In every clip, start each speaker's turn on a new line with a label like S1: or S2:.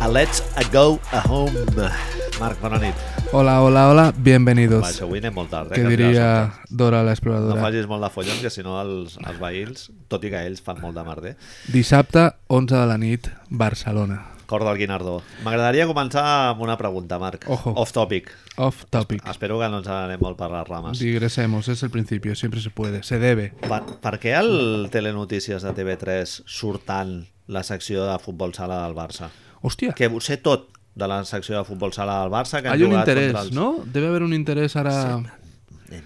S1: a Let's a Go a Home. Marc, bona nit.
S2: Hola, hola, hola,
S1: Va,
S2: bienvenidos.
S1: això avui anem molt tard, eh?
S2: Que
S1: que
S2: diria Dora
S1: No
S2: la exploradora.
S1: facis molt de follons, que si no els, els veïns, tot i que ells fan molt de eh. merder.
S2: Dissabte, 11 de la nit, Barcelona.
S1: Cor del Guinardó. M'agradaria començar amb una pregunta, Marc.
S2: Ojo.
S1: Off topic.
S2: Off topic.
S1: Espero que no ens anem molt per les rames.
S2: Digresemos, es el principio, siempre se puede, se debe.
S1: Per, per què al Telenotícies de TV3 surt tant la secció de futbol sala del Barça?
S2: Hòstia,
S1: Que ho sé tot de la secció de futbol sala del Barça que han
S2: hay un
S1: jugat
S2: interés,
S1: contra els...
S2: no? Debe haver un interés ara...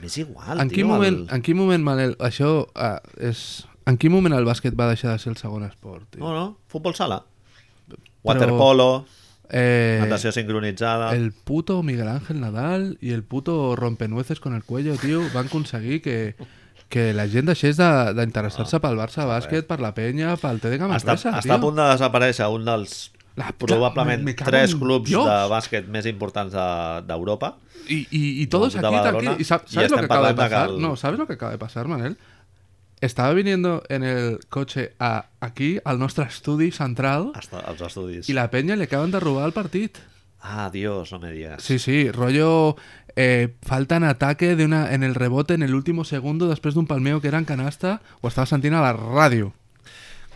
S1: M'és igual,
S2: En
S1: tio.
S2: quin moment,
S1: El...
S2: en quin moment Manel, això ah, és... En quin moment el bàsquet va deixar de ser el segon esport? Tio?
S1: No, no, futbol sala. Waterpolo,
S2: Eh,
S1: natació sincronitzada... El...
S2: El puto Miguel Ángel Nadal y el puto rompenueces con el cuello, tío, van aconseguir que, que la gent deixés de- d'interessar-se pel Barça Bàsquet, per la penya, pel TD
S1: Ah, Està,
S2: Gamarresa,
S1: està a punt de desaparèixer un dels
S2: La puta-
S1: probablement
S2: me cago en
S1: tres clubs
S2: Dios.
S1: de bàsquet més importants de- d'Europa.
S2: I, i, i todos
S1: de
S2: aquí
S1: Badalona,
S2: tranquilos. ¿Y sab-
S1: y
S2: sabes lo
S1: estem
S2: que acaba de
S1: parlant de
S2: pasar?
S1: que el-
S2: No, ¿sabes lo que acaba de pasar, Manel? Estaba viniendo en el coche a, aquí, al nostre estudi central,
S1: Hasta els estudis.
S2: y la penya le acaban de robar el partit.
S1: Ah, Dios, no me digas.
S2: Sí, sí, rollo... Eh, falta en ataque de una, en el rebote en el último segundo después de un palmeo que era en canasta o estava sentint a la ràdio.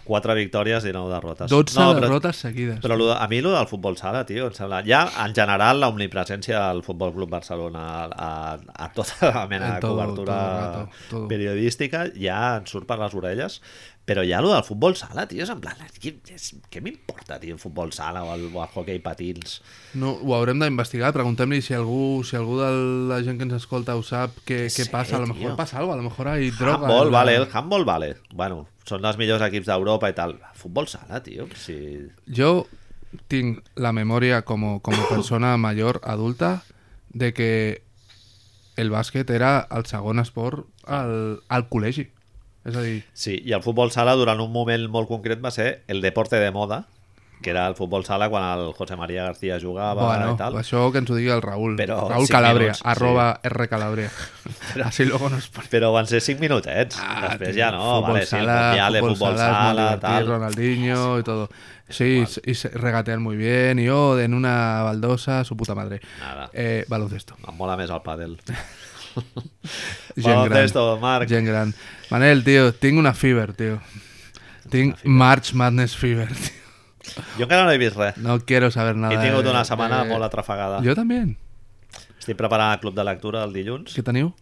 S1: 4 victòries i 9 derrotes.
S2: 12
S1: no, però,
S2: derrotes seguides.
S1: Però lo de, a mi el del futbol sala, tio, em sembla... Ja, en general, la omnipresència del Futbol Club Barcelona a, a, a tota la mena
S2: En
S1: de
S2: todo,
S1: cobertura
S2: todo el rato, todo.
S1: periodística ja ens surt per les orelles. Però ja lo del futbol sala, tio, és en plan... Què, és- què m'importa, tio, el futbol sala o el, o el hockey patins?
S2: No, ho haurem d'investigar, preguntem-li si algú, si algú de la gent que ens escolta ho sap, què,
S1: sé,
S2: què passa, a lo
S1: tio.
S2: mejor passa alguna cosa, a lo mejor hay droga.
S1: Handball,
S2: en la-
S1: vale, el handball, vale. Bueno, són els millors equips d'Europa i tal. Futbol sala, tio, si...
S2: Yo tengo la memoria como, como persona mayor, adulta, de que el básquet era el segon esport al, al col·legi. És a dir,
S1: Sí, i el futbol sala durant un moment molt concret va ser el deporte de moda, que era el futbol sala quan el José María García jugava
S2: bueno,
S1: i tal.
S2: això que ens ho digui el Raúl.
S1: Però
S2: Raúl
S1: cinc
S2: Calabria,
S1: minuts, sí.
S2: arroba R Calabria. Así luego nos pone...
S1: Però van ser 5 minutets.
S2: Ah,
S1: Després
S2: tio,
S1: ja no,
S2: futbol
S1: vale, sí, el mundial de futbol
S2: es muy
S1: sala,
S2: divertido,
S1: tal. Ah, Pues
S2: Ronaldinho y todo. Sí, y se- regatear muy bien. Y oh, en una baldosa, su puta madre.
S1: Nada.
S2: Eh, baloncesto.
S1: Em mola més el pàdel.
S2: Gent gran.
S1: Baloncesto, Marc.
S2: Gent gran. Manel, tío, tengo una fever, tío. Tengo March Madness fever, tío.
S1: Jo encara no he vist res.
S2: No quiero saber nada.
S1: He tingut
S2: de-
S1: una setmana
S2: de-
S1: molt atrafegada.
S2: Jo també.
S1: Estic preparant el club de lectura el dilluns.
S2: Què teniu?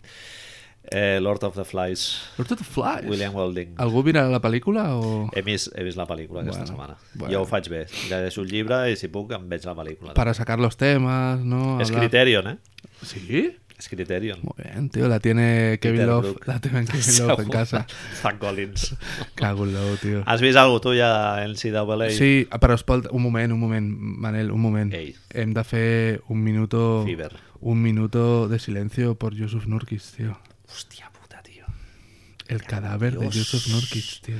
S1: Eh, Lord of the Flies,
S2: Lord of the Flies.
S1: William Golding.
S2: Algú mirarà la pel·lícula o...?
S1: He vist, he vist la pel·lícula aquesta
S2: Bueno,
S1: setmana.
S2: bueno.
S1: Jo ho faig bé. Llegeixo el llibre i si puc em veig la pel·lícula.
S2: Para sacar los temas, ¿no?
S1: És
S2: Hablar-
S1: Criterion, eh?
S2: ¿Sí?
S1: És Criterion.
S2: Muy bien, tío. La tiene Kevin
S1: Peter
S2: Love.
S1: Brook.
S2: La tiene Kevin Love en casa.
S1: Zach Collins.
S2: Cago en Love, tío.
S1: Has vist alguna cosa tu ja de NCAA?
S2: Sí, però espolta, un moment, un moment, Manel, un moment.
S1: Ei.
S2: Hem de fer un minuto...
S1: Fever.
S2: Un minuto de silencio por Yusuf Nurkic, tío.
S1: Hòstia puta, tio.
S2: El cadáver de Yusuf Nurkic, tío.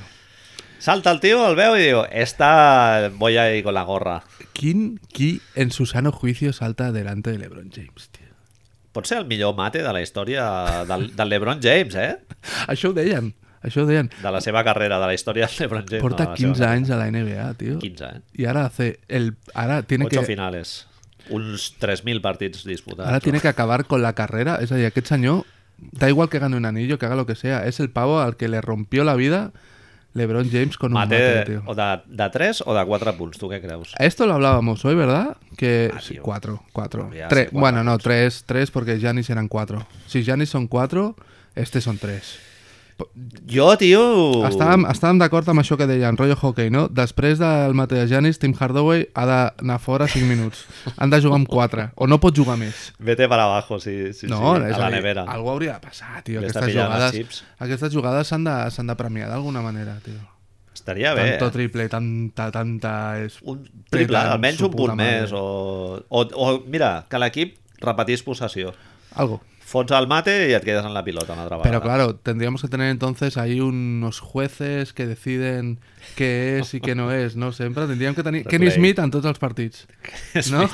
S1: Salta el tio, el veu i diu Esta voy a ir con la gorra.
S2: ¿Quién, qui en su sano juicio salta delante de LeBron James, tío?
S1: Pot ser el millor mate de la història del, del LeBron James, eh?
S2: Això ho deien, això ho deien.
S1: De la seva carrera, de la història del LeBron James.
S2: Porta
S1: no, de la
S2: 15
S1: seva
S2: anys a la NBA, tío.
S1: carrera. 15, eh?
S2: Y ahora hace el... Ahora tiene
S1: 8
S2: que...
S1: finales. Uns 3.000 partits disputats.
S2: Ahora tiene que acabar con la carrera. Es decir, aquest senyor, este da igual que gane un anillo, que haga lo que sea. Es el pavo al que le rompió la vida LeBron James con un
S1: Mate,
S2: mate, Eh,
S1: de,
S2: tío.
S1: o de, de 3 o de 4 punts, tu què creus?
S2: Esto lo hablábamos hoy, ¿verdad? Que
S1: Ah,
S2: sí,
S1: tío.
S2: cuatro, cuatro.
S1: Pues ya sí,
S2: Tres-
S1: cuatro,
S2: bueno, no, tres, tres porque Janis eran cuatro. Si Janis son cuatro, este son tres.
S1: Jo, tio...
S2: Estàvem, estàvem d'acord amb això que deien, rotllo hockey, no? Després del mate de Janis, Tim Hardaway ha d'anar fora 5 minuts. Han de jugar amb 4, o no pot jugar més.
S1: Vete para abajo, sí, sí,
S2: No,
S1: sí,
S2: és
S1: a la
S2: dir,
S1: nevera.
S2: Algú hauria de passar, tio.
S1: Vés a
S2: Aquestes
S1: pillar les
S2: jugades,
S1: chips.
S2: aquestes jugades s'han de, s'han de premiar d'alguna manera, tio.
S1: Estaria bé.
S2: Tanto
S1: eh?
S2: triple, tanta, tanta... És...
S1: Un triple,
S2: Petant,
S1: almenys
S2: su
S1: un punt
S2: puta madre.
S1: més. O, o, o mira, que l'equip repetís possessió.
S2: Algo.
S1: Fots al mate y te quedas en la pilota una otra vegada.
S2: Pero claro, tendríamos que tener entonces ahí unos jueces que deciden què és i què no és, no? Sempre tindríem que tenir Kenny
S1: Replay.
S2: Smith en tots els partits, no?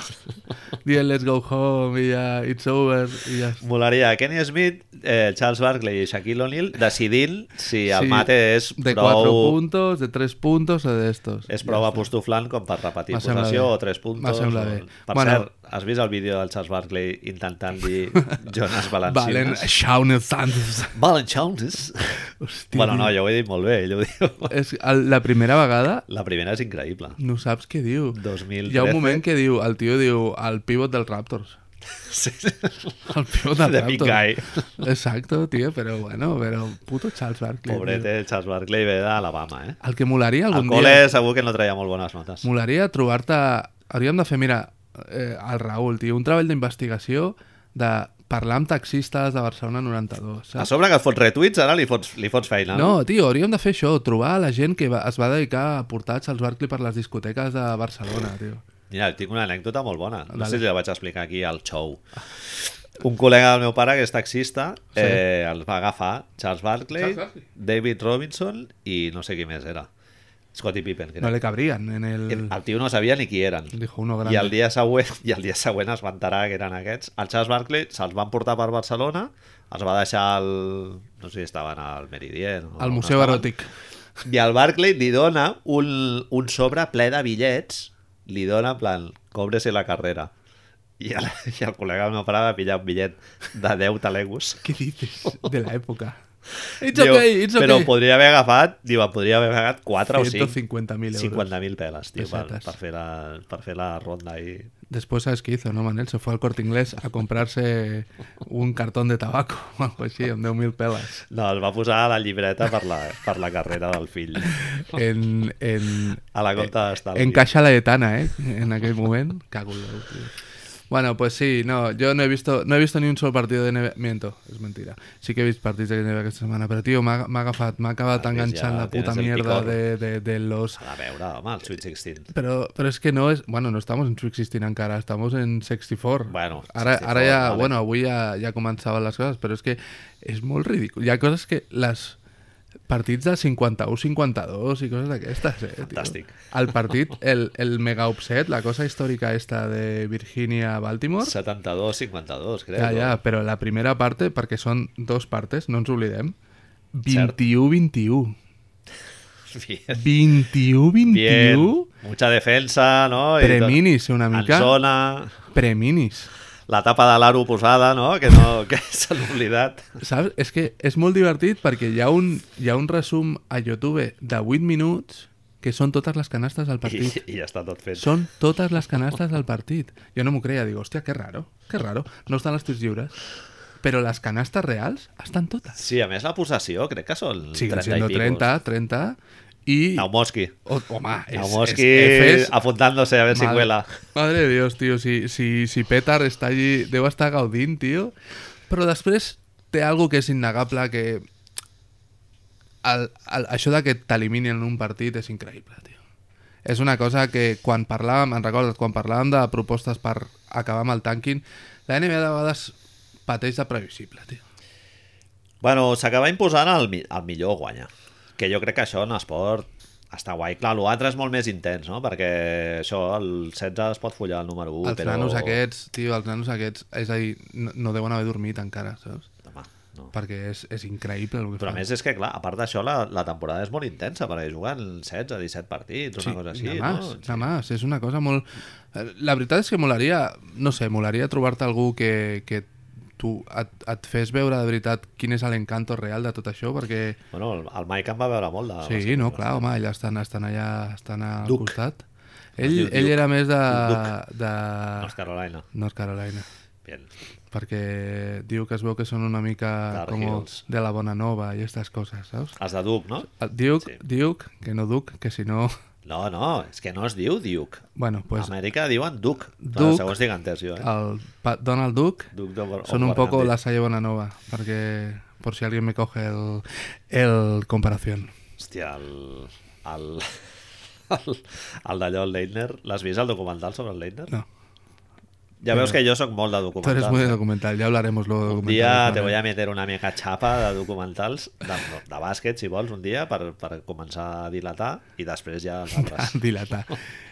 S2: Dient let's go home i ja it's over i ja
S1: Molaria Kenny Smith, eh, Charles Barkley i Shaquille O'Neal decidint si el
S2: Sí,
S1: mate és
S2: de 4
S1: prou,
S2: puntos, de 3 puntos o de estos.
S1: és prou apostoflant com per repetir
S2: Me sembla
S1: possessió
S2: bé.
S1: o 3 puntos.
S2: Me sembla
S1: o-
S2: bé.
S1: Per
S2: Bueno.
S1: cert, has vist el vídeo del Charles Barkley intentant dir Jonas
S2: Valen,
S1: Valanciunas?
S2: Shaun Sanders.
S1: Valanciunas?
S2: Hòstia.
S1: Bueno, no, jo ho he dit molt bé, ell ho diu.
S2: És el- la primera vegada
S1: La primera és increïble.
S2: no saps què diu.
S1: 2013.
S2: Hi ha un moment que diu, el tio diu, el pivot dels Raptors.
S1: Sí.
S2: El pivot dels
S1: De
S2: Raptors.
S1: Big Guy.
S2: Exacto, tío, pero bueno, pero puto Charles Barkley. tío.
S1: Pobret, Charles Barkley ve d'Alabama, eh?
S2: El que molaria
S1: Al
S2: algun
S1: col·le
S2: dia...
S1: segur que no traia molt bones notes.
S2: Molaria trobar-te... Hauríem de fer, mira, eh, al Raül, tio, un treball d'investigació de parlar amb taxistes de Barcelona 92,
S1: A
S2: saps?
S1: sobre que et fots retuits, ara li fots, li fots feina.
S2: No, tio, hauríem de fer això, trobar la gent que va, es va dedicar a portar Charles Barkley per les discoteques de Barcelona, tio.
S1: Mira, tinc una anècdota molt bona. No
S2: Dale.
S1: sé si la vaig explicar aquí al show. Un col·lega del meu pare, que és taxista,
S2: Sí.
S1: eh, els va agafar Charles Barkley,
S2: Charles Barkley.
S1: David Robinson i no sé qui més era. Scottie Pippen, crec.
S2: No le cabrían en el...
S1: El tio no sabia ni qui eren.
S2: Dijo uno
S1: I
S2: grande.
S1: el dia següent, i el dia següent es va enterar que eren aquests. El Charles Barkley se'ls van portar per Barcelona, els va deixar al... no sé si estaven al Meridien... o
S2: Al
S1: on
S2: Museu
S1: estaven.
S2: Eròtic.
S1: I el Barkley li dona un, un sobre ple de bitllets, li dona en plan, cobre-se la carrera. I el, i el col·lega del meu pare va pillar un bitllet de 10 talegos.
S2: Què dices? De la època. It's
S1: Diu,
S2: okay, it's okay.
S1: Però podria haver agafat, diu, podria haver agafat 4 o 5.
S2: 150.000 euros.
S1: 50.000 peles, tio, per,
S2: Pessetes.
S1: per, fer la, per fer la ronda i...
S2: Después, ¿sabes qué hizo, no, Manel? Se fue al corte inglés a comprarse un cartón de tabaco o algo así, en 10.000 pelas.
S1: No, es va posar a la llibreta per la, per la carrera del fill.
S2: En, en,
S1: A la compta d'estalvi.
S2: Eh, en Caixa Laietana, ¿eh? En aquel momento. Cago en la hostia. Bueno, pues sí, no, yo no he visto no he visto ni un solo partido de NBA. Miento, es mentira. Sí que he visto partidos de NBA esta semana, pero tío, me ha, me ha agafat, me ha acabado
S1: Has vist,
S2: enganchando
S1: ja
S2: la puta
S1: tienes el
S2: mierda
S1: picor.
S2: de, de- de los...
S1: A veure, home, el Sweet 16.
S2: Pero, pero es que no es... Bueno, no estamos en Trick 16 encara, estamos en 64.
S1: Bueno,
S2: Ara,
S1: 64,
S2: ara ja,
S1: vale.
S2: bueno, avui ja, ja començaven les coses, però és que és molt ridícul. Hi ha coses que les partits de 51-52 i coses d'aquestes, eh, tio.
S1: Fantàstic.
S2: El partit, el, el mega upset, la cosa històrica esta de Virginia-Baltimore,
S1: 72-52, crec.
S2: ja,
S1: no?
S2: ja, però la primera parte, perquè són dos partes, no ens oblidem, 21-21.
S1: Bien.
S2: 21-21?
S1: Bien. Mucha defensa, ¿no? I
S2: Preminis, una
S1: tot. En
S2: mica.
S1: zona,
S2: Preminis.
S1: la tapa de l'aro posada, no? Que, no, que se l'ha oblidat.
S2: Saps? És que és molt divertit perquè hi ha un, hi ha un resum a YouTube de 8 minuts que són totes les canastes del
S1: I,
S2: partit.
S1: I ja està tot fet.
S2: Són totes les canastes del partit. Jo no m'ho creia, dic, hòstia, que raro, que raro. No estan els tirs lliures. Però les canastes reals estan totes.
S1: Sí, a més la possessió crec que són 30
S2: Siguen
S1: i
S2: sent
S1: pico.
S2: 30, 30 i...
S1: Naumoski.
S2: O, home, és,
S1: Naumoski
S2: és Fs.
S1: apuntándose a ver si
S2: Madre-
S1: cuela.
S2: Madre de Dios, tío, si, si, si Petar està allí, deu estar gaudint, tío. Però després té algo que és innegable, que el, el, això de que t'eliminin en un partit és increïble, tio. És una cosa que quan parlàvem, en recordes, quan parlàvem de propostes per acabar amb el tanking, la NBA de vegades pateix de previsible, tio.
S1: Bueno, s'acaba imposant el, mi- el millor guanya. Que jo crec que això en esport està guai. Clar, l'altre és molt més intens, no? Perquè això, el 16 es pot follar el número 1,
S2: els
S1: però...
S2: nanos aquests, tio, els nanos aquests, és a dir, no, no deuen haver dormit encara, saps?
S1: Home, no.
S2: Perquè és, és increïble el que
S1: Però a
S2: fan.
S1: més és que, clar, a part d'això, la, la temporada és molt intensa, perquè juguen 16, 17 partits, una cosa així,
S2: nada más,
S1: no?
S2: Nada más, és una cosa molt... Eh, La veritat és que molaria, no sé, molaria trobar-te algú que, que tu et, et fes veure de veritat quin és l'encanto real de tot això, perquè...
S1: Bueno, el, el Mike em Ah, va veure molt de...
S2: Sí, no, clar, home, allà estan, estan allà, estan al
S1: Duc.
S2: costat.
S1: Es
S2: Ell,
S1: diu
S2: ell
S1: Duc.
S2: era més de...
S1: Duc.
S2: de...
S1: North Carolina.
S2: North Carolina,
S1: Bien.
S2: perquè diu que es veu que són una mica
S1: Tar
S2: com
S1: Heels.
S2: de la bona nova i aquestes coses, saps?
S1: Els de Duke, no?
S2: El Duke,
S1: Sí.
S2: Duke, que no Duke, que si no...
S1: No, no, és que no es diu Duke.
S2: Bueno,
S1: Pues...
S2: pues
S1: A Amèrica diuen Duke.
S2: Duke.
S1: Duke... Segons dic entès jo, eh?
S2: el pa- Donald Duke
S1: Duke de...
S2: son un poco la Salle Bonanova, porque por si alguien me coge el, el comparación.
S1: Hòstia, el... el... El, el d'allò, el Leitner, l'has vist el documental sobre el Leitner?
S2: No.
S1: Ja veus que jo sóc molt de
S2: Tú eres muy de
S1: documentals.
S2: documental, ya hablaremos luego de
S1: Pues Un
S2: documental.
S1: dia te voy a meter una mica xapa de documentals, de, no, de bàsquet, si vols, un dia, per, per començar a dilatar, i després ja els altres.
S2: Dilata.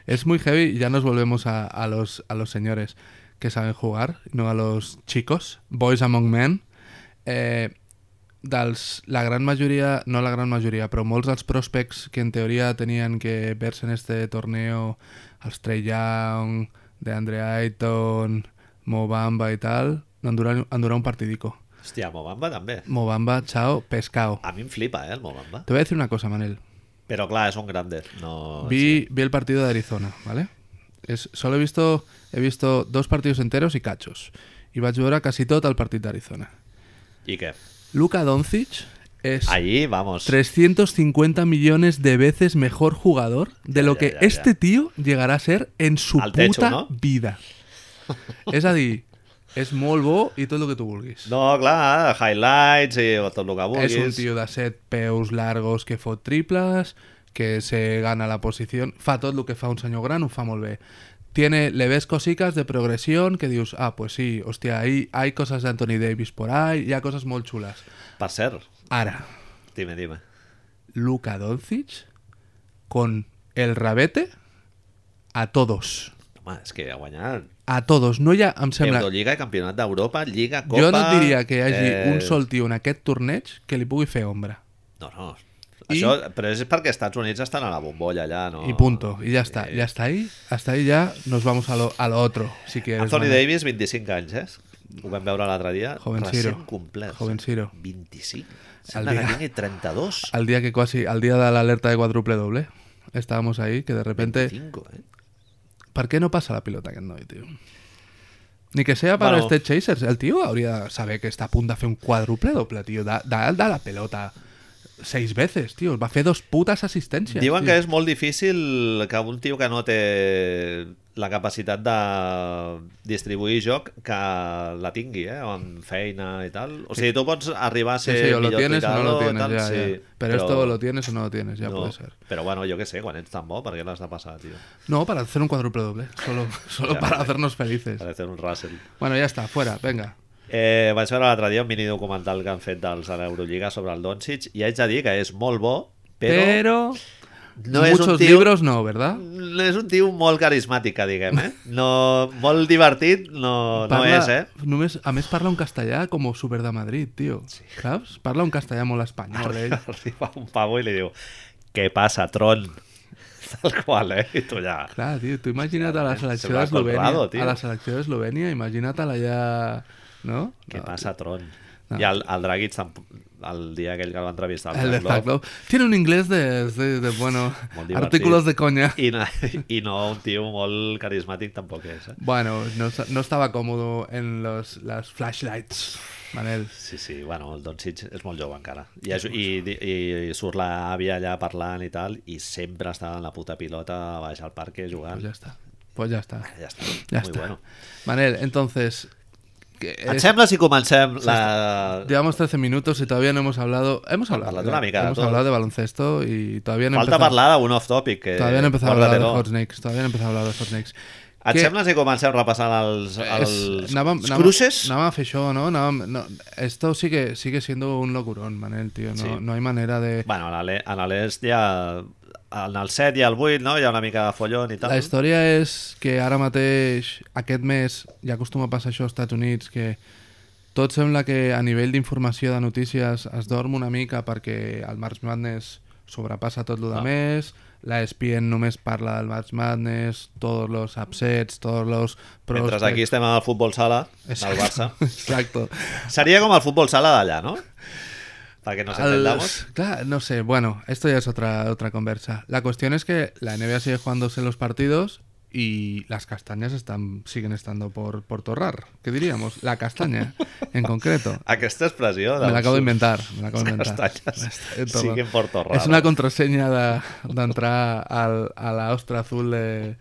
S2: Es muy heavy y ya nos volvemos a, a los, a los señores que saben jugar, no a los chicos. Boys Among Men. Eh, dels, la gran majoria, no la gran majoria, però molts dels prospects que en teoria tenien que ver-se en este torneo, els Trey Young, de Andre Ayton, Mobamba i tal, han durat, han durat un partidico.
S1: Hòstia, Mobamba també.
S2: Mobamba, chao, pescao.
S1: A mi em flipa, eh, el Mobamba.
S2: Te voy a decir una cosa, Manel.
S1: Però clar, és un grande. No...
S2: Vi, vi el partido de Arizona, ¿vale? Es, solo he visto, he visto dos partidos enteros y cachos. Y va a ayudar a casi todo el partido de Arizona.
S1: I què?
S2: Luka Doncic es
S1: Allí, vamos.
S2: 350 millones de veces mejor jugador de
S1: Ya,
S2: lo
S1: ya,
S2: que
S1: ya, ya.
S2: este tío llegará a ser en su
S1: Al
S2: puta
S1: techo, ¿no?
S2: vida. Es así, es molt bo y todo lo que tú vulguis.
S1: No, clar, highlights i tot el que vulguis.
S2: Es un tío de set peus largos que fot triples, que se gana la posición. Fa tot lo que fa un senyor gran, ho fa molt bé. Tiene, le ves cositas de progresión que dius, ah, pues sí, hostia, ahí hay cosas de Anthony Davis por ahí, hi ha cosas molt xules.
S1: Per cert,
S2: Ara,
S1: dime, dime.
S2: Luka Doncic con el rabete a todos.
S1: Home, és que ha guanyat
S2: A todos. No hi ha, em sembla...
S1: Euroliga, Campionat d'Europa, Lliga, Copa...
S2: Jo no et diria que hi hagi
S1: eh,
S2: un sol tio en aquest torneig que li pugui fer ombra.
S1: No, no.
S2: I-
S1: Això, però és perquè els Estats Units estan a la bombolla allà, no? Eh,
S2: Y punto, y ya está, ya está ahí, hasta ahí ya nos vamos a lo, a lo otro, si quieres.
S1: Anthony
S2: Manuel.
S1: Davis, 25 anys, eh? Ho vam veure l'altre dia.
S2: Joven
S1: Recent
S2: Ciro.
S1: complet.
S2: Joven Ciro.
S1: 25. Sembla
S2: dia-
S1: que tingui 32.
S2: Al día que casi, al día de la alerta de cuádruple doble, estábamos ahí, que de repente...
S1: 25, eh?
S2: ¿Por qué no pasa la pilota que no hay, tío? Ni que sea para
S1: Bueno.
S2: este Chasers, el tío habría sabe que está a punto de hacer un cuádruple doble, tío. Da, da, da la pelota seis veces, tío. Va a hacer dos putas asistencias.
S1: Diuen
S2: tío.
S1: que és molt difícil que un tio que no té la capacitat de distribuir joc que la tingui, eh? amb feina i tal. O sigui, tu pots arribar a
S2: Sí,
S1: ser
S2: sí, o lo
S1: millor
S2: tienes o no lo
S1: tirador,
S2: tienes,
S1: eh, tal,
S2: ya,
S1: sí,
S2: ya. Pero esto lo tienes o no lo tienes, ya
S1: no,
S2: puede ser.
S1: Però bueno, jo què sé, quan ets tan bo, per què l'has de passar, tio?
S2: No, para hacer un cuádruple doble, solo, solo
S1: Ya,
S2: para
S1: vale.
S2: hacernos felices.
S1: Per fer un Russell.
S2: Bueno, ya está, fuera, venga.
S1: Eh, vaig veure l'altre dia un mini documental que han fet dels de l'Eurolliga sobre el Doncic i haig de dir que és molt bo, però,
S2: Pero,
S1: no és un
S2: muchos
S1: tio...
S2: libros no, ¿verdad?
S1: És un tio molt carismàtic, que diguem, eh? No, molt divertit, no, no
S2: Parla-
S1: és, eh?
S2: només- a més parla un castellà como súper de Madrid, tío. ¿Sabes? Parla un castellà molt espanyol, eh?
S1: Arriba un pavo i li diu què passa, tron? Tal qual, eh? I tu ja...
S2: Clar, tio, tu imagina't a la
S1: Hòstia,
S2: selecció
S1: sembla Colorado,
S2: d'Eslovènia,
S1: tio.
S2: a la selecció d'Eslovènia, imagina't-la allà, no?
S1: Què
S2: No.
S1: passa, tron?
S2: No.
S1: I el, el Dragic, tampoc- el dia aquell que el va entrevistar,
S2: El de
S1: Zaglov,
S2: Zaglov. Tiene un inglés de, de- de, bueno,
S1: Molt divertit.
S2: artículos de coña.
S1: i, no, i no un tio molt carismàtic tampoc és, eh?
S2: Bueno, no, sa- no estaba cómodo en los, las flashlights, Manel.
S1: Sí, sí, bueno, el Doncic és molt jove encara. I, és, i, i, i surt l'àvia allà parlant i tal, i sempre està en la puta pilota baix al parc jugant.
S2: Pues ya está. Pues ya está.
S1: Ah, Ja està,
S2: Ya
S1: muy
S2: está.
S1: bueno.
S2: Manel, entonces... que
S1: Et
S2: es-
S1: sembla si comencem la...
S2: Llevamos 13 minutos y todavía no hemos hablado. Hemos hablado.
S1: hablado una mica de
S2: hemos
S1: todo.
S2: hablado de baloncesto y todavía no he
S1: Falta
S2: empezado-
S1: parlar d'un off-topic. Que...
S2: Todavía no he empezado a hablar de
S1: guárdatelo.
S2: Hot Snakes. Todavía no he empezado a hablar de Hot Snakes.
S1: Et
S2: Que
S1: sembla si comencem repassant els, els,
S2: es- anàvem-
S1: els
S2: anàvem-
S1: cruces?
S2: anàvem a fer això, no? Anàvem- no, Esto sigue, sigue siendo un locurón, Manel, tío. No,
S1: Sí.
S2: no hay manera de.
S1: Bueno, a l'Ale- a l'est ja... En el 7 i el 8, no? Hi ha una mica de follon i tal.
S2: La història és que ara mateix, aquest mes, ja acostuma a passar això als Estats Units, que tot sembla que a nivell d'informació de notícies es dorm una mica perquè el March Madness sobrepassa tot lo de
S1: Ah.
S2: més, la E ESPN només parla del March Madness, tots los upsets, tots los...
S1: Mentre aquí estem al futbol sala, del Barça.
S2: Exacto.
S1: Seria com el futbol sala d'allà, no? Perquè nos
S2: Al-
S1: entendamos.
S2: Claro, no sé, bueno, esto ya es otra, otra conversa. La cuestión es que la NBA sigue jugándose los partidos y las castañas están, siguen estando por, por torrar. ¿Qué diríamos? La castaña, en concreto.
S1: Aquesta expressió...
S2: Me la acabo de inventar. Me la acabo de
S1: Les
S2: inventar.
S1: castañas
S2: Eh, todo.
S1: siguen por torrar.
S2: Es una contraseña de, de entrar al- a la ostra azul de,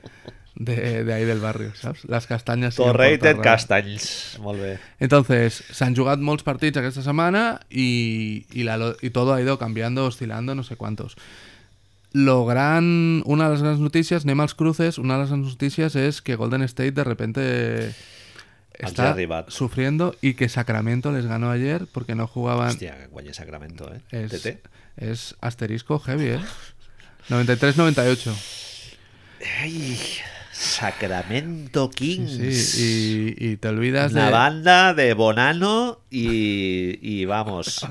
S2: de- de ahí del barrio, ¿sabes? Las castañas siguen por
S1: Torrated
S2: torrar.
S1: castanys. Molt bé.
S2: Entonces, s'han jugat molts partits aquesta setmana y, y, la, lo- y todo ha ido cambiando, oscilando, no sé cuántos. Lo gran, una de las grandes noticias, anem als cruces, una de las grandes noticias es que Golden State de repente está
S1: arribat.
S2: sufriendo y que Sacramento les ganó ayer porque no jugaban.
S1: Hòstia, que guanya Sacramento, eh?
S2: es,
S1: TT.
S2: es asterisco heavy, ¿eh? 93-98.
S1: Ai, Sacramento Kings.
S2: Sí, y, y te olvidas
S1: Una
S2: de.
S1: banda de Bonano i, i vamos,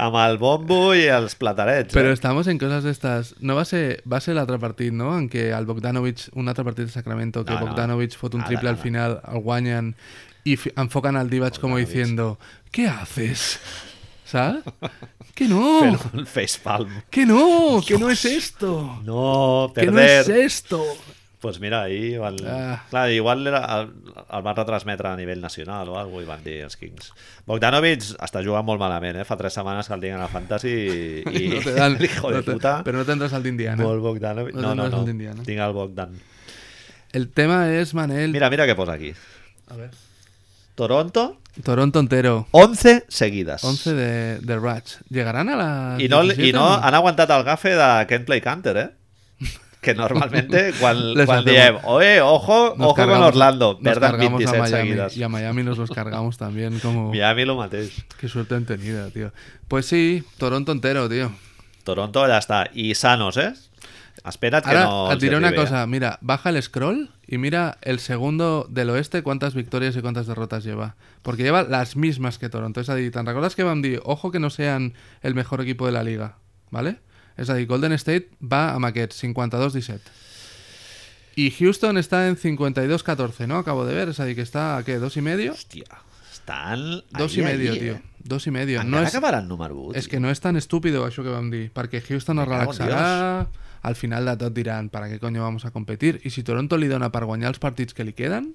S1: amb el bombo i els platarets.
S2: Pero
S1: eh?
S2: estamos en cosas de estas. No va a ser, va a ser el altre partit, no? En què el Bogdanovic, un altre partit de Sacramento, que
S1: No, no.
S2: Bogdanovic fot un
S1: Nada,
S2: triple al
S1: nada.
S2: final, el guanyen i fi- enfocan al Divac como
S1: Bogdanovic.
S2: diciendo ¿Qué haces? ¿Sabes? ¡Que no!
S1: Fent un facepalm.
S2: ¡Que no! ¡Que no es esto!
S1: No,
S2: ¡Que no es
S1: perder.
S2: esto!
S1: pues mira, ahir van...
S2: Ah.
S1: Clar, igual era, el, el van retransmetre a nivell nacional o alguna cosa i van dir els Kings. Bogdanovic està jugant molt malament, eh? Fa tres setmanes que el tinc a la Fantasy i... i
S2: No te dan,
S1: Hijo de
S2: no te-
S1: puta.
S2: Pero no tendrás al de Indiana.
S1: Molt Bogdanovic. No, no,
S2: No tindràs
S1: no.
S2: el d'Indiana.
S1: Tinc el Bogdan.
S2: El tema es, Manel.
S1: Mira, mira què posa aquí.
S2: A ver.
S1: Toronto,
S2: Toronto entero.
S1: 11 seguides.
S2: 11 de, de Ratch. ¿Llegarán a las
S1: I no, I
S2: 17
S1: no
S2: o
S1: han aguantat el gafe de Can't Play Counter, eh? Que normalmente quan,
S2: Les
S1: quan
S2: hacemos.
S1: diem oye, ojo,
S2: Nos
S1: ojo con
S2: cargamos-
S1: Orlando,
S2: nos
S1: perden
S2: cargamos
S1: 27
S2: a Miami,
S1: seguidas.
S2: Y a Miami nos los cargamos también, como...
S1: Miami lo mateix.
S2: Qué suerte han tenido, tío. Pues sí, Toronto entero, tío.
S1: Toronto ja està. I sanos, eh? Espera't que
S2: Ahora
S1: no...
S2: te
S1: els
S2: diré una
S1: arribi,
S2: cosa. Mira, baja el scroll y mira el segundo del oeste cuántas victorias y cuántas derrotas lleva. Porque lleva las mismas que Toronto. Es decir, ¿te recuerdas que van dir, ojo que no sean el mejor equipo de la liga? ¿Vale? Es decir, Golden State va a Maquette, 52-17. Y Houston está en 52-14, ¿no? Acabo de ver. Es decir, que está a qué, dos y medio.
S1: Eh? Hòstia, estan...
S2: Dos
S1: ahí,
S2: y medio,
S1: ahí,
S2: tío.
S1: Eh?
S2: Dos y medio.
S1: Encara
S2: No
S1: és...
S2: es,
S1: acabaran número 1,
S2: es que no es tan estúpido eso que vam dir, perquè Houston no
S1: Me cago en
S2: relaxará, al final de tot diran, para qué coño vamos a competir? Y si Toronto li dona per guanyar els partits que li queden,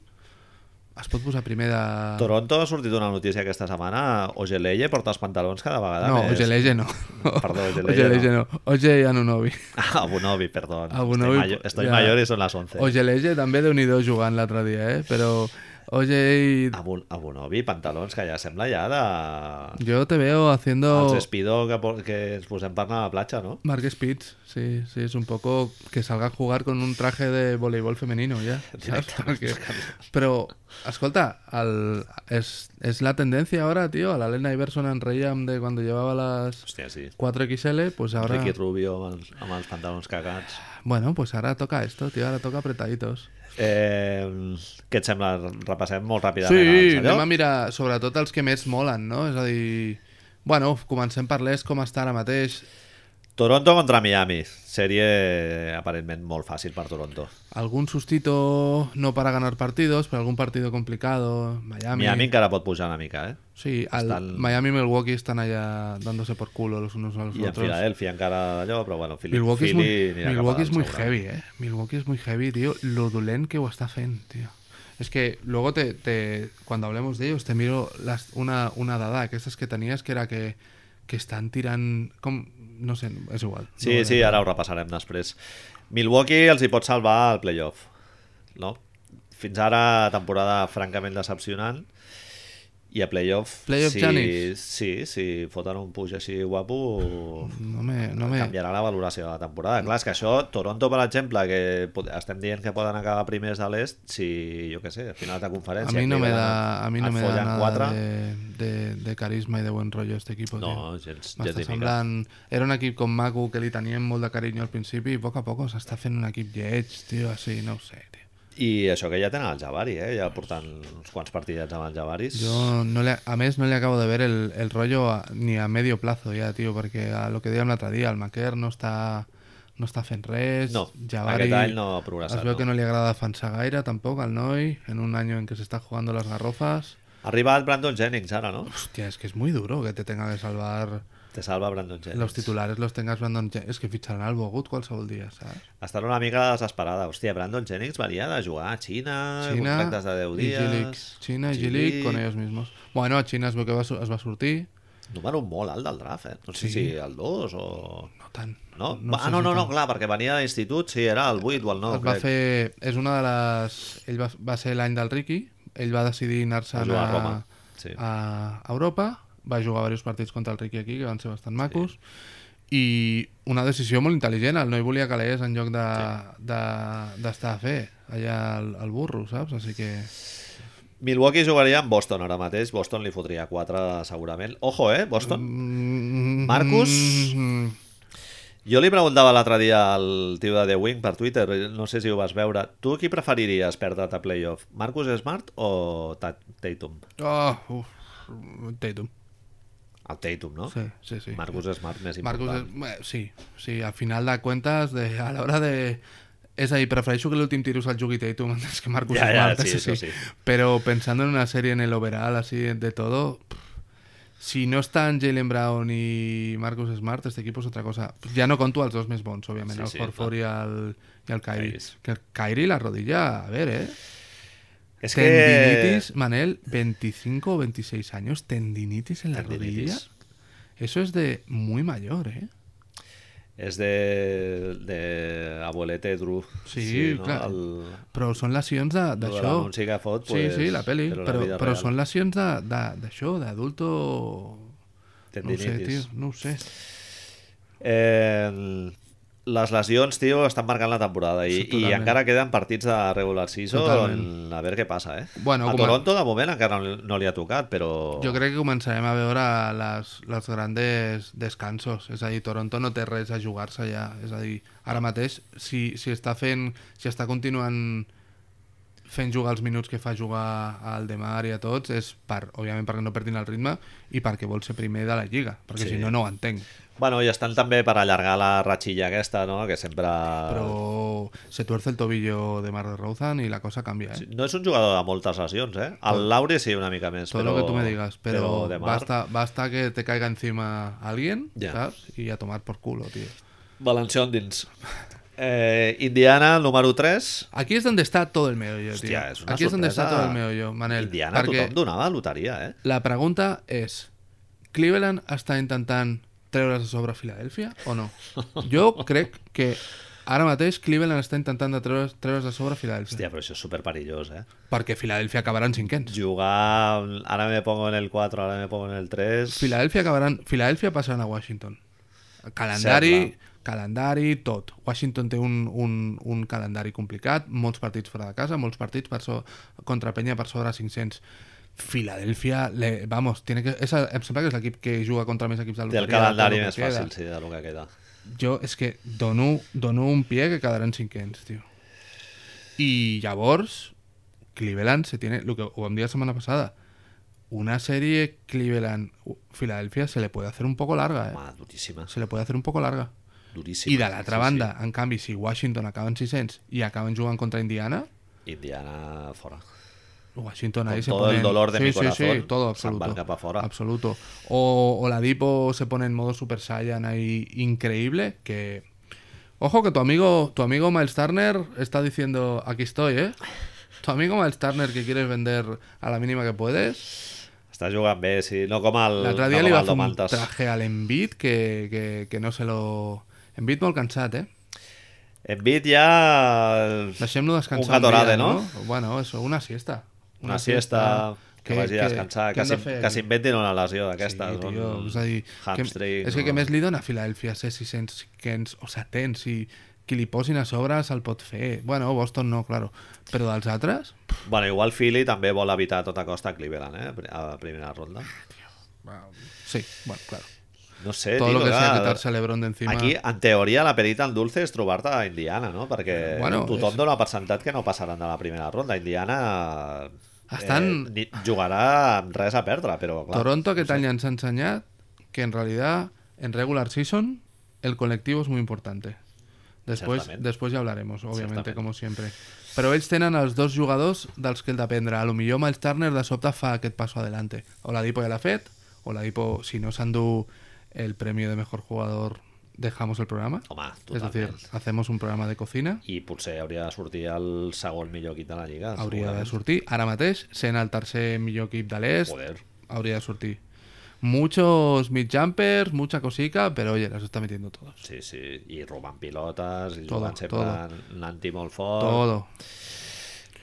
S2: es pot posar primer de...
S1: Toronto ha sortit una notícia aquesta setmana. Ogeleye porta els pantalons cada vegada
S2: No,
S1: més.
S2: Ojeleye no.
S1: Perdó, Ojeleye
S2: Ojeleye no. Oje Anunobi.
S1: Ah, Abunobi, perdó.
S2: Abunobi,
S1: estoy mayor, estoy
S2: ja.
S1: mayor y son las 11.
S2: Ojeleye també déu nhi jugant l'altre dia, eh? Però Oje...
S1: Abun Abunobi, pantalons, que ja sembla ja de...
S2: Jo te veo haciendo...
S1: Els espidó que, po- que ens posem per anar a la platja, no?
S2: Mark Spitz, sí, sí, es un poco que salga a jugar con un traje de voleibol femenino, ya. ¿sabes? Porque- Pero, escolta, al- es, es la tendencia ahora, tío, a la Lena Iverson en Reyam de cuando llevaba las
S1: Hòstia, sí.
S2: 4XL, pues ahora...
S1: Ricky Rubio amb els, amb els pantalons cagats.
S2: Bueno, pues ahora toca esto, tío, ahora toca apretaditos.
S1: Eh, què et sembla? Repassem molt ràpidament.
S2: Sí,
S1: els,
S2: anem a mirar sobretot els que més molen, no? És a dir... Bueno, comencem per l'est, com està ara mateix.
S1: Toronto contra Miami. Sèrie aparentment molt fàcil per Toronto.
S2: Algún sustito no para ganar partidos, però algun partido complicado.
S1: Miami, Miami encara pot pujar una mica, eh?
S2: Sí, al
S1: Están-
S2: Miami y Milwaukee están allá dándose por culo los unos a los
S1: I en
S2: otros.
S1: Filadelfia encara d'allò, però bueno, Philly,
S2: Milwaukee, es
S1: Philly
S2: muy,
S1: anirà cap
S2: Milwaukee es
S1: dalt,
S2: muy
S1: segurament.
S2: heavy, ¿eh? Milwaukee es muy heavy, tío. Lo dolent que está Fen, tío. Es que luego te, te- cuando hablemos de ellos te miro las, una, una dada que estas que tenías que era que, que están tiran com- no sé, es igual.
S1: Sí, sí, ara ho repassarem després. Milwaukee els hi pot salvar el playoff, no? Fins ara, temporada francament decepcionant, i a playoff,
S2: Playoff
S1: si,
S2: Giannis.
S1: sí, si foten un puix així guapo,
S2: No me, no me,
S1: canviarà la valoració de la temporada. Clar, és que això, Toronto, per exemple, que pot- estem dient que poden acabar primers de l'est, si, jo què sé, a final de
S2: a
S1: conferència...
S2: mí no me
S1: Cleveland
S2: da, a mí no
S1: et
S2: me da
S1: follen
S2: nada
S1: quatre,
S2: de, de- de carisma y de buen rollo este equipo.
S1: No,
S2: tío.
S1: gens, gens
S2: M'està
S1: ni mica.
S2: semblant... Era un equip com maco que li teníem molt de carinyo al principi i a poc a poc s'està fent un equip lleig, tio, així, no ho sé, tio.
S1: I això que ja tenen el Jabari, eh? Ja portant uns quants partidets amb el Jabari.
S2: Jo, no le, a més, no li acabo de ver el, el rollo a, ni a medio plazo ja, tio, perquè a lo que dèiem l'altre dia, el Maquer no està, no està fent res,
S1: No,
S2: Jabari
S1: aquest any no ha progressat,
S2: es veu
S1: no.
S2: que no li agrada defensar gaire tampoc al noi, en un any en què s'està jugant les garrofes.
S1: Ha arribat Brandon Jennings ara, no?
S2: Hòstia, és que és muy duro que te tenga que salvar
S1: Te salva Brandon Jennings.
S2: los titulares, los tengas Brandon Jennings. És que fitxaran al Bogut qualsevol dia, saps?
S1: Estan una mica desesperada. Hòstia, Brandon Jennings venia de jugar a Xina, Xina
S2: China
S1: contractes de 10
S2: y
S1: dies...
S2: G-League. China y G-League con ellos mismos. Bueno, China es veu que va, su- es va sortir.
S1: Número molt alt del draft, eh? No sé
S2: Sí.
S1: si el 2 o...
S2: No tant.
S1: No?
S2: No
S1: no
S2: sé
S1: ah, no,
S2: si
S1: no, no,
S2: tant.
S1: clar, perquè venia de l'institut, sí, era el 8 o el 9,
S2: es va
S1: crec.
S2: fer... És una de les... Ell va, va ser l'any del Ricky. Ell va decidir anar-se
S1: Va
S2: a,
S1: jugar a Roma, sí.
S2: a Europa. Va jugar diversos partits contra el Ricky aquí, que van ser bastant macos. I una decisió molt intel·ligent. El noi volia que l'és en lloc de- de- d'estar de, a fer allà al, al burro, saps? Així que...
S1: Milwaukee jugaria amb Boston ara mateix. Boston li fotria 4, segurament. Ojo, eh, Boston. Marcus?
S2: Mm,
S1: Jo li preguntava l'altre dia al tio de The Wing per Twitter, no sé si ho vas veure. Tu qui preferiries perdre't a playoff? Marcus Smart o Ta- Tatum?
S2: oh, uf, Tatum.
S1: El Tatum, no?
S2: Sí, sí, sí.
S1: Marcus Smart més
S2: Marcus
S1: important.
S2: es- bueno, sí, sí, al final de cuentas, de, a la hora de... És a dir, prefereixo que l'últim tiro se'l jugui Tatum antes que Marcus
S1: Ja, ja,
S2: Smart,
S1: sí,
S2: eso
S1: eso sí.
S2: Pero pensando en una serie en el overall, así de todo, pff, si no están Jalen Brown y Marcus Smart, este equipo es otra cosa. Ya no conto a los dos més bons, obviamente,
S1: Sí,
S2: al
S1: sí,
S2: Horford y al, y al Kyrie.
S1: Kyrie.
S2: Que el Kyrie la rodilla, a ver, eh.
S1: És que...
S2: tendinitis, Manel, 25 o 26 años, tendinitis en la rodilla.
S1: Tendinitis.
S2: Eso es de muy mayor, eh.
S1: És de, de abuelete Drew.
S2: Sí, clar.
S1: El,
S2: Però són lesions de-
S1: de
S2: d'això.
S1: l'anunci que fot,
S2: Sí,
S1: pues,
S2: sí, la peli,
S1: Però,
S2: però,
S1: la vida
S2: però
S1: real.
S2: són lesions de- de- d'això, d'adulto... No ho sé,
S1: Tendinitis.
S2: tio, no ho sé.
S1: Eh, les lesions, tio, estan marcant la temporada i,
S2: Sí,
S1: i
S2: totalment.
S1: encara queden partits de regular season
S2: Totalment.
S1: a veure què passa, eh?
S2: Bueno,
S1: a
S2: com a-
S1: Toronto de moment encara no, no li ha tocat, però...
S2: Jo crec que començarem a veure les, les grandes descansos. És a dir, Toronto no té res a jugar-se ja. És a dir, ara mateix, si, si està fent... Si està continuant fent jugar els minuts que fa jugar al Demar i a tots, és per, òbviament perquè no perdin el ritme i perquè vol ser primer de la Lliga, perquè
S1: Sí.
S2: si no, no ho entenc.
S1: Bueno, i estan també per allargar la ratxilla aquesta, no? Que sempre...
S2: Pero se tuerce el tobillo de Mar de Rouzan y la cosa cambia, ¿eh?
S1: No és un jugador de moltes lesions, eh? El Lauri sí una mica més,
S2: Todo
S1: però...
S2: lo que tú me digas, pero,
S1: de mar...
S2: basta, basta que te caiga encima alguien,
S1: Ya.
S2: ¿sabes? Y a tomar por culo, tío.
S1: Valencià endins. Eh, Indiana, número 3.
S2: Aquí es donde está todo el meollo, tío.
S1: Hòstia, és una
S2: Aquí es donde
S1: sorpresa.
S2: está todo el meollo, Manel.
S1: Indiana
S2: perquè
S1: tothom donava loteria, eh?
S2: la pregunta es, Cleveland està intentant treure's de sobre Filadèlfia o no? Jo crec que ara mateix Cleveland està intentant de treure's, treure's de sobre Filadèlfia.
S1: Hòstia, però això és superperillós, eh?
S2: Perquè Filadèlfia acabarà en cinquens.
S1: Jugar... Ara me pongo en el 4, ara me pongo en el 3...
S2: Filadèlfia acabaran... Filadèlfia passaran a Washington. Calendari, calendari, tot. Washington té un, un, un calendari complicat, molts partits fora de casa, molts partits per so, contra penya per sobre 500. Filadèlfia, le, vamos, tiene que, és, el- em sembla que és l'equip que juga contra més equips
S1: Té
S2: de
S1: el
S2: loteria.
S1: calendari
S2: tot lo
S1: més
S2: que queda.
S1: fàcil, sí, de lo que queda.
S2: Jo és que dono, dono un pie que quedaran cinquens, tio. I llavors, Cleveland se tiene, lo que ho vam dir la setmana passada, una sèrie Cleveland-Filadèlfia se le puede hacer un poco larga, eh?
S1: Home, duríssima,
S2: Se le puede hacer un poco larga.
S1: duríssima.
S2: I de l'altra
S1: Sí,
S2: banda, en canvi, si Washington acaben 600 i acaben jugant contra Indiana,
S1: Sí. Indiana, fora.
S2: Washington
S1: Con
S2: ahí se
S1: todo
S2: pone...
S1: el dolor de
S2: sí,
S1: mi
S2: sí, sí,
S1: corazón,
S2: todo
S1: San
S2: absoluto.
S1: Barca pa' fuera.
S2: Absoluto. O, o la Dipo se pone en modo Super Saiyan ahí increíble que... Ojo que tu amigo, tu amigo Miles Turner está diciendo, aquí estoy, ¿eh? Tu amigo Miles Turner que quieres vender a la mínima que puedes.
S1: Està jugant bé, sí. No com el,
S2: L'altre dia
S1: no
S2: li
S1: com
S2: va
S1: el
S2: fer un
S1: Domantas.
S2: traje al Embiid que, que, que no se lo... Embiid molt cansat, eh?
S1: Embiid ja...
S2: Deixem-lo descansar
S1: Un gatorade,
S2: dia,
S1: no?
S2: Bueno, eso, una siesta.
S1: Una siesta, que, vagi a descansar, que,
S2: què hem de
S1: s'in-
S2: fer
S1: que
S2: aquí?
S1: s'inventin una lesió d'aquestes.
S2: Sí,
S1: un
S2: tio, és a dir, que,
S1: hamstring,
S2: és que
S1: o-
S2: què més li dona a Filadèlfia ser 600, 500 o 700 i qui li posin a sobre se'l pot fer. Bueno, Boston no, claro. Però dels altres?
S1: Bueno, igual Philly també vol evitar a tota costa Cleveland, eh? Pri- A primera ronda.
S2: Sí, bueno, claro.
S1: No sé,
S2: Todo
S1: tio,
S2: lo que sea
S1: clar,
S2: quitarse a LeBron de encima.
S1: Aquí, en teoria, la perita en dulce és trobar-te a Indiana, no? Perquè bueno,
S2: Bueno,
S1: tothom
S2: és-
S1: dona per sentat que no passaran de la primera ronda. Indiana
S2: Estan-
S1: eh, ni- jugarà amb res a perdre, però clar.
S2: Toronto aquest any ens ha ensenyat que en realidad en regular season el colectivo es muy importante. Después,
S1: Certament.
S2: después ya hablaremos, obviamente,
S1: Certament.
S2: como siempre. Però ells tenen els dos jugadors dels que el dependre. A lo millor Miles Turner de sobte fa aquest passo adelante. O la Dipo ja l'ha fet, o la Dipo, si no s'endú el premio de mejor jugador, dejamos el programa.
S1: Home,
S2: es decir,
S1: totalment.
S2: hacemos un programa de cocina.
S1: I potser hauria de sortir el segon millor equip de la Lliga.
S2: Hauria
S1: segurament.
S2: de sortir ara mateix, sent el tercer millor equip de l'est.
S1: Joder.
S2: Habría de surtir. Muchos mid-jumpers, mucha cosica, pero oye, las está metiendo todos.
S1: Sí, sí, i robant pilotes, i
S2: Todo,
S1: jugant sempre
S2: todo.
S1: anti molt fort.
S2: Todo.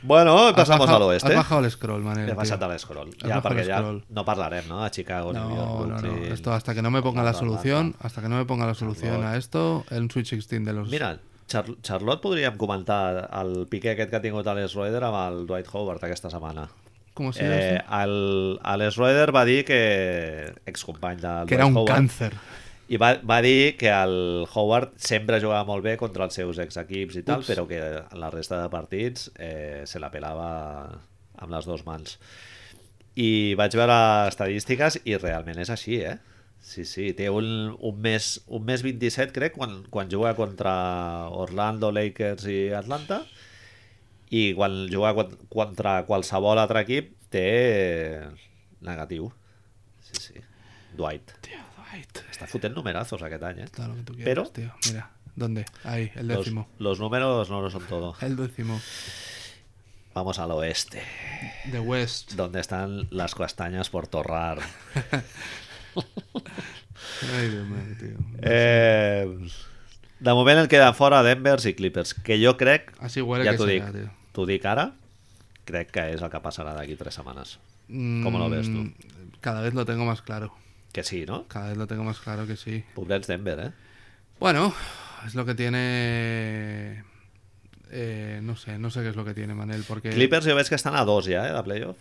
S1: Bueno, i
S2: Has
S1: pasamos
S2: bajado-
S1: a l'oeste.
S2: Has bajado el scroll, Manel.
S1: He
S2: tío.
S1: passat a l'escroll.
S2: Has
S1: Ja,
S2: bajado
S1: perquè
S2: el
S1: ja
S2: scroll.
S1: no parlarem, no? De Chicago, New York,
S2: No, no, no.
S1: Brooklyn.
S2: Esto hasta que no me ponga la
S1: Atlanta,
S2: solución, hasta que no me ponga la solución a esto, el Switch 16 de los.
S1: Mira, Char Charlotte podríem comentar el piqué aquest que ha tingut Alex Roeder amb el Dwight Howard aquesta setmana.
S2: Com si
S1: Eh, el, el Schroeder va dir que... Excompany del
S2: que era un
S1: Dwight Howard,
S2: càncer.
S1: I va, va dir que el Howard sempre jugava molt bé contra els seus exequips i tal,
S2: Ups.
S1: però que en la resta de partits eh, se la pelava amb les dues mans. I vaig veure estadístiques i realment és així, eh? Sí, sí, té un, un, més, un més 27, crec, quan, quan juga contra Orlando, Lakers i Atlanta, i quan juga con- contra qualsevol altre equip té negatiu. Sí, sí. Dwight.
S2: Tío, Dwight.
S1: Està fotent numerazos aquest any, eh?
S2: Está lo que tú quieras,
S1: Pero-
S2: tío. Mira, ¿dónde? Ahí, el
S1: Los,
S2: décimo.
S1: los números no lo son todo.
S2: El décimo.
S1: Vamos al oeste,
S2: The West.
S1: donde están las castañas por torrar.
S2: Ay, Dios mío, tío.
S1: Eh, de moment en queden fora Denvers i Clippers, que jo crec,
S2: Así huele
S1: ja
S2: que
S1: t'ho
S2: será,
S1: dic,
S2: tío.
S1: t'ho dic ara, crec que és el que passarà d'aquí tres setmanes. ¿Cómo lo ves tú?
S2: Mm, Cada vez lo tengo más claro.
S1: Que sí, no?
S2: Cada vez lo tengo más claro que sí.
S1: Pobrets Denver, eh?
S2: Bueno, es lo que tiene. eh, no sé, no sé qué es lo que tiene Manel, porque
S1: Clippers jo veig que estan a dos ja, eh, de playoff.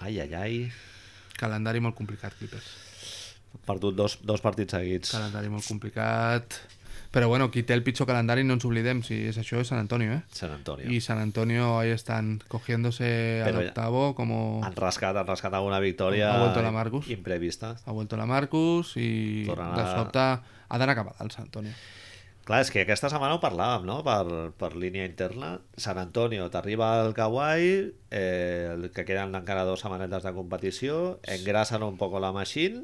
S1: Ai, ai, ai.
S2: calendari molt complicat, Clippers.
S1: He perdut dos, dos partits seguits.
S2: Calendari molt complicat. Però bueno, qui té el pitjor calendari no ens oblidem, si és això és San Antonio, eh?
S1: San Antonio.
S2: Y San Antonio ahí están cogiéndose al
S1: Pero ya-
S2: octavo como
S1: Han rascat, han rascat alguna victòria
S2: Oh. Ha vuelto la Marcus.
S1: imprevista.
S2: ha vuelto la Marcus y
S1: Tornen
S2: de
S1: a-
S2: sobte ha d'anar cap al San Antonio.
S1: Clar, és que aquesta setmana ho parlàvem, no? Per, per línia interna. San Antonio, t'arriba el Kawhi, eh, el que queden encara dues setmanetes de competició, engrassen un poco la machine,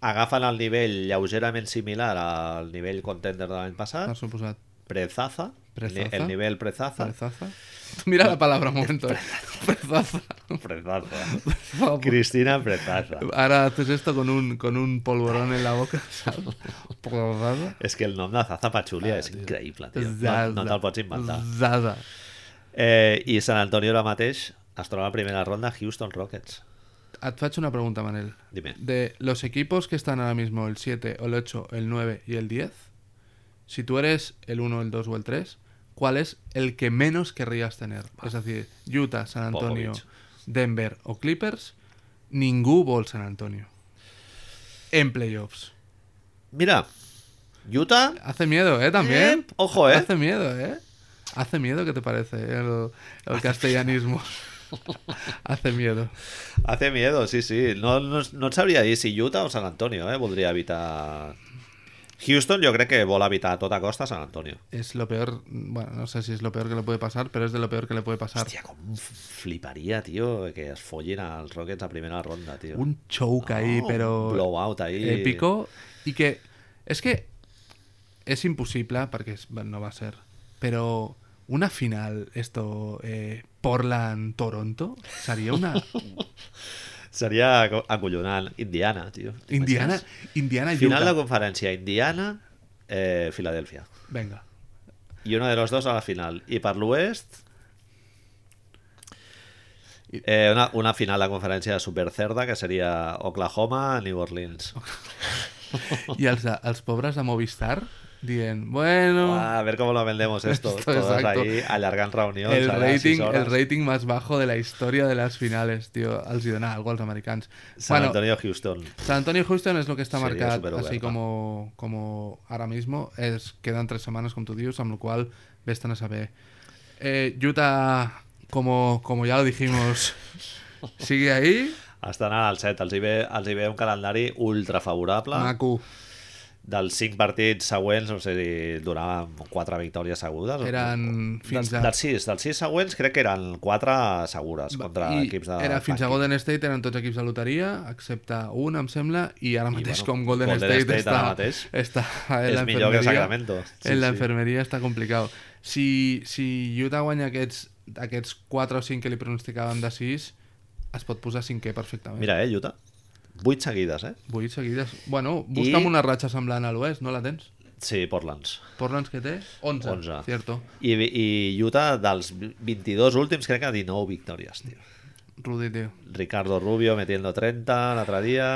S1: agafen el nivell lleugerament similar al nivell contender de l'any
S2: Per
S1: passat,
S2: suposat.
S1: prezaza,
S2: Prezaza.
S1: el nivell prezaza,
S2: Prezaza. Mira la palabra un momento. eh. Prezaza.
S1: prezaza.
S2: Vamos.
S1: Cristina Prezaza.
S2: Ahora haces esto con un, con un polvorón en la boca. ¿sabes? Prezaza.
S1: És que el nom de Zaza Pachulia és increïble, tio. No,
S2: Ah, Zaza.
S1: no te'l pots inventar.
S2: Zaza.
S1: Eh, I Sant Antonio ara mateix es troba a primera ronda Houston Rockets.
S2: Et faig una pregunta, Manel.
S1: Dime.
S2: De los equipos que están ahora mismo el 7, el 8, el 9 y el 10, si tú eres el 1, el 2 o el 3, ¿cuál es el que menos querrías tener? Es decir, Utah, San Antonio,
S1: Popovich.
S2: Denver o Clippers, ningún bol San Antonio. En playoffs.
S1: Mira, Utah,
S2: Hace miedo, ¿eh? También.
S1: Eh, ojo, ¿eh?
S2: Hace miedo, ¿eh? Hace miedo, ¿qué te parece? El, el castellanismo. Hace miedo.
S1: hace miedo, sí, sí. No, no, no et sabria dir si Utah o San Antonio, eh? Voldria evitar... Houston jo crec que vol evitar a tota costa San Antonio.
S2: Es lo peor, bueno, no sé si es lo peor que le puede pasar, pero es de lo peor que le puede pasar.
S1: Hòstia, com fliparia, tio, que es follin als Rockets a primera ronda, tio.
S2: Un choke ahí,
S1: No,
S2: pero...
S1: Un blowout ahí.
S2: Épico. Y que... Es que es imposible, porque es- bueno, no va a ser, pero una final, esto, eh, Portland-Toronto, sería una...
S1: Seria aco- acollonant. Indiana, tio.
S2: Indiana,
S1: T'imagines?
S2: Indiana
S1: Final de
S2: Utah.
S1: conferència, Indiana, eh, Filadèlfia.
S2: Venga.
S1: Y uno de los dos a la final. Y para l'oest... Eh, una, una final de conferència super cerda que seria Oklahoma, New Orleans.
S2: Y als, als pobres de Movistar dient, bueno,
S1: Ah, a ver cómo lo vendemos esto.
S2: Esto,
S1: Todos
S2: exacto.
S1: ahí allargant reunions.
S2: el,
S1: a les sis
S2: rating, el
S1: hores.
S2: rating más bajo de la historia de las finales, tío. Els hi dona algo als americans.
S1: San
S2: bueno,
S1: Antonio, Houston.
S2: San Antonio Houston es lo que está
S1: Sería
S2: marcado
S1: superoberta.
S2: así como, como ahora mismo. Es, quedan tres semanas con tu dios, amb lo cual ves-te'n a saber. Eh, Utah, como, como ya lo dijimos, sigue ahí.
S1: Estan al 7. Els hi, ve, els hi ve un calendari ultra favorable.
S2: Macu.
S1: Dels 5 partits següents, no sé si donaven 4 victòries segures.
S2: Eren fins
S1: dels,
S2: a-
S1: Dels 6, dels 6 següents crec que eren 4 segures contra
S2: I
S1: equips de...
S2: era fins a
S1: tanking.
S2: Golden State eren tots equips de loteria excepte un em sembla i ara mateix
S1: bueno,
S2: com Golden,
S1: Golden
S2: State,
S1: State
S2: està,
S1: ara mateix
S2: està en
S1: és
S2: la
S1: millor que
S2: enfermeria-
S1: Sacramento. Sí,
S2: en la
S1: sí.
S2: enfermeria està complicat si, si Utah guanya aquests, aquests 4 o 5 que li pronosticàvem de 6 es pot posar cinquè perfectament
S1: Mira, eh, Utah. 8 seguides, eh?
S2: 8 seguides bueno, busca'm
S1: I-
S2: una ratxa semblant a l'oest no la tens?
S1: Sí, Portlands.
S2: Portlands que té? 11,
S1: 11.
S2: Cierto.
S1: I, I Utah, dels 22 últims, crec que 19 victòries, tio.
S2: Rudy, tio.
S1: Ricardo Rubio metiendo 30 l'altre dia...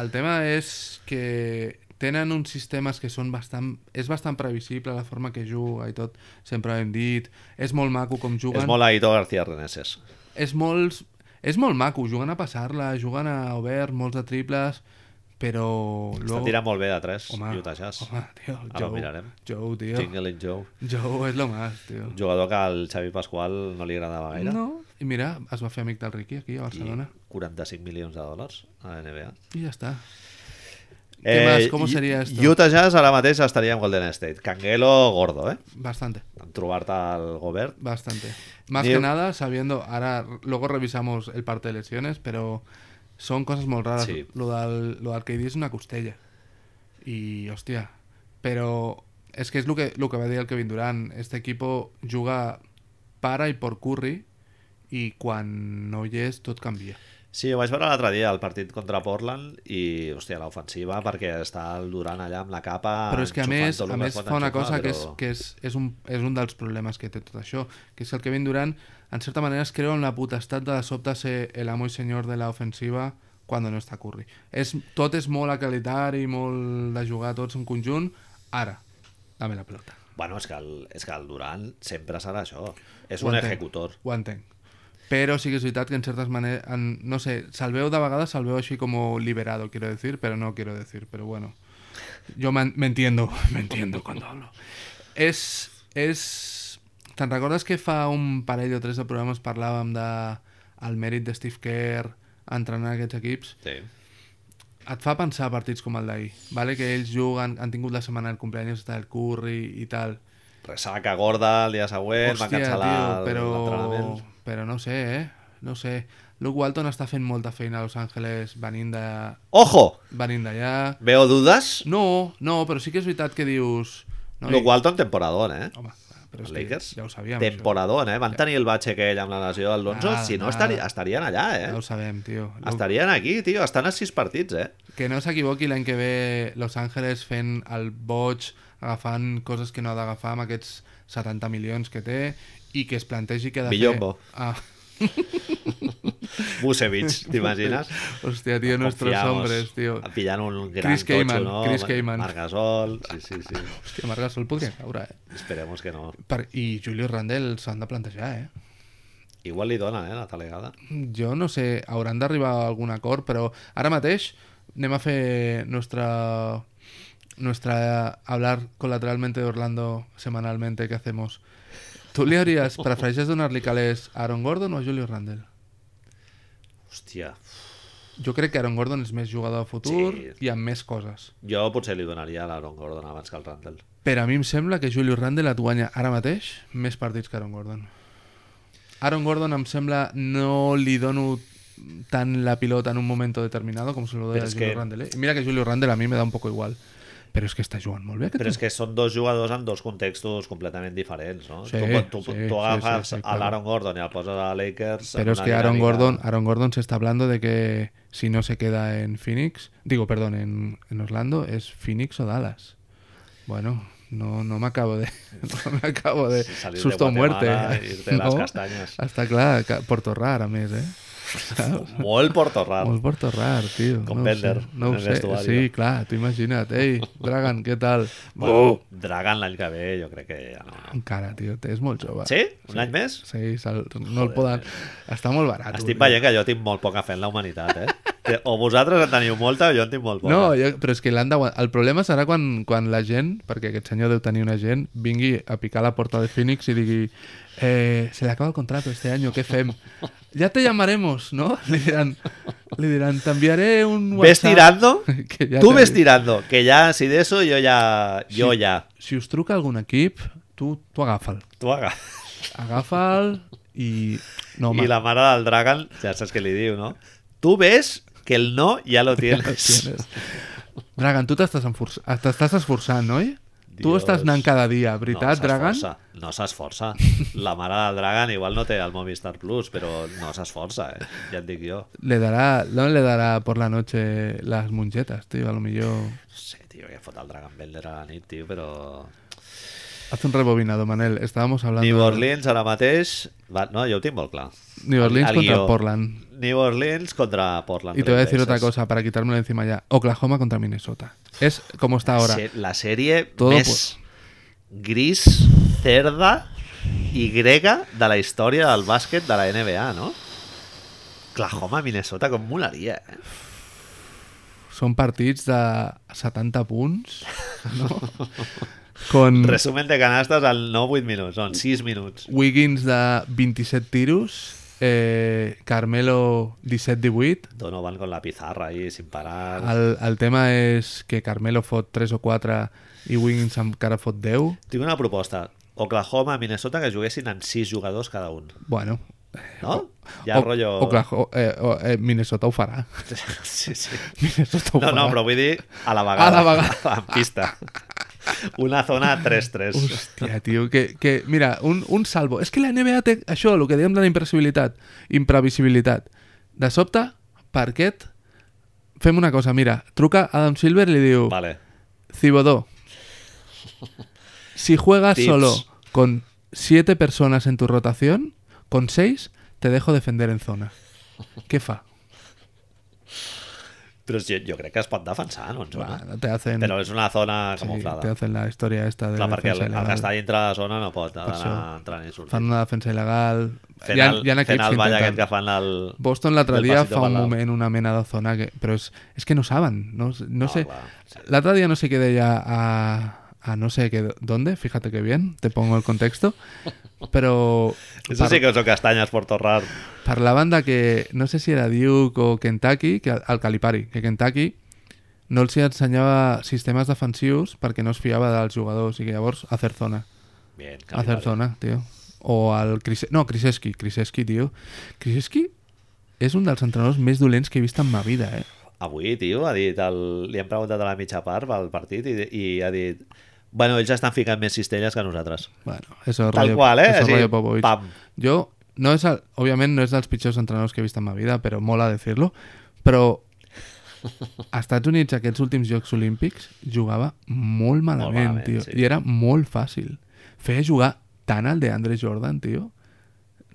S2: El tema és que tenen uns sistemes que són bastant... És bastant previsible la forma que juga i tot. Sempre ho hem dit. És molt maco com juguen.
S1: És molt Aitor García Reneses.
S2: és molt, és molt maco, juguen a passar-la, juguen a obert, molts de triples, però...
S1: Està tirant molt bé de tres,
S2: Home,
S1: Utah Jazz.
S2: Home, tio,
S1: Ara ho
S2: Joe,
S1: mirarem.
S2: Joe, tio.
S1: Jingling Joe.
S2: Joe és lo más, tio.
S1: Un jugador que al Xavi Pasqual no li agradava gaire.
S2: No, i mira, es va fer amic del Ricky aquí a
S1: I
S2: Barcelona.
S1: 45 milions de dòlars a la NBA.
S2: I, ja està. Què más? ¿Cómo
S1: i-
S2: sería esto?
S1: Utah Jazz ara mateix estaria en Golden State. Canguelo gordo, eh?
S2: Bastante,
S1: En Trobar-te al Gobert.
S2: bastante. Más
S1: Digo-
S2: que nada, sabiendo, ahora luego revisamos el parte de lesiones, pero son cosas muy raras.
S1: Sí.
S2: Lo, del, lo del KD es una costella. Y hostia, pero es que es lo que, lo que va a decir el Kevin Durant. Este equipo juga para y por Curry y cuando no hi és, tot canvia.
S1: Sí, ho vaig veure l'altre dia, el partit contra Portland, i, hòstia, l'ofensiva, perquè està el Durant allà amb la capa...
S2: però és que a
S1: enxufant
S2: més,
S1: tot el
S2: a més
S1: pot
S2: fa una
S1: enxufar,
S2: cosa que, és,
S1: però-
S2: que és, és, un, és un dels problemes que té tot això, que és que el Kevin Durant en certa manera es creu en la potestat de de sobte ser el amo i senyor de l'ofensiva quan no està Curry. És, tot és molt egalitari, molt de jugar tots en conjunt. Ara, dame la pelota.
S1: Bueno, és que el, és que el Durant sempre serà això. És
S2: Ho
S1: un
S2: entenc,
S1: ejecutor.
S2: Ho entenc. Però sí que és veritat que en certes maneres... En, no sé, se'l veu de vegades, se'l veu així com liberado, quiero decir, però no quiero decir, però bueno. Jo m'en- me entiendo, me entiendo cuando hablo. És... és... Te'n recordes que fa un parell o tres de programes parlàvem de el mèrit de Steve Kerr entrenant aquests equips?
S1: Sí.
S2: et fa pensar partits com el d'ahir, vale? que ells juguen, han tingut la setmana del cumpleaños del Curry i tal,
S1: Resaca gorda el dia següent, va
S2: Hòstia,
S1: cancel·lar
S2: tio,
S1: el-
S2: però...
S1: l'entrenament.
S2: però no sé, eh? No sé. Luke Walton està fent molta feina a Los Angeles venint de-
S1: Ojo!
S2: venint d'allà.
S1: Veo dudas.
S2: No, no, però sí que és veritat que dius... No,
S1: No, Luke Walton, temporadón, eh?
S2: Home, però
S1: Els
S2: és que
S1: Lakers,
S2: ja ho sabíem,
S1: temporadón, eh? Van tenir el batxe aquell amb la lesió d'Alonso.
S2: Nada,
S1: si no,
S2: nada.
S1: estaria, estarien allà,
S2: això. Ja
S1: eh?
S2: ho sabem, tio. Luke-
S1: Estarien aquí, tio. Estan a sis partits, eh?
S2: Que no s'equivoqui l'any que ve Los Angeles fent el boig, agafant coses que no ha d'agafar amb aquests 70 milions que té i que es plantegi que ha de
S1: Billombo.
S2: fer... Ah,
S1: Busevich, t'imagines?
S2: hòstia, tio, nuestros
S1: Confiamos.
S2: hombres, tio.
S1: Pillant un gran
S2: Chris
S1: totxo,
S2: Kaman,
S1: no?
S2: Chris Kaman.
S1: Marc Gasol. Sí, sí, sí.
S2: Hòstia, Marc Gasol podria caure, eh?
S1: Esperemos que no.
S2: Per, I Julio Randall s'han de plantejar, eh?
S1: Igual li donen, eh, la talegada.
S2: Jo no sé, hauran d'arribar a algun acord, però ara mateix anem a fer nostra... Nuestra hablar colateralmente de Orlando semanalmente que hacemos. ¿Tú le harías, preferirías donarle calés a Aaron Gordon o a Julio Randall?
S1: Hòstia,
S2: Jo crec que Aaron Gordon és més jugador a futur
S1: Sí.
S2: i amb més coses.
S1: jo potser li donaria a l'Aaron Gordon abans que al Randall.
S2: Però a mi em sembla que Julio Randle et guanya ara mateix més partits que Aaron Gordon. Aaron Gordon em sembla no li dono tant la pilota en un moment determinado com se lo doy
S1: Però
S2: a
S1: és
S2: Julio
S1: que-
S2: Randle. Eh? I Mira que Julio Randle a mi me da un poco igual. Però és que està jugant molt bé aquest
S1: Però és que són dos jugadors en dos contextos completament diferents, no?
S2: Sí,
S1: tu, pot- tu,
S2: sí,
S1: tu
S2: sí,
S1: agafes
S2: sí, sí,
S1: a
S2: clar.
S1: l'Aaron Gordon i el poses a Lakers... en
S2: Pero es
S1: una
S2: que Aaron
S1: dinàmica-
S2: Gordon, Aaron Gordon se está hablando de que si no se queda en Phoenix, digo, perdón, en, en Orlando, es Phoenix o Dallas. Bueno, no, no me acabo de. No me acabo de.
S1: Salir de
S2: susto o muerte.
S1: Guatemala, irte a las castañas.
S2: Hasta claro, Puerto Rar, a més, eh?
S1: Molt Porto Raro.
S2: Molt Puerto Rar, tío.
S1: Con
S2: no ho
S1: Bender
S2: sé, no ho
S1: en el
S2: sé.
S1: vestuario.
S2: Sí, claro, tú imagina't. Ey, Dragan, ¿qué tal?
S1: Bueno, Dragan l'any que ve, jo crec que ja no.
S2: Encara, tío, te es molt jove.
S1: Sí? Un any més?
S2: Sí, se'l- no el poden... Està molt barat.
S1: Estic veient que jo tinc molt poca fe en la humanitat, eh? Té- O vosaltres en teniu molta o jo en tinc molt poca.
S2: No, jo, però és que l'han d'aguantar. El problema serà quan, quan la gent, perquè aquest senyor deu tenir una gent, vingui a picar a la porta de Phoenix i digui eh, se le acaba el contrato este año, què fem? Ja te llamaremos, no? Li diran, li diran t'enviaré un
S1: ¿Ves
S2: WhatsApp.
S1: tirando?
S2: que ja
S1: Tú
S2: te-
S1: ves tirando, que ya, si de eso, yo ya, yo ya.
S2: Si us truca algun equip, tu, tu agafa'l.
S1: Tú haga.
S2: Agafa'l i... No, home,
S1: Y la mara del Dragon, ya sabes que le digo, ¿no? Tú ves que el no ya lo tienes.
S2: tienes. Dragan, tu t'estàs enforç- t'estàs esforçant, oi? Tu
S1: Dios.
S2: estàs anant cada dia,
S1: No
S2: veritat, Dragan?
S1: s'esforça, no s'esforça. La mara del Dragon igual no té el Movistar Plus, però no s'esforça, eh? ja et dic jo.
S2: Le dará, no le dará por la noche las monchetas, tío, a lo mejor.
S1: No sé, tio, que fot el Dragon Bender a la nit, tio, però...
S2: Haz un rebobinado, Manel. Estábamos hablando...
S1: New Orleans ara mateix... Va, no, jo ho tinc molt clar.
S2: New Orleans
S1: El
S2: contra
S1: guió.
S2: Portland.
S1: New Orleans contra Portland.
S2: Y te voy a decir
S1: Trailblazers.
S2: otra cosa para quitármelo de encima ya. Oklahoma contra Minnesota. Es como está ahora.
S1: Se- la serie
S2: Todo
S1: més gris, cerda i grega de la història del bàsquet de la NBA, no? Oklahoma, Minnesota, com molaria, eh?
S2: Son partidos de 70 punts, no? Con
S1: Resumen de canastes al 9-8 minuts, on 6 minuts.
S2: Wiggins de 27 tiros, eh, Carmelo 17-18.
S1: Donovan con la pizarra ahí, sin parar.
S2: El, el tema es que Carmelo fot 3 o 4 y Wiggins encara fot 10.
S1: Tinc una proposta. Oklahoma, Minnesota, que juguessin en 6 jugadors cada un,
S2: Bueno,
S1: no? Ja el rotllo...
S2: Oklaho- eh, o- eh, Minnesota ho farà.
S1: Sí, sí.
S2: Minnesota ho
S1: No, no,
S2: farà.
S1: però vull dir a la vegada.
S2: A la vegada.
S1: En pista. Una zona 3-3.
S2: Hòstia, tio, que, que mira, un, un salvo. És que la NBA té això, el que dèiem de la imprevisibilitat. Imprevisibilitat. De sobte, parquet, fem una cosa, mira, truca Adam Silver i li diu,
S1: Vale.
S2: Cibodó, si juegas
S1: Tips.
S2: solo con siete personas en tu rotación, con seis te dejo defender en zona. Què fa?
S1: Però jo, jo crec que es pot defensar, no? En zona.
S2: Va, te hacen,
S1: Però és una zona
S2: sí,
S1: camuflada.
S2: te hacen la història esta de
S1: Clar, perquè el,
S2: defensa
S1: el que
S2: il·legal.
S1: està dintre de la zona no pot anar
S2: això.
S1: entrant i sortir.
S2: Fan una defensa il·legal.
S1: Fent
S2: Hi ha-
S1: el,
S2: hi ha
S1: fent
S2: equips
S1: el
S2: que
S1: ball
S2: intenten.
S1: aquest que fan el...
S2: Boston l'altre
S1: del
S2: dia
S1: pasito
S2: fa un
S1: pelado.
S2: moment una mena de zona que... Però és, és que no saben, no, no,
S1: No,
S2: sé...
S1: clar, sí.
S2: L'altre dia no sé què deia a, a no sé qué ¿Dónde? Fíjate que bien, te pongo el contexto. Però
S1: Això sí que són castanyes por torrar.
S2: parlaven de que no sé si era Duke o Kentucky, que al Calipari, que Kentucky no els hi ensenyava sistemes defensius perquè no es fiava dels jugadors i que llavors a fer zona.
S1: Bien,
S2: A hacer zona, tío. O al Krise... No, Kriseski. Kriseski, tío. Kriseski és un dels entrenadors més dolents que he vist en ma vida, eh?
S1: Avui, tio, ha dit el... li han preguntat a la mitja part pel partit i, i ha dit bueno, ells estan ficant més cistelles que nosaltres.
S2: Bueno, eso
S1: Tal
S2: és rotllo-
S1: qual, eh?
S2: Eso és
S1: Així,
S2: rotllo Popovich.
S1: pam.
S2: Jo, no és el, òbviament no és dels pitjors entrenadors que he vist en ma vida, però mola decirlo, però a Estats Units aquests últims Jocs Olímpics jugava molt malament,
S1: malament,
S2: tio,
S1: sí.
S2: i era molt fàcil. Feia jugar tant al de Andre Jordan, tio.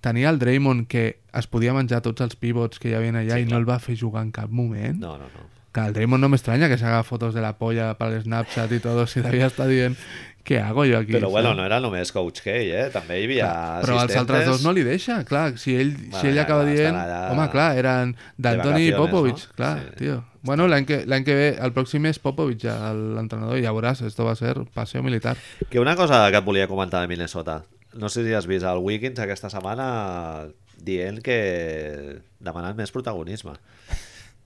S2: Tenia el Draymond que es podia menjar tots els pivots que hi havia allà
S1: Sí,
S2: sí, i
S1: clar.
S2: no el va fer jugar en cap moment.
S1: No, no, no.
S2: Que al Draymond no me extraña que se haga fotos de la polla para el Snapchat y todo, si todavía está bien. ¿Qué hago yo aquí?
S1: Però bueno,
S2: saps?
S1: no era només Coach K, eh? També hi havia
S2: Clar,
S1: assistentes.
S2: però els altres dos no li deixa, clar, si ell,
S1: Bueno,
S2: si ell
S1: ja,
S2: acaba
S1: clar,
S2: dient...
S1: estan allà
S2: Home, clar, eren d'Antoni i
S1: vacaciones,
S2: Popovich,
S1: no?
S2: clar,
S1: Sí.
S2: tio. Bueno, l'any que, l'any que ve, el pròxim és Popovich, ja, l'entrenador, i ja veuràs, esto va a ser paseo militar.
S1: Que una cosa que et volia comentar de Minnesota. No sé si has vist el Wiggins aquesta setmana dient que demanant més protagonisme.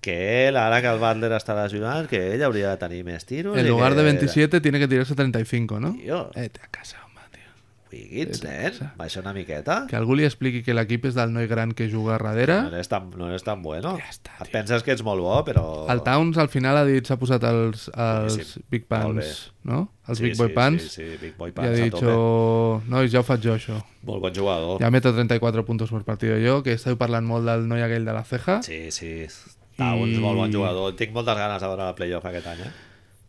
S1: Que ell, ara que el Butler està lesionat, que ell hauria de tenir més tiros.
S2: En
S1: i
S2: lugar
S1: que...
S2: de 27 tiene que tirarse 35, ¿no?
S1: Tio.
S2: Vete a casa, home, tio. Eh,
S1: Wiggins, nen, baixa una miqueta.
S2: Que algú li expliqui que l'equip és del noi gran que juga a darrere...
S1: No eres tan, no eres tan bueno.
S2: Ja està,
S1: Et penses que ets molt bo, però...
S2: El Towns al final ha dit, s'ha posat els, els
S1: Boníssim.
S2: Big
S1: Molt bé.
S2: Pants, no? Els
S1: Sí,
S2: Big Boy
S1: sí,
S2: Pants.
S1: Sí, sí, Big Boy
S2: Y ha
S1: Pants, a tope.
S2: dicho, no, ja ho faig jo, això.
S1: Molt bon jugador.
S2: Ja meto 34 puntos por partido yo, que esteu parlant molt del noi aquell de la ceja.
S1: Sí, sí. Towns,
S2: I-
S1: molt bon jugador. Tinc moltes ganes de veure la playoff aquest any, eh?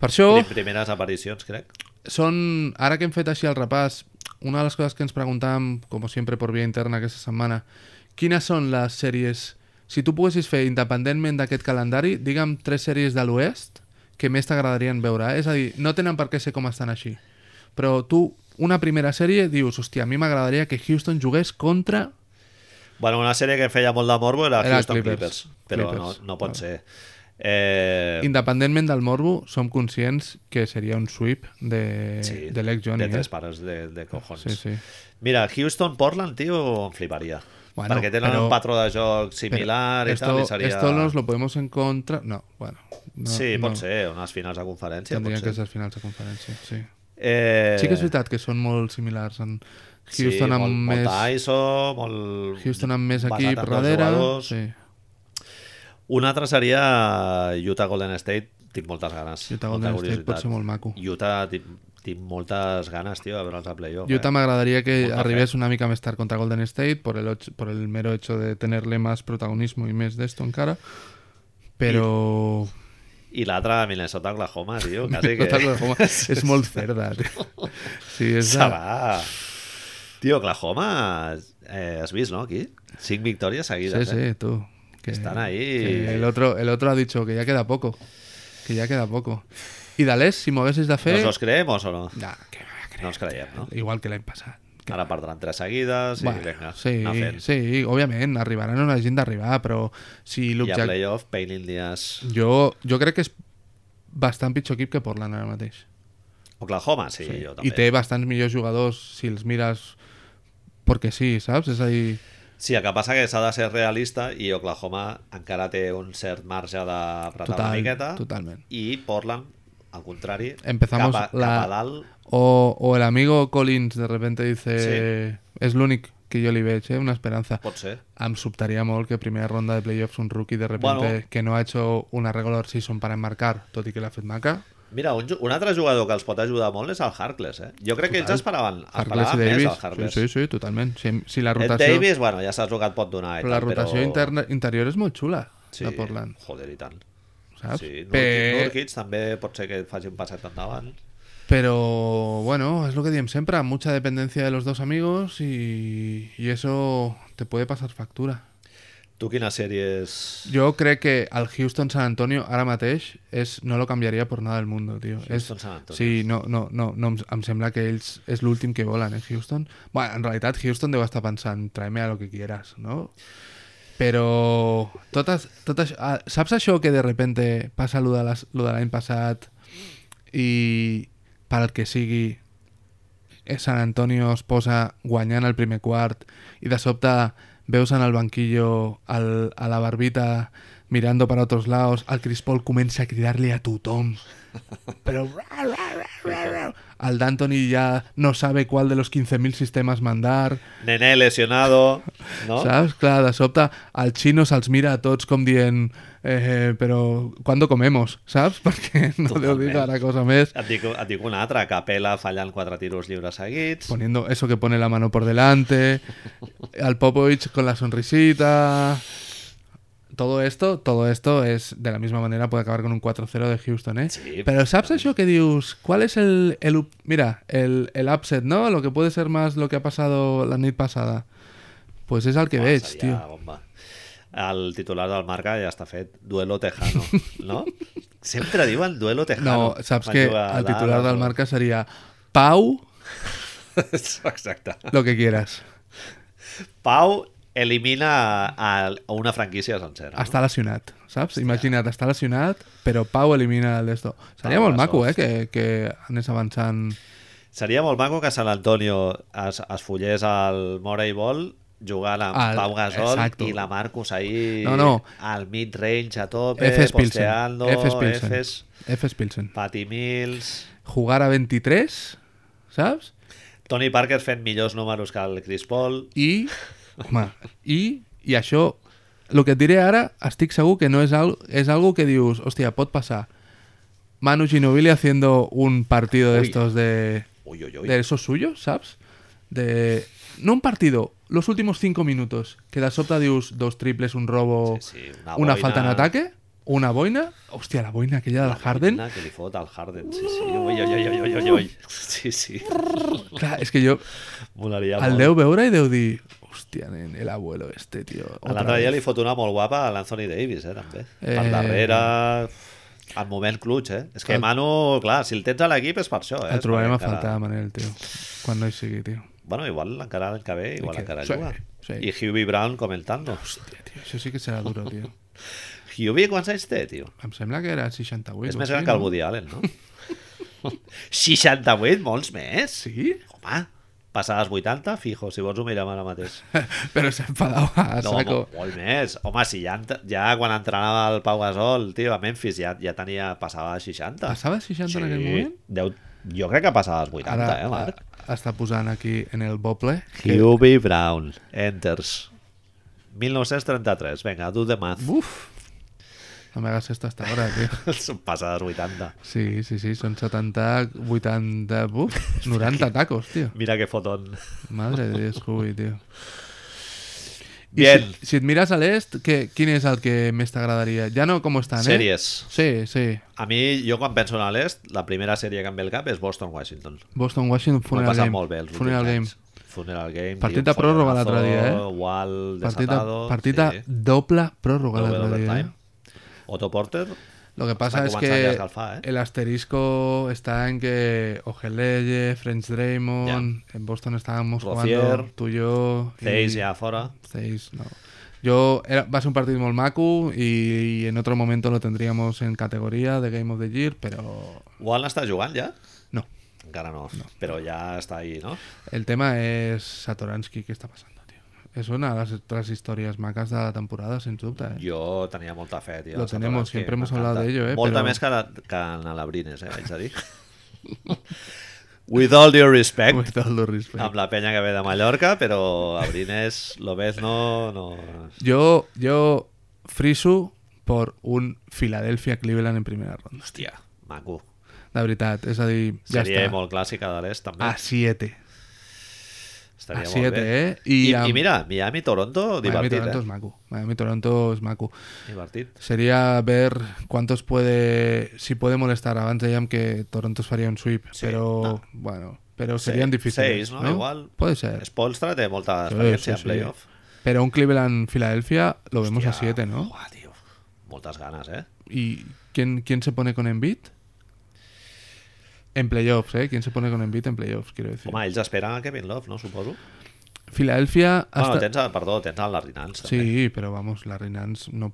S2: Per això,
S1: Prim- Primeres aparicions, crec.
S2: són, ara que hem fet així el repàs, una de les coses que ens preguntàvem, com sempre per via interna aquesta setmana, quines són les sèries, si tu poguessis fer independentment d'aquest calendari, digue'm tres sèries de l'oest que més t'agradarien veure. eh? És a dir, no tenen per què ser com estan així. Però tu, una primera sèrie, dius, hòstia, a mi m'agradaria que Houston jugués contra
S1: Bueno, una sèrie que feia molt de morbo era,
S2: Era
S1: Houston Clippers,
S2: Clippers.
S1: però
S2: Clippers.
S1: No, no pot
S2: Vale.
S1: ser. Eh,
S2: Independentment del morbo, som conscients que seria un sweep de, de Leg Johnny.
S1: de
S2: eh?
S1: tres pares de, de cojones.
S2: Sí, sí.
S1: Mira, Houston-Portland, tio, em fliparia.
S2: Bueno,
S1: perquè tenen
S2: però-
S1: un patró de joc similar i
S2: esto,
S1: tal, i seria...
S2: esto nos lo podemos encontrar... No, bueno. No,
S1: sí,
S2: no.
S1: pot ser, unes finals de conferència, pot
S2: Tindrien
S1: ser.
S2: que ser finals de conferència, sí.
S1: Eh,
S2: Sí que és veritat que són molt similars. En Houston
S1: sí,
S2: amb
S1: molt,
S2: més...
S1: Molt ISO, molt...
S2: Houston amb més
S1: basat en
S2: equip
S1: dos
S2: darrere.
S1: jugadors.
S2: Sí,
S1: Un altre seria Utah Golden State. Tinc moltes ganes.
S2: Utah
S1: molta
S2: Golden State pot
S1: curiositat.
S2: ser molt maco.
S1: Utah, tinc, tinc moltes ganes, tio, de veure'ls a playoff. eh?
S2: Utah m'agradaria que
S1: Molta fe.
S2: arribés una mica més tard contra Golden State por el, och- por el mero hecho de tenerle más protagonismo y més d'esto encara, però
S1: I l'altre, Minnesota-Oklahoma, tio. Quasi que...
S2: Oklahoma. És molt ferda, tio. Sí, és
S1: Se
S2: de...
S1: va. Tio, Oklahoma, eh, has vist, no, aquí? Cinc victòries
S2: Sí,
S1: seguides, eh?
S2: sí, tú. Que,
S1: Están ahí.
S2: que el, otro, el otro ha dicho que ya queda poco. Que ya queda poco. Y Dalés, si moguessis de fe...
S1: ¿Nos los creemos o no?
S2: Nah, que me va a creer,
S1: No ens creiem, no?
S2: Igual que l'any passat. Que...
S1: Ara perdran tres seguides i
S2: Bueno,
S1: vinga,
S2: sí,
S1: anar fent.
S2: sí, òbviament, arribaran on hagin d'arribar, però si
S1: I a
S2: l'objectiu...
S1: playoff, Pain in the ass.
S2: Jo, jo crec que és bastant pitjor equip que Portland ara mateix.
S1: Oklahoma, sí, jo també.
S2: I té bastants millors jugadors si els mires perquè sí, saps? És a dir,
S1: Sí, el que passa que s'ha de ser realista i Oklahoma encara té un cert marge d'apretar una
S2: total,
S1: Tota miqueta
S2: totalment.
S1: i Portland, al contrari,
S2: Empezamos
S1: cap, a,
S2: la-
S1: cap a dalt.
S2: O, o el amigo Collins de repente dice... És l'únic que jo li veig, eh? Una esperanza.
S1: Pot ser.
S2: Em sobtaria molt que primera ronda de playoffs un rookie de repente
S1: Bueno.
S2: que no ha hecho una regular season para enmarcar, tot i que l'ha fet maca.
S1: Mira, un, ju- un altre jugador que els pot ajudar molt és el Harkless, eh? Jo crec que ells
S2: Total.
S1: esperaven,
S2: Harkless i
S1: esperaven més el
S2: Davis.
S1: Harkless.
S2: Sí, sí, sí, totalment. Si, si la
S1: Ed
S2: rotació...
S1: Davis, bueno, ja saps el que et pot donar. i
S2: Però la
S1: tal,
S2: rotació
S1: però...
S2: interna, interior és molt xula, sí. de Portland,
S1: Joder, i tant.
S2: saps?
S1: Sí, Nurkic,
S2: Pe-
S1: Nurkic també pot ser que et faci un passet endavant.
S2: Però, bueno, es lo que diem sempre, mucha dependencia de los dos amigos y, y eso te puede pasar factura.
S1: Tu quines sèries...
S2: Jo crec que el Houston-San Antonio ara mateix és, no lo canviaria per nada del mundo, tio.
S1: Houston-San
S2: és,
S1: Antonio.
S2: sí, no, no, no, no, em, em sembla que ells és l'últim que volen, eh, Houston. Bueno, en realitat Houston deu estar pensant, tráeme a lo que quieras, no? Però totes, totes, ah, saps això que de repente passa lo de les- lo de l'any passat i pel que sigui eh, San Antonio es posa guanyant el primer quart i de sobte veus en el banquillo el, a la barbita mirando para otros lados, el Chris Paul comença a cridar-li a tothom. Però... El D'Antoni ja no sabe cuál de los 15.000 sistemes mandar.
S1: Nené lesionado, no?
S2: ¿No? Saps? Clar, de sobte el xino se'ls mira a tots com dient eh, però quan comemos, saps? Perquè no deu dir
S1: Totalment.
S2: cada cosa més.
S1: Et dic, et dic una altra, Capela fallant quatre tiros lliures seguits.
S2: poniendo eso que pone la mano por delante, al Popovich con la sonrisita. Todo esto, todo esto es de la misma manera puede acabar con un 4-0 de Houston, ¿eh?
S1: Sí, pues,
S2: Pero ¿sabes eso que dius? ¿Cuál es el, el up- mira, el, el upset, ¿no? Lo que puede ser más lo que ha pasado la nit pasada. Pues es al que
S1: Buah,
S2: veis,
S1: seria
S2: tío.
S1: Bomba. El titular del marca ja està fet. Duelo tejano, no? Sempre diuen duelo tejano.
S2: No, saps
S1: quan
S2: que
S1: juga
S2: el
S1: Dallas,
S2: titular del
S1: no?
S2: marca sería Pau,
S1: Exacte.
S2: lo que quieras.
S1: Pau elimina a, a una franquícia sencera. no?
S2: Està lesionat, saps? Imagina't, està lesionat, però Pau elimina el d'esto. Seria
S1: Pau,
S2: molt maco, eh,
S1: hòstia.
S2: que, que anés avançant...
S1: Seria molt maco que Sant Antonio es, es follés al Morey Ball jugant amb
S2: Al-
S1: Pau Gasol
S2: exacto.
S1: i la Marcus ahí
S2: No, no.
S1: al mid-range a tope,
S2: Efes Pilsen.
S1: posteando,
S2: Efes Pilsen.
S1: Efes,
S2: Efes Pilsen.
S1: Patty Mills...
S2: Jugar a 23, saps?
S1: Tony Parker fent millors números que el Chris Paul.
S2: I, home, i, i això, el que et diré ara, estic segur que no és, al, és algo que dius, hòstia, pot passar. Manu Ginobili haciendo un partido de
S1: Ui.
S2: estos de,
S1: Ui, ui, ui.
S2: de esos suyos, ¿sabes? De... No un partido, los últimos cinco minutos, que de sobte dius dos triples, un robo,
S1: Sí, sí, una boina.
S2: falta en ataque, una boina, hostia, la boina aquella del Harden.
S1: Que li fot al Harden, sí, sí. Ui, ui, ui, ui, ui, ui. Sí, sí.
S2: Clar, és que jo
S1: Molaria
S2: el
S1: molt.
S2: deu veure i deu dir, hostia, nen, el abuelo este, tío.
S1: L'altre dia li fot una molt guapa a l'Anthony Davis, eh, també. Eh... Per
S2: Eh.
S1: darrere, al moment clutch, eh? És que
S2: El-
S1: Manu, clar, si el tens a l'equip és per això, eh?
S2: El trobarem a
S1: Perquè encara-
S2: faltar, Manel, tio, quan no hi sigui, tio.
S1: Bueno, igual encara l'any que ve, igual
S2: que-
S1: encara
S2: sí,
S1: juga.
S2: sí.
S1: I Hubie Brown comentant-lo.
S2: Hòstia, tio, això sí que serà duro, tio.
S1: Hubie quants anys té, tio?
S2: Em sembla que era 68.
S1: És
S2: o
S1: més
S2: així,
S1: gran que el
S2: Doncs no?
S1: Woody Allen, no? 68, molts més.
S2: Sí?
S1: Home, passades 80, fijo, si vols ho mirem ara mateix.
S2: Però s'enfadava a
S1: No,
S2: saco.
S1: molt, molt més. Home, si ja, ent- ja quan entrenava el Pau Gasol, tio, a Memphis ja, ja tenia, passava de 60.
S2: Passava 60 en aquell moment?
S1: Deu, jo crec que passava els 80, Ara, eh, Marc?
S2: a- està posant aquí en el boble. Que,
S1: Hubie Brown, Enters. 1933, vinga, tu de math.
S2: buf! No me hagas esto hasta ahora, tío.
S1: Són passades 80.
S2: Sí, sí, sí, son 70, 80, buf, 90 tacos, tío.
S1: Mira que foton.
S2: Madre de Dios, Scooby, tío. I
S1: Bien.
S2: Si, si et mires a l'est, què- quin és el que més t'agradaria? Ja no com estan, eh?
S1: Sèries.
S2: Sí, sí.
S1: A mi, jo quan penso en l'est, la primera sèrie que em ve al cap és Boston Washington.
S2: Boston Washington
S1: M'ho he
S2: Funeral
S1: passat
S2: Game.
S1: molt bé els
S2: Funeral Game.
S1: últims anys. Funeral Game.
S2: Partit
S1: tio,
S2: de pròrroga l'altre
S1: folletazo,
S2: dia, eh?
S1: Gual,
S2: Partida,
S1: desatado.
S2: partida doble pròrroga
S1: doble
S2: l'altre dia. eh?
S1: overtime. Otto Porter,
S2: Lo que pasa es
S1: començant ja a
S2: que
S1: escalfar, eh?
S2: el asterisco está en que Ogeleye, French Draymond, en Boston estábamos jugando
S1: Rozier,
S2: tú y yo. y-
S1: Zeiss ja fora.
S2: Zeiss, no. Yo era- va a ser un partido muy macu y, y en otro momento lo tendríamos en categoría de Game of the Year, pero
S1: Gual està jugant ja?
S2: no.
S1: Encara no, però ja està ahí, no?
S2: El tema es Satoransky, ¿qué está pasando, tío? Es una de las otras historias macas de la temporada, sin duda. ¿eh?
S1: Jo tenia molta fe, tio.
S2: Lo
S1: els
S2: tenemos,
S1: Atalans, que
S2: siempre hemos
S1: m'encanta.
S2: hablado de ello, eh,
S1: Molta
S2: però-
S1: més que, la, que en Alabrines, eh, vaig a dir. With all due respect,
S2: With all due respect.
S1: amb la penya que ve de Mallorca, però Abrines, Lobezno, no...
S2: Yo, yo friso por un Philadelphia Cleveland en primera ronda.
S1: Hòstia, maco.
S2: La veritat, és a dir, ja
S1: Seria
S2: està.
S1: molt clàssica de l'est, també.
S2: A 7.
S1: Estaria
S2: a
S1: molt
S2: siete,
S1: bé.
S2: eh? I
S1: I,
S2: amb-
S1: I mira, Miami-Toronto,
S2: Miami
S1: divertit,
S2: Toronto es
S1: eh?
S2: maco. Miami Toronto es maco.
S1: Divertit.
S2: Sería ver cuántos puede... Si puede molestar. Abans dèiem que Toronto es faria un sweep,
S1: Sí,
S2: però...
S1: no.
S2: Bueno, però serien
S1: Seis-
S2: difíciles,
S1: seis, no? Igual.
S2: Puede ser.
S1: Spolstra té molta
S2: Eh. Sí,
S1: experiència
S2: sí, sí.
S1: en playoff.
S2: Pero un Cleveland-Filadelfia lo vemos a
S1: Hòstia,
S2: 7, ¿no?
S1: Uah, tio. Moltes ganes, eh?
S2: ¿Y quién, quién se pone con Embiid? En playoffs, ¿eh? ¿Quién se pone con Embiid en playoffs, quiero decir?
S1: Home, ells esperen a Kevin Love, no? Suposo.
S2: Filadelfia
S1: Bueno, ¿eh?
S2: hasta...
S1: tens, el- perdó, tens el Larry Nance, també.
S2: Sí, pero vamos, la Rinans no...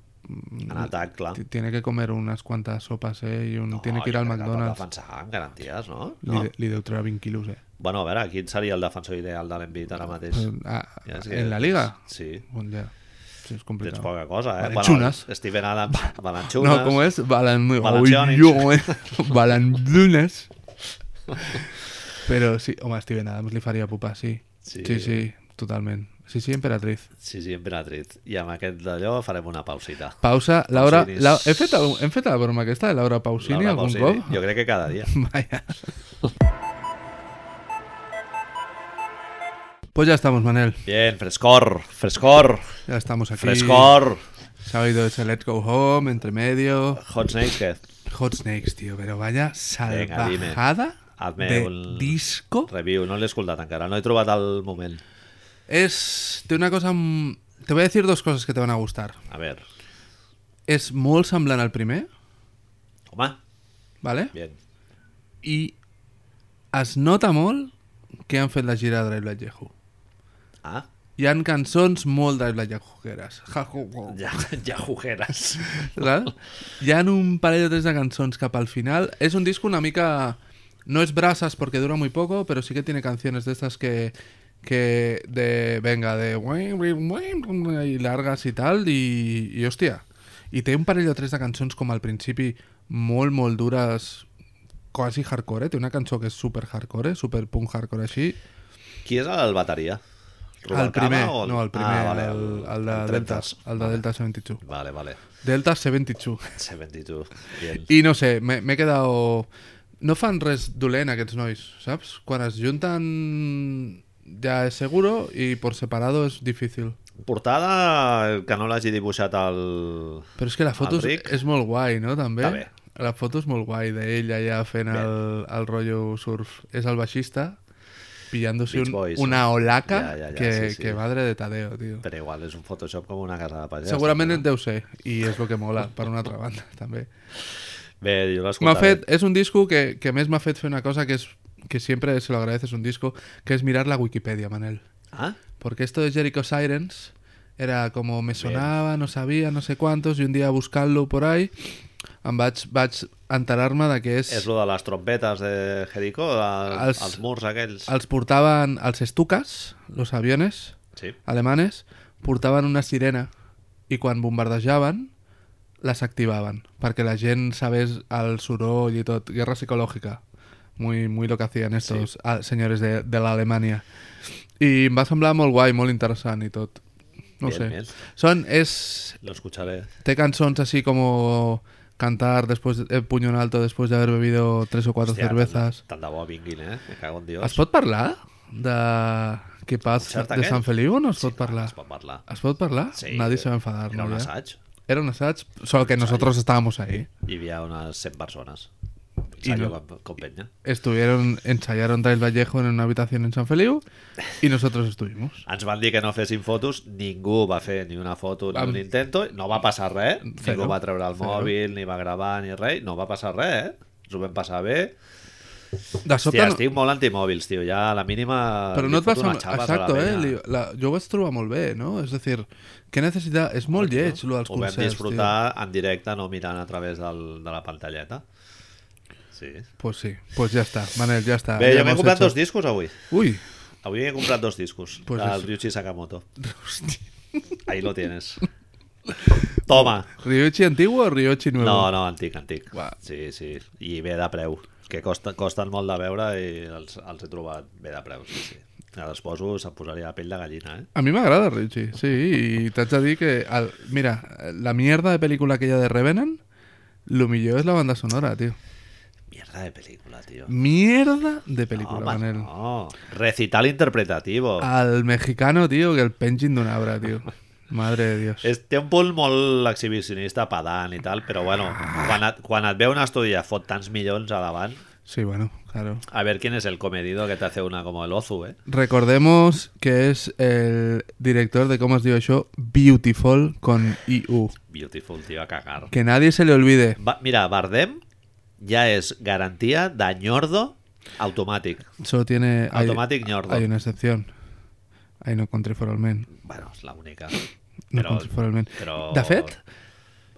S1: En atac, clar.
S2: T- Tiene que comer unas cuantas sopas, ¿eh? Y un... tiene que ir
S1: jo
S2: al
S1: crec pot
S2: McDonald's.
S1: defensar amb garanties, no?
S2: Le
S1: no?
S2: deutrará 20 kilos, ¿eh?
S1: Bueno, a veure, quin seria el defensor ideal de l'Envit ara mateix?
S2: Pues, ah,
S1: Ja és que-
S2: ¿En la liga?
S1: Sí.
S2: Bueno, ya. Sí, es
S1: Tens
S2: complicado.
S1: poca cosa, eh?
S2: Valanchunas.
S1: Bueno, Steven Adams, Balanchunas.
S2: No, ¿cómo es? Balan...
S1: Balanciones.
S2: eh. Balandunes. Pero sí, o más Steven Adams le faría pupa, sí.
S1: Sí.
S2: Sí, sí, totalment. Sí, sí, emperatriz.
S1: Sí, sí, emperatriz. I amb aquest d'allò farem una pausita.
S2: Pausa, Laura...
S1: Pausini.
S2: La... Hem, fet algun... Hem fet la broma aquesta de Laura Pausini
S1: Laura
S2: algun
S1: Pausini.
S2: cop?
S1: Jo crec que cada dia.
S2: Vaya. Pues ya estamos, Manel.
S1: Bien, frescor, frescor,
S2: Ya estamos aquí.
S1: frescor.
S2: Se ha oído ese Let's Go Home, entre medio.
S1: Hot Naked.
S2: Hot Snakes, tío, pero vaya
S1: Venga, dime.
S2: salvajada
S1: Hazme
S2: de
S1: un-
S2: disco.
S1: Review, no l'he escoltat encara, no he trobat el moment.
S2: Es de una cosa... mm, Te voy a decir dos cosas que te van a gustar.
S1: A veure,
S2: Es molt semblant al primer,
S1: home,
S2: ¿vale?
S1: bien.
S2: I es nota molt que han fet la gira de Drive Like Yahoo.
S1: Ah,
S2: Hi han cançons molt Drive Like Yahoo-eres. Yahoo.
S1: ja, ja jugueres.
S2: Saps? Hi ha un parell o tres de cançons cap al final. Es un disco una mica... No es brasas porque dura muy poco, pero sí que tiene canciones de estas que... que de... Venga, de... Y largas y tal, y... y hostia. I té un parell o tres de cançons com al principi molt, molt dures, quasi hardcore, eh? Té una cançó que és super hardcore, super punk hardcore així.
S1: Qui és el bateria?
S2: el
S1: Rubalcaba
S2: primer,
S1: o
S2: no, el primer,
S1: Ah, vale,
S2: el, el, de Delta,
S1: Trentas.
S2: el de Delta 72.
S1: Vale, vale.
S2: Delta 72.
S1: 72. Bien.
S2: I no sé, me- m'he quedat... No fan res dolent aquests nois, saps? Quan es junten ja és seguro i por separado és difícil.
S1: Portada que no l'hagi dibuixat el...
S2: Però és que la foto és,
S1: Enric?
S2: és molt guai, no? També.
S1: Està bé.
S2: La foto és molt guai d'ella ja fent
S1: Bé.
S2: el, el rotllo surf. És el baixista pillándose
S1: Beach
S2: un,
S1: Boys,
S2: una
S1: no?
S2: olaca
S1: Ja, ja, ja,
S2: que,
S1: sí, sí.
S2: que madre de tadeo, tio.
S1: Però igual és un Photoshop com una casa de pagès.
S2: Segurament
S1: també,
S2: en deu ser, i és el que mola, per una altra banda, també.
S1: no? Bé, jo eh?
S2: M'ha
S1: l'escoltaré.
S2: fet, és un disco que, que a més m'ha fet fer una cosa que és que siempre se lo agradeces un disco, que es mirar la Wikipedia, Manel.
S1: Ah?
S2: Porque esto de Jericho Sirens era como me sonaba, no sabía, no sé cuántos, y un día buscarlo por ahí, em vaig, vaig enterar-me de que és...
S1: És lo de les trompetes de Jericho, de, els...
S2: Els-
S1: els murs aquells.
S2: Els portaven els estucas, los aviones
S1: Sí.
S2: alemanes, portaven una sirena i quan bombardejaven les activaven perquè la gent sabés el soroll i tot, guerra psicològica muy, muy lo que hacían estos ah, señores de, de la Alemania i em va semblar molt guai, molt interessant i tot no
S1: Bien,
S2: sé
S1: bien.
S2: Són, és,
S1: Lo escucharé.
S2: té cançons així com cantar después de, eh, puño en alto después de haber bebido tres o cuatro cervezas
S1: Tant, tant de bo vinguin, eh? Me cago en Dios.
S2: es pot parlar? de què passa
S1: concert
S2: de
S1: aquest?
S2: Sant Feliu o no es pot
S1: clar,
S2: parlar?
S1: Es pot parlar.
S2: Es pot parlar?
S1: Sí, eh,
S2: Nadie se va enfadar,
S1: Era
S2: ¿no?
S1: un
S2: Ya.
S1: assaig.
S2: Era un assaig, solo que nosotros estábamos ahí.
S1: Hi havia unes 100 persones.
S2: I
S1: Salió
S2: no-
S1: con, con penya.
S2: Estuvieron, ensayaron Trail Vallejo en una habitación en San Feliu y nosotros estuvimos.
S1: Ens van dir que no fessin fotos, ningú va fer ni una foto ni
S2: Vam-
S1: un intento, no va passar res,
S2: Zero.
S1: ningú va treure el
S2: Zero.
S1: mòbil, ni va gravar, ni res, no va passar res, eh? Ens ho vam passar bé.
S2: De sobte,
S1: Hòstia,
S2: no-
S1: estic molt antimòbils, tio, ja a la mínima...
S2: però
S1: li
S2: no et vas...
S1: foto unes
S2: amb-
S1: xapes a la
S2: Exacto, eh?
S1: penya.
S2: li- La, jo ho vaig trobar molt bé, no? És a dir, que necessitat... És molt lleig, lo dels
S1: Ho vam
S2: concerts, tio.
S1: disfrutar en directe, no mirant a través del, de la pantalleta. Sí.
S2: Pues sí, pues ya está, Manel, ya está.
S1: Bé,
S2: ya
S1: jo m'he
S2: hemos
S1: comprat
S2: hecho-
S1: dos discos avui.
S2: Uy,
S1: Avui he comprat dos discos
S2: Pues
S1: pues del
S2: eso.
S1: Ryuichi Sakamoto. Ahí lo tienes. Toma.
S2: ¿Ryochi antiguo o Ryochi nuevo?
S1: No, no, antic, antic.
S2: Uah.
S1: Sí, sí. I bé de preu. Que costa, costen molt de veure i els, els he trobat bé de preu. Sí, sí. Ara els poso, se'm em posaria la pell de gallina, eh?
S2: A mí me agrada Richie, sí, y te has de que... al- mira, la mierda de película aquella de Revenant, lo millón es la banda sonora, tío.
S1: Mierda de pel·lícula, tio.
S2: Mierda de película,
S1: No, home,
S2: Manel.
S1: no. Recital interpretativo.
S2: Al mexicano, tío, que el penching de una obra, tío. Madre de Dios.
S1: És, té un punt molt exhibicionista, pedant i tal, però bueno, quan et, quan et ve un estudi i et fot tants milions a davant,
S2: Sí, bueno, claro.
S1: a ver quién es el comedido que te hace una como el Ozu, eh?
S2: Recordemos que es el director de, ¿cómo os digo yo? Beautiful con IU.
S1: Beautiful, tío, a cagar.
S2: Que nadie se le olvide.
S1: Va- mira, Bardem ja és garantia de ñordo automàtic.
S2: Solo tiene... hay-
S1: Automatic Ñordo.
S2: Hay una excepción. Hay no country for all men.
S1: Bueno, és l'única.
S2: No
S1: Però-
S2: country for all men.
S1: però-
S2: De fet,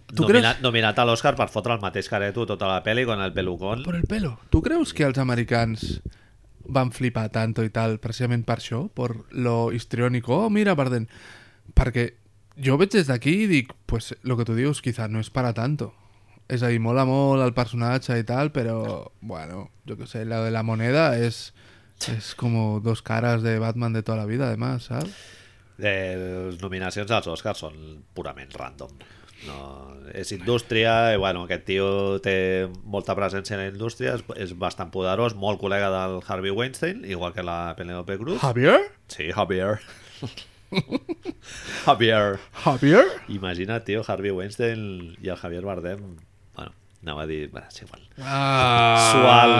S2: tu
S1: Nomina,
S2: creus...
S1: nominat a l'Oscar per fotre el mateix careto tota la pel·li con el pelucón.
S2: Por el pelo. Tu creus que els americans van flipar tanto i tal precisament per això? Per lo histriónico? Oh, mira, Barden. Perquè jo veig des d'aquí i dic, pues lo que tu dius quizá no és para tanto. És a dir, mola molt el personatge i tal, però, bueno, jo que sé, la de la moneda és... És como dos caras de Batman de toda la vida, además, ¿sabes?
S1: Eh, les nominacions als Oscars són purament random. No, és indústria, i bueno, aquest tio té molta presència en la indústria, és, és bastant poderós, molt col·lega del Harvey Weinstein, igual que la Penelope Cruz.
S2: ¿Javier?
S1: sí, Javier. Javier.
S2: ¿Javier?
S1: Imagina't, tio, Harvey Weinstein i el Javier Bardem. Bueno, anava a dir... Bueno, és igual.
S2: Ah,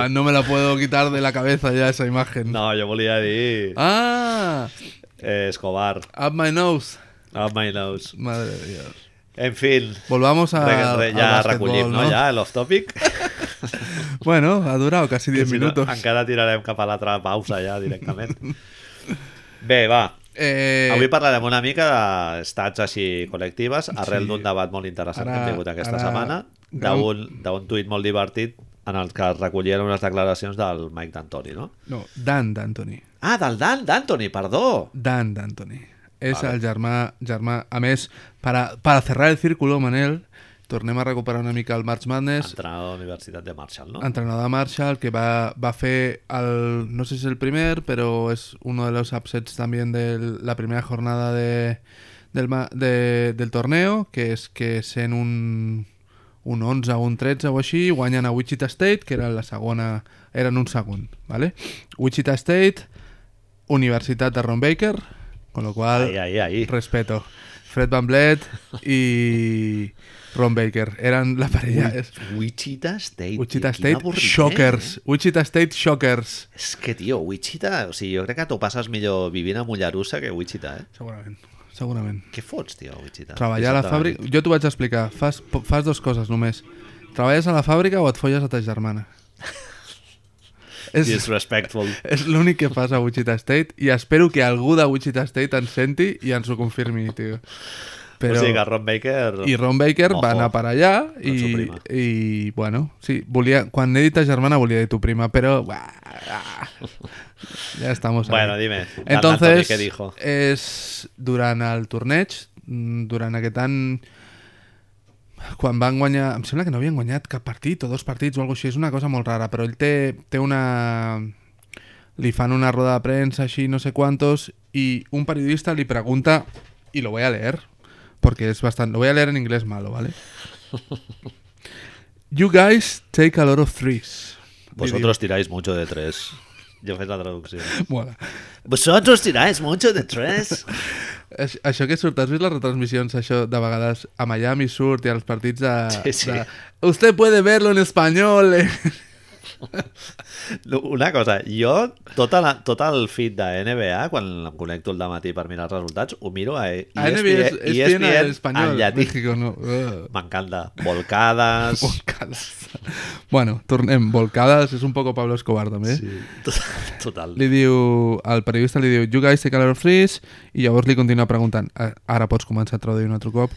S1: Sual.
S2: No me la puedo quitar de la cabeza ya esa imagen.
S1: No, jo volia dir...
S2: Ah,
S1: Eh, Escobar,
S2: up my nose.
S1: on my nose.
S2: Madre de Dios.
S1: En fin,
S2: Volvamos a.
S1: re, re,
S2: al
S1: ja
S2: básquetbol,
S1: recollim, no? Ja, l'off-topic.
S2: Bueno, ha durado casi 10
S1: Que si no,
S2: minutos.
S1: encara tirarem cap a l'altra pausa ja directament. Bé, va.
S2: Eh,
S1: Avui parlarem una mica d'estats així col·lectives arrel
S2: Sí.
S1: d'un debat molt interessant
S2: Ara-
S1: que hem tingut aquesta
S2: ara-
S1: setmana d'un d'un tuit molt divertit en el que es recollien unes declaracions del Mike D'Antoni, no?
S2: No, Dan D'Antoni.
S1: Ah, del Dan D'Antoni, perdó!
S2: Dan D'Antoni. És
S1: Vale.
S2: el germà, germà... A més, para, para cerrar el círculo, Manel, tornem a recuperar una mica el March Madness.
S1: Entrenador de la Universitat de Marshall, no?
S2: entrenador de Marshall que va, va fer el, no sé si es el primer, pero es uno de los upsets también de la primera jornada de, del, ma- de- del torneo, que es que sent un, un 11 o un 13 o així, guanyen a Wichita State, que era la segona, eren un segon, ¿vale? Wichita State, Universitat de Ron Baker, con lo cual...
S1: Ahí, ahí, ahí.
S2: Respeto. Fred Van Blet y Ron Baker. Eran la parella. es-
S1: Wichita State. tio,
S2: Wichita
S1: quin
S2: State
S1: avorriment. eh?
S2: Shockers. Wichita State Shockers.
S1: És que, tio, Wichita... O sigui, jo crec que t'ho passes millor vivint a Mollerussa que a Wichita, eh?
S2: Segurament, segurament.
S1: Què fots, tio, a Wichita?
S2: Treballar a la
S1: Dissabte
S2: fàbrica...
S1: nit.
S2: Jo t'ho vaig explicar. Fas, po- fas dues coses només. Treballes a la fàbrica o et folles a ta germana. és
S1: Disrespectful.
S2: és l'únic que fas a Wichita State i espero que algú de Wichita State ens senti i ens ho confirmi, tio.
S1: Però... O sigui que Ron Baker...
S2: I Ron Baker va
S1: Ojo.
S2: anar per allà
S1: Con su
S2: i,
S1: prima.
S2: i bueno, sí, volia, quan he dit ta germana volia dir tu prima, però buah, ah, ja estamos ahí.
S1: Bueno, dime, Dan Anthony,
S2: eh? Entonces, eh,
S1: ¿qué dijo?
S2: és durant el torneig, mm, durant aquest any, quan van guanyar, em sembla que no havien guanyat cap partit o dos partits o alguna cosa així, és una cosa molt rara, però ell té, té una... li fan una roda de premsa així, no sé quantos, i un periodista li pregunta, i lo voy a leer, porque es bastante... Lo voy a leer en inglés malo, ¿vale? You guys take a lot of threes. li diu.
S1: Vosotros tiráis mucho de tres. Jo faig la traducció.
S2: Mola.
S1: Vosotros tiráis mucho de tres.
S2: Aix- Això que surt, has vist les retransmissions, això de vegades a Miami surt i als partits de...
S1: Sí, sí.
S2: de Usted puede verlo en español. eh?"
S1: No, Una cosa, jo tota la, tot el feed de NBA, quan em connecto el dematí per mirar els resultats, ho miro a ESPN,
S2: A NBA es, ESPN en
S1: en
S2: español.
S1: llatí.
S2: México no. Ugh.
S1: M'encanta. Volcades...
S2: Oh, Volcades. Bueno, tornem. Volcades és un poco Pablo Escobar, també.
S1: Sí. tot- Total.
S2: Li diu, el periodista li diu, you guys take a lot of risks, i llavors li continua preguntant, a- ara pots començar a traduir un altre cop,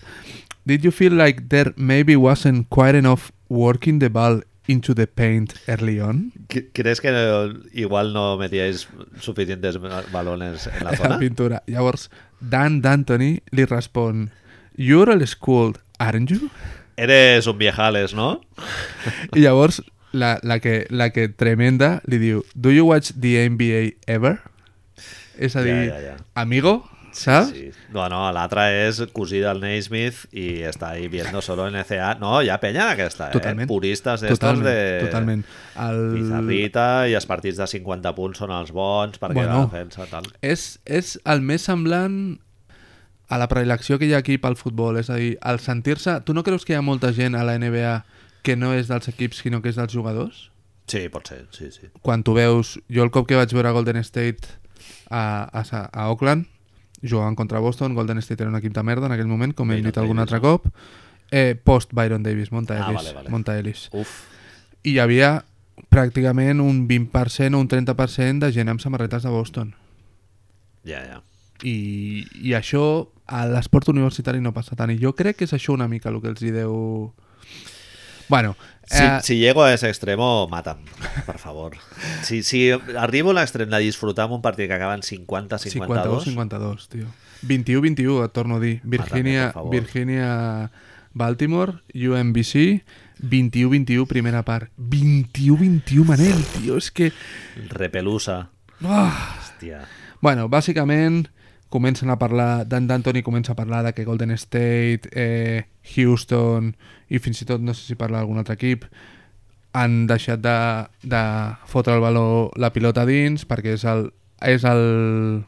S2: did you feel like there maybe wasn't quite enough working the ball into the paint early on?
S1: Cre- ¿Crees que no- igual no metíais suficientes balones en la
S2: A la
S1: zona?
S2: pintura. Llavors, Dan D'Antoni li respon, you're all school, aren't you?
S1: Eres un viejales, ¿no?
S2: I llavors, la, la, que, la que tremenda li diu, do you watch the NBA ever? És a
S1: Ja,
S2: dir,
S1: ja, ja.
S2: amigo, saps?
S1: Sí. No, no, la otra es Cusí del Naismith y está ahí viendo solo NCA. No, ya peña que está,
S2: Totalment.
S1: Puristas de
S2: Totalment,
S1: eh? estos de...
S2: totalment. El...
S1: Pizarrita i els partits de 50 punts són els bons perquè bueno. la
S2: Bueno.
S1: defensa tal.
S2: És, és el més semblant a la predilecció que hi ha aquí pel futbol. És a dir, el sentir-se... Tu no creus que hi ha molta gent a la NBA que no és dels equips, sinó que és dels jugadors?
S1: Sí, pot ser, sí, sí.
S2: Quan tu veus... Jo el cop que vaig veure a Golden State a, a, Sa- a Oakland, jugaven contra Boston, Golden State era un equip de merda en aquell moment, com hem
S1: Byron
S2: dit algun
S1: Davis,
S2: altre cop, eh, post Byron Davis, Monta
S1: Ah,
S2: Ellis.
S1: vale, vale.
S2: Monta Ellis.
S1: Uf,
S2: I hi havia pràcticament un 20% o un 30% de gent amb samarretes de Boston.
S1: ja, ja.
S2: I, i això a l'esport universitari no passa tant. I jo crec que és això una mica el que els hi deu... Bueno,
S1: Si,
S2: eh,
S1: si llego a ese extremo, máta'm, per favor. Si, si arribo a l'extrem de disfrutar amb un partit que acaba en 50-52,
S2: 52, tio. 21-21, et torno a dir. Virginia,
S1: per favor.
S2: Virginia Baltimore, UMBC, 21-21, primera part. 21-21, Manel, tio, és que...
S1: repelusa.
S2: Uah.
S1: Hòstia.
S2: Bueno, bàsicament comencen a parlar, Dan D'Antoni comença a parlar de que Golden State, eh, Houston i fins i tot no sé si parla d'algun altre equip han deixat de, de fotre el valor la pilota a dins perquè és el, és el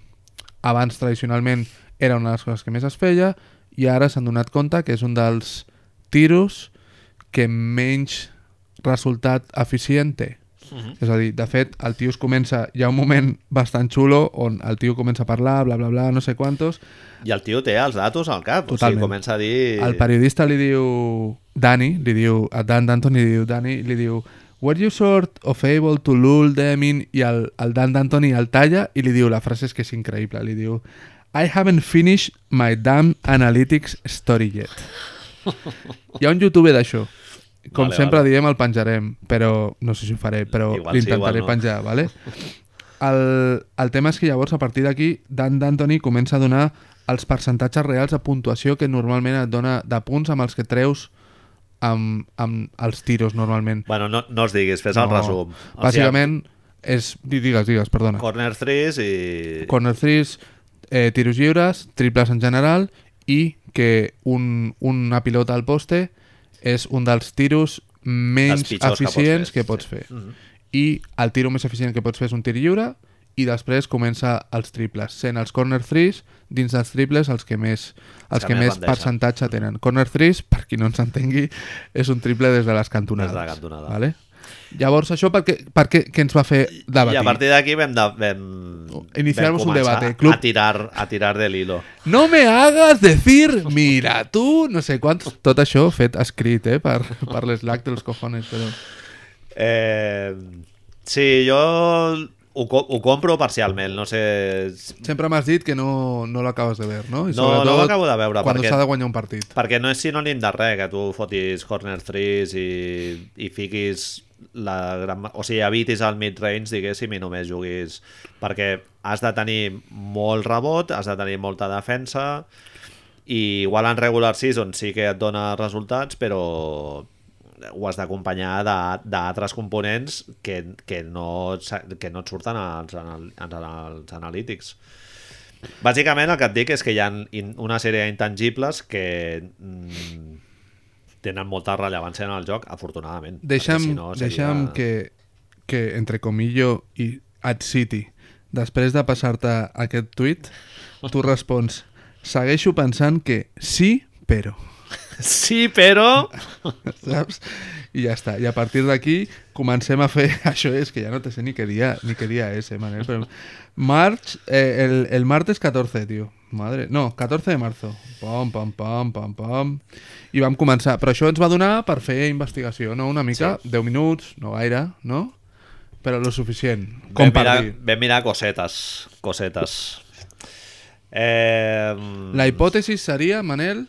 S2: abans tradicionalment era una de les coses que més es feia i ara s'han donat compte que és un dels tiros que menys resultat eficient té.
S1: Mm.
S2: És a dir, de fet, el tio es comença... Hi ha un moment bastant xulo on el tio comença a parlar, bla, bla, bla, no sé quantos.
S1: I el tio té els datos al cap.
S2: Totalment.
S1: O sigui, comença a dir...
S2: El periodista li diu... Dani, li diu... A Dan D'Antoni li diu... Dani, li diu... Were you sort of able to lull them in? I el, el Dan D'Antoni el talla i li diu... La frase és que és increïble. Li diu... I haven't finished my damn analytics story yet. Hi ha un youtuber d'això. Com
S1: Vale,
S2: vale, sempre
S1: vale.
S2: vale. diem, el penjarem, però no sé si ho faré, però
S1: Igual sí, igual
S2: l'intentaré
S1: no.
S2: penjar, vale? El, el tema és que llavors, a partir d'aquí, Dan D'Antoni comença a donar els percentatges reals de puntuació que normalment et dona de punts amb els que treus amb, amb els tiros, normalment.
S1: Bueno, no, no els diguis, fes el resum. O
S2: Bàsicament, és... di- Digues, digues, perdona.
S1: sigui, corner 3 i...
S2: Corner threes, eh, tiros lliures, triples en general i que un, una pilota al poste és un dels tiros
S1: Els
S2: menys
S1: pitjors que pots
S2: eficients
S1: fer,
S2: que pots
S1: sí. Mhm.
S2: fer. I el tiro més eficient que pots fer és un tir lliure i després comença els triples, sent els corner threes dins dels triples els que més, els
S1: més
S2: que
S1: Mhm.
S2: més
S1: bandeixen.
S2: percentatge tenen. Corner threes, per qui no ens entengui, és un triple des de les cantonades.
S1: Des de la cantonada.
S2: Vale? Llavors, això per què, per què, què ens va fer debatir?
S1: I a partir d'aquí vam, de, vam,
S2: Iniciar-vos un
S1: vam començar
S2: debate, club.
S1: A tirar, a tirar de l'hilo.
S2: No me hagas decir, mira, tu, no sé quants... Tot això fet escrit, eh, per, per l'eslac dels cojones, però...
S1: Eh, sí, jo ho, co- ho compro parcialment, no sé...
S2: Sempre m'has dit que no, no l'acabes de veure, no?
S1: No, no ho acabo de veure,
S2: Quan
S1: perquè-
S2: s'ha de guanyar un partit.
S1: Perquè no és sinònim de res, que tu fotis corner threes i, i fiquis la gran... ma- O sigui, evitis el mid-range, diguéssim, i només juguis... Perquè has de tenir molt rebot, has de tenir molta defensa, i igual en regular season sí que et dona resultats, però ho has d'acompanyar de- d'altres components que, que, no, et sa- que no et surten als, anal- als, als analítics. Bàsicament el que et dic és que hi ha in- una sèrie d'intangibles que mm, tenen molta rellevància en el joc, afortunadament.
S2: Deixa'm,
S1: Perquè
S2: deixa'm que, que, entre comillo, i at City. Després de passar-te aquest tuit, tu respons segueixo pensant que sí, però.
S1: Sí, però...
S2: Saps? I ja està. I a partir d'aquí comencem a fer... Això és que ja no te sé ni què dia, ni què dia és, eh, Manel. Però... March, eh, el, el martes 14, tio. Madre... No, 14 de marzo. Pam, pam, pam, pam, pam. I vam començar. Però això ens va donar per fer investigació, no? Una mica, sí. 10 minuts, no gaire, no? Però lo suficient.
S1: Vam mirar,
S2: Compartir.
S1: vam mirar cosetes, cosetes. Eh,
S2: La hipòtesi seria, Manel,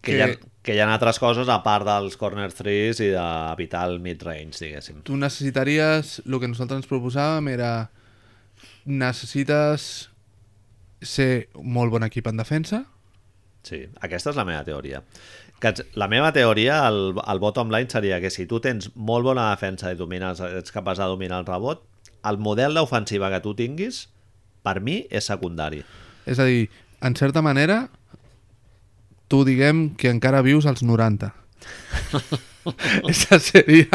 S1: que, hi ha, que hi ha altres coses a part dels corner threes i de vital mid-range, diguéssim.
S2: tu necessitaries, el que nosaltres ens proposàvem era necessites ser un molt bon equip en defensa
S1: Sí, aquesta és la meva teoria. Que ets- la meva teoria, el, el bottom line seria que si tu tens molt bona defensa i domines, ets capaç de dominar el rebot, el model d'ofensiva que tu tinguis, per mi, és secundari.
S2: és a dir, en certa manera tu diguem que encara vius als 90 Esa seria...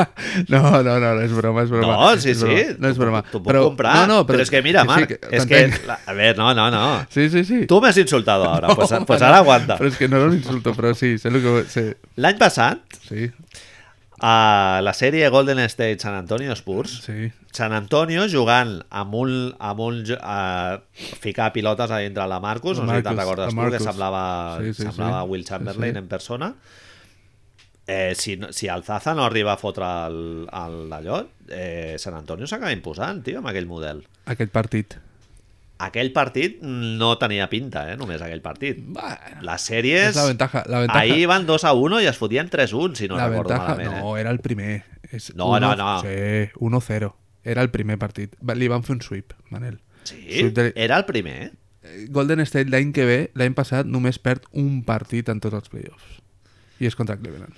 S2: No, no, no, no, és broma, és broma.
S1: No, sí,
S2: és broma,
S1: sí.
S2: No és
S1: t'ho-
S2: broma.
S1: T'ho puc comprar.
S2: No, no, però,
S1: és que mira,
S2: sí,
S1: Marc,
S2: que
S1: és
S2: t'entenc.
S1: que... la- A ver, no, no, no.
S2: Sí, sí, sí.
S1: Tu m'has insultat ara, pues,
S2: Home,
S1: pues
S2: no,
S1: ara aguanta.
S2: Però és que no era un insulto, però sí, sé el que... vo- Sé,
S1: L'any passat,
S2: sí,
S1: a la sèrie Golden State San Antonio Spurs,
S2: sí.
S1: San Antonio jugant amb un, amb un jo- a ficar pilotes a dintre la Marcus,
S2: La
S1: no sé si te'n
S2: Marcus,
S1: recordes
S2: la
S1: tu, que
S2: Marcus.
S1: semblava,
S2: Sí, sí,
S1: semblava
S2: sí.
S1: Will Chamberlain
S2: Sí, sí.
S1: en persona. Eh, si, no- si el Zaza no arriba a fotre el- el- allò, eh, San Antonio s'acaba imposant, tio, amb aquell model.
S2: Aquest partit.
S1: Aquell partit no tenia pinta, eh, només aquell partit.
S2: Bueno,
S1: Les sèries...
S2: És la ventaja, la ventaja.
S1: Ahir van 2 a 1 i es fotien 3 a 1, si no
S2: la
S1: recordo
S2: ventaja,
S1: malament. eh.
S2: no, era el primer. És
S1: No, no, no.
S2: Sí, 1-0. Era el primer partit. Va- Li van fer un sweep, Manel.
S1: Eh? Sí,
S2: Surt de-
S1: era el primer, eh?
S2: Eh, Golden State l'any que ve, l'any passat, només perd un partit en tots els playoffs. I és contra Cleveland.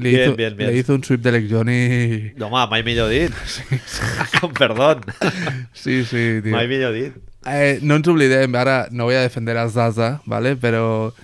S2: Le
S1: Bien,
S2: hizo,
S1: bien, bien.
S2: Le hizo un sweep d'Alex Johnny...
S1: No, home, mai millor dit. Perdó.
S2: Sí, sí, tio.
S1: Mai millor dit.
S2: Eh, no ens oblidem, ara no vull defendre a Zaza, ¿vale? però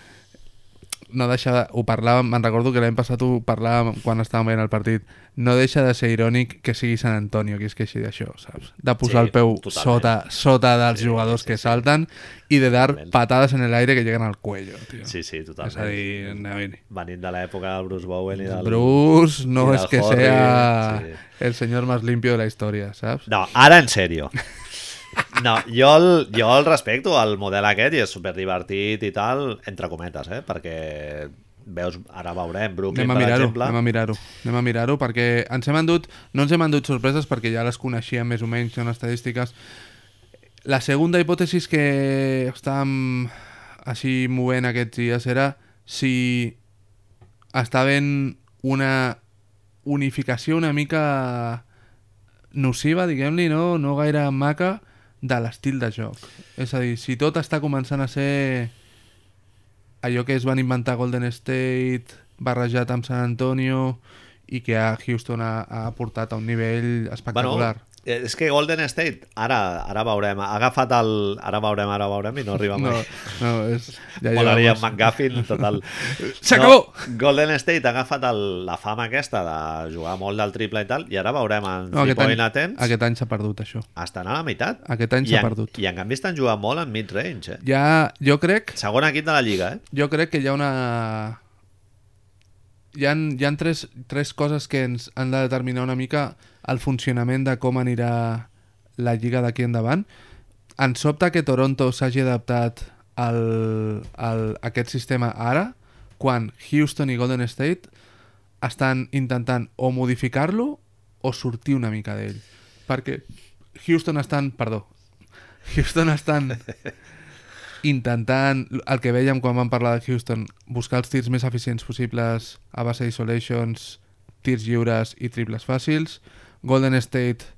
S2: no deixa de... Ho parlàvem, me'n recordo que l'any passat ho parlàvem quan estàvem veient el partit. No deixa de ser irònic que sigui Sant Antonio qui es queixi d'això, saps? De posar
S1: Sí,
S2: sí, el peu
S1: totalment.
S2: sota, sota dels sí, jugadors sí, que salten i de dar
S1: Totalment.
S2: patades en l'aire que lleguen al cuello, tio.
S1: Sí, sí,
S2: És a
S1: totalment.
S2: dir, a veure,
S1: Venint de l'època del Bruce Bowen i del...
S2: Bruce no
S1: i
S2: és
S1: del
S2: que
S1: Horry,
S2: sea
S1: sí.
S2: el senyor més limpio de la història, saps?
S1: No, ara en sèrio. No, jo el, jo el respecto al model aquest i és superdivertit i tal, entre cometes, eh? Perquè veus, ara veurem Brooklyn,
S2: Anem a
S1: per
S2: mirar-ho,
S1: exemple.
S2: anem a mirar-ho, anem a mirar-ho, perquè ens hem endut, no ens hem endut sorpreses perquè ja les coneixíem més o menys, són estadístiques. La segunda hipòtesi que estàvem així movent aquests dies era si estaven una unificació una mica nociva, diguem-li, no? no gaire maca, de l'estil de joc. És a dir, si tot està començant a ser allò que es van inventar Golden State, barrejat amb San Antonio, i que a Houston ha, ha portat a un nivell espectacular.
S1: Bueno, eh, és que Golden State, ara, ara veurem, ha agafat el... Ara veurem, ara veurem i no arriba mai.
S2: no, no, és...
S1: Ja Molaria en McGuffin, total.
S2: S'acabó!
S1: No, Golden State ha agafat el, la fama aquesta de jugar molt del triple i tal, i ara veurem en
S2: No,
S1: no,
S2: aquest, any,
S1: Point Attempts aquest...
S2: aquest any s'ha perdut, això.
S1: estan a la meitat.
S2: Aquest
S1: I
S2: any s'ha
S1: en-
S2: perdut.
S1: I en canvi estan jugant molt en mid-range, eh?
S2: Ja, jo crec
S1: Segon equip de la Lliga, eh?
S2: jo crec que hi ha una... Hi ha, hi ha tres, tres coses que ens han de determinar una mica el funcionament de com anirà la Lliga d'aquí endavant. Ens sobta que Toronto s'hagi adaptat al, al, a aquest sistema ara, quan Houston i Golden State estan intentant o modificar-lo o sortir una mica d'ell. Perquè Houston estan... Perdó. Houston estan intentant, el que vèiem quan vam parlar de Houston, buscar els tirs més eficients possibles a base d'isolations, tirs lliures i triples fàcils. Golden State,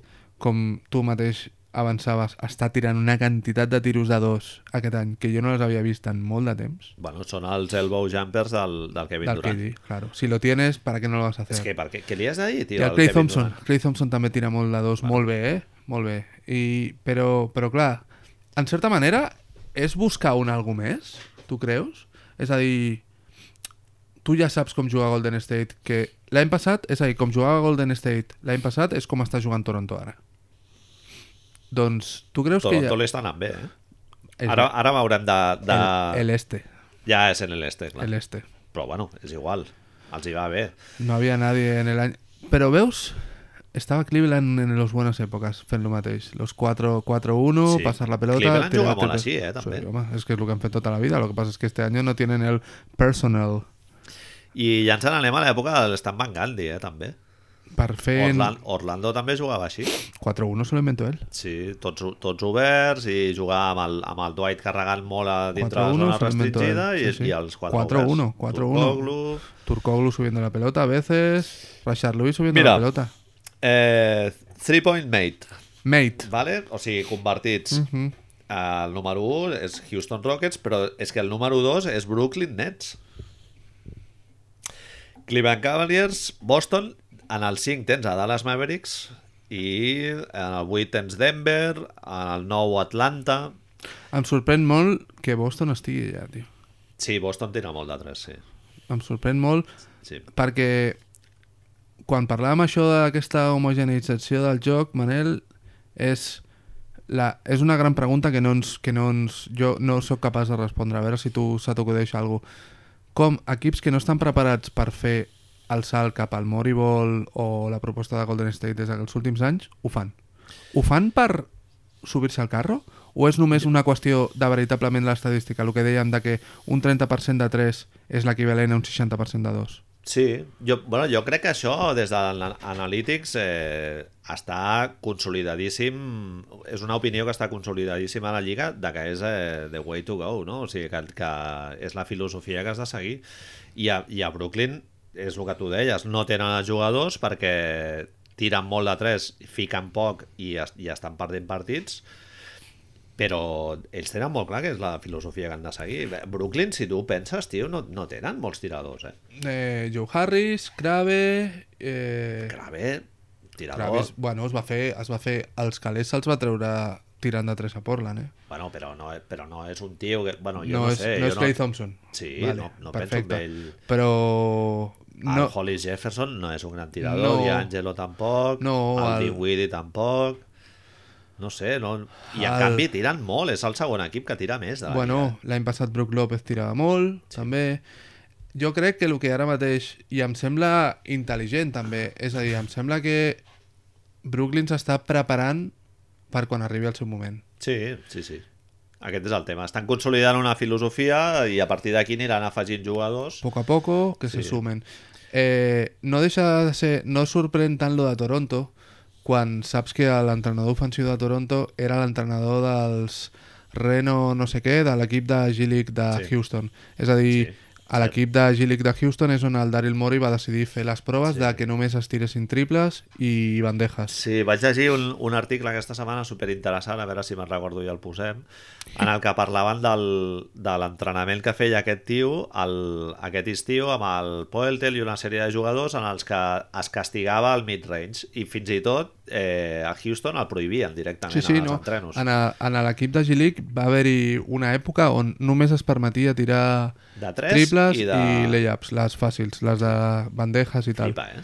S2: com tu mateix avançaves, està tirant una quantitat de tiros de dos aquest any que jo no les havia vist en molt de temps.
S1: Bueno, són els elbow jumpers del, del Kevin
S2: Del
S1: Durant.
S2: KD, claro. Si lo tienes, ¿para qué no lo vas a hacer?
S1: És que, per què, què li has de dir, tio?
S2: I el
S1: al
S2: Clay
S1: Kevin
S2: Thompson.
S1: Durant?
S2: Clay Thompson també tira molt de dos. Molt bé, eh? Molt bé. I, però, però clar, en certa manera, és buscar un algo més, tu creus? És a dir, tu ja saps com jugar Golden State, que l'any passat, és a dir, com jugava Golden State l'any passat és com està jugant Toronto ara. Doncs tu creus que
S1: Toronto
S2: ja...
S1: li està anant bé, eh?
S2: És-
S1: Ara, ara m'hauran de... de...
S2: el, el este,
S1: Ja és en el este, clar.
S2: el este.
S1: Però bueno, és igual. Els hi va bé.
S2: No había nadie en el año... Pero veus, estaba Cleveland en los buenas épocas, fent lo mateix. Los 4-4-1,
S1: Sí.
S2: pasar la pelota...
S1: Cleveland
S2: tirar
S1: juga molt
S2: triples.
S1: així, eh, també.
S2: Sí, home, és que és el que han fet tota la vida. Lo que pasa es que este año no tienen el personal
S1: I ja ens n'anem a l'època de l'Stan Van Gandhi, eh, també.
S2: per fer... en-
S1: Orlando, Orlando també jugava així.
S2: 4-1 se lo inventó él.
S1: Sí, tots, tots oberts i jugar amb el, amb el Dwight carregant molt a dintre de la zona
S2: 4-1 se lo inventó
S1: restringida
S2: ell,
S1: i,
S2: sí, sí.
S1: i els quatre
S2: 4-1, 4-1.
S1: Turkoglu,
S2: Turkoglu subiendo la pelota a veces, Rashard Lewis subiendo
S1: Mira.
S2: la pelota.
S1: Eh, three point mate,
S2: Mate.
S1: vale? o sigui, convertits.
S2: Mhm.
S1: El número 1 és Houston Rockets, però és que el número 2 és Brooklyn Nets. Cleveland Cavaliers, Boston, en el 5 tens a Dallas Mavericks i en el 8 tens Denver, en el 9 Atlanta...
S2: Em sorprèn molt que Boston estigui allà, tio.
S1: Sí, Boston tira molt de 3, sí.
S2: Em sorprèn molt
S1: sí.
S2: perquè quan parlàvem això d'aquesta homogeneïtzació del joc, Manel, és, la, és una gran pregunta que, no ens, que no ens, jo no sóc capaç de respondre. A veure si tu se t'acudeix alguna Com equips que no estan preparats per fer el salt cap al Moribol o la proposta de Golden State des dels últims anys, ho fan. Ho fan per subir-se al carro? O és només una qüestió de veritablement l'estadística, el que dèiem de que un 30% de 3 és l'equivalent a un 60% de 2?
S1: Sí, jo, bueno, jo crec que això des de l'ana- Analytics eh, està consolidadíssim, és una opinió que està consolidadíssima a la Lliga de que és eh, the way to go, no? O sigui, que, que és la filosofia que has de seguir. I a, i a Brooklyn és el que tu deies, no tenen els jugadors perquè tiren molt de tres, fiquen poc i, es, i estan perdent partits, però ells tenen molt clar que és la filosofia que han de seguir. Brooklyn, si tu ho penses, tio, no, no tenen molts tiradors, eh?
S2: Eh, Joe Harris, Crave... Eh,
S1: Grave, tirador.
S2: Crave, es- bueno, es va fer, es va fer, els calés se'ls va treure tirant de 3 a Portland, eh?
S1: Bueno, però no, però no és un tio que... Bueno, jo no,
S2: no, és,
S1: sé.
S2: no
S1: jo
S2: és Clay Thompson.
S1: Sí,
S2: Vale,
S1: no, no penso en
S2: perfecte.
S1: ell.
S2: Però...
S1: No.
S2: No,
S1: El Hollis Jefferson no és un gran tirador,
S2: No.
S1: no. i Angelo tampoc,
S2: No,
S1: el,
S2: el-
S1: el... Dinwiddie tampoc... No sé, no... I en
S2: El-
S1: el... canvi tiren molt, és el segon equip que tira més. De la
S2: bueno, l'any passat Brook López tirava molt, també. Jo crec que el que ara mateix, i em sembla intel·ligent també, és a dir, em sembla que Brooklyn s'està preparant per quan arribi el seu moment.
S1: Sí, sí, sí. Aquest és el tema. Estan consolidant una filosofia i a partir d'aquí aniran afegint jugadors.
S2: poco a poco, que se sumen. Eh, no deixa de ser, no sorprèn tant lo de Toronto, quan saps que l'entrenador ofensiu de Toronto era l'entrenador dels Reno no sé què, de l'equip de G-League de
S1: Sí.
S2: Houston. És a dir,
S1: Sí.
S2: a l'equip de G-League de Houston és on el Daryl Morey va decidir fer les proves de que només es tiressin triples i bandejas.
S1: Sí, vaig llegir un, un article aquesta setmana superinteressant, a veure si me'n recordo i el posem, en el que parlaven del, de l'entrenament que feia aquest tio el, aquest estiu amb el Poeltel i una sèrie de jugadors en els que es castigava el mid-range i fins i tot eh, a Houston el prohibien directament
S2: Sí, sí,
S1: en els
S2: no.
S1: entrenos.
S2: En, a- en l'equip de G-League va haver-hi una època on només es permetia tirar
S1: De tres
S2: triples
S1: i
S2: i,
S1: de...
S2: layups, les fàcils, les de bandejas i tal.
S1: Flipa, eh?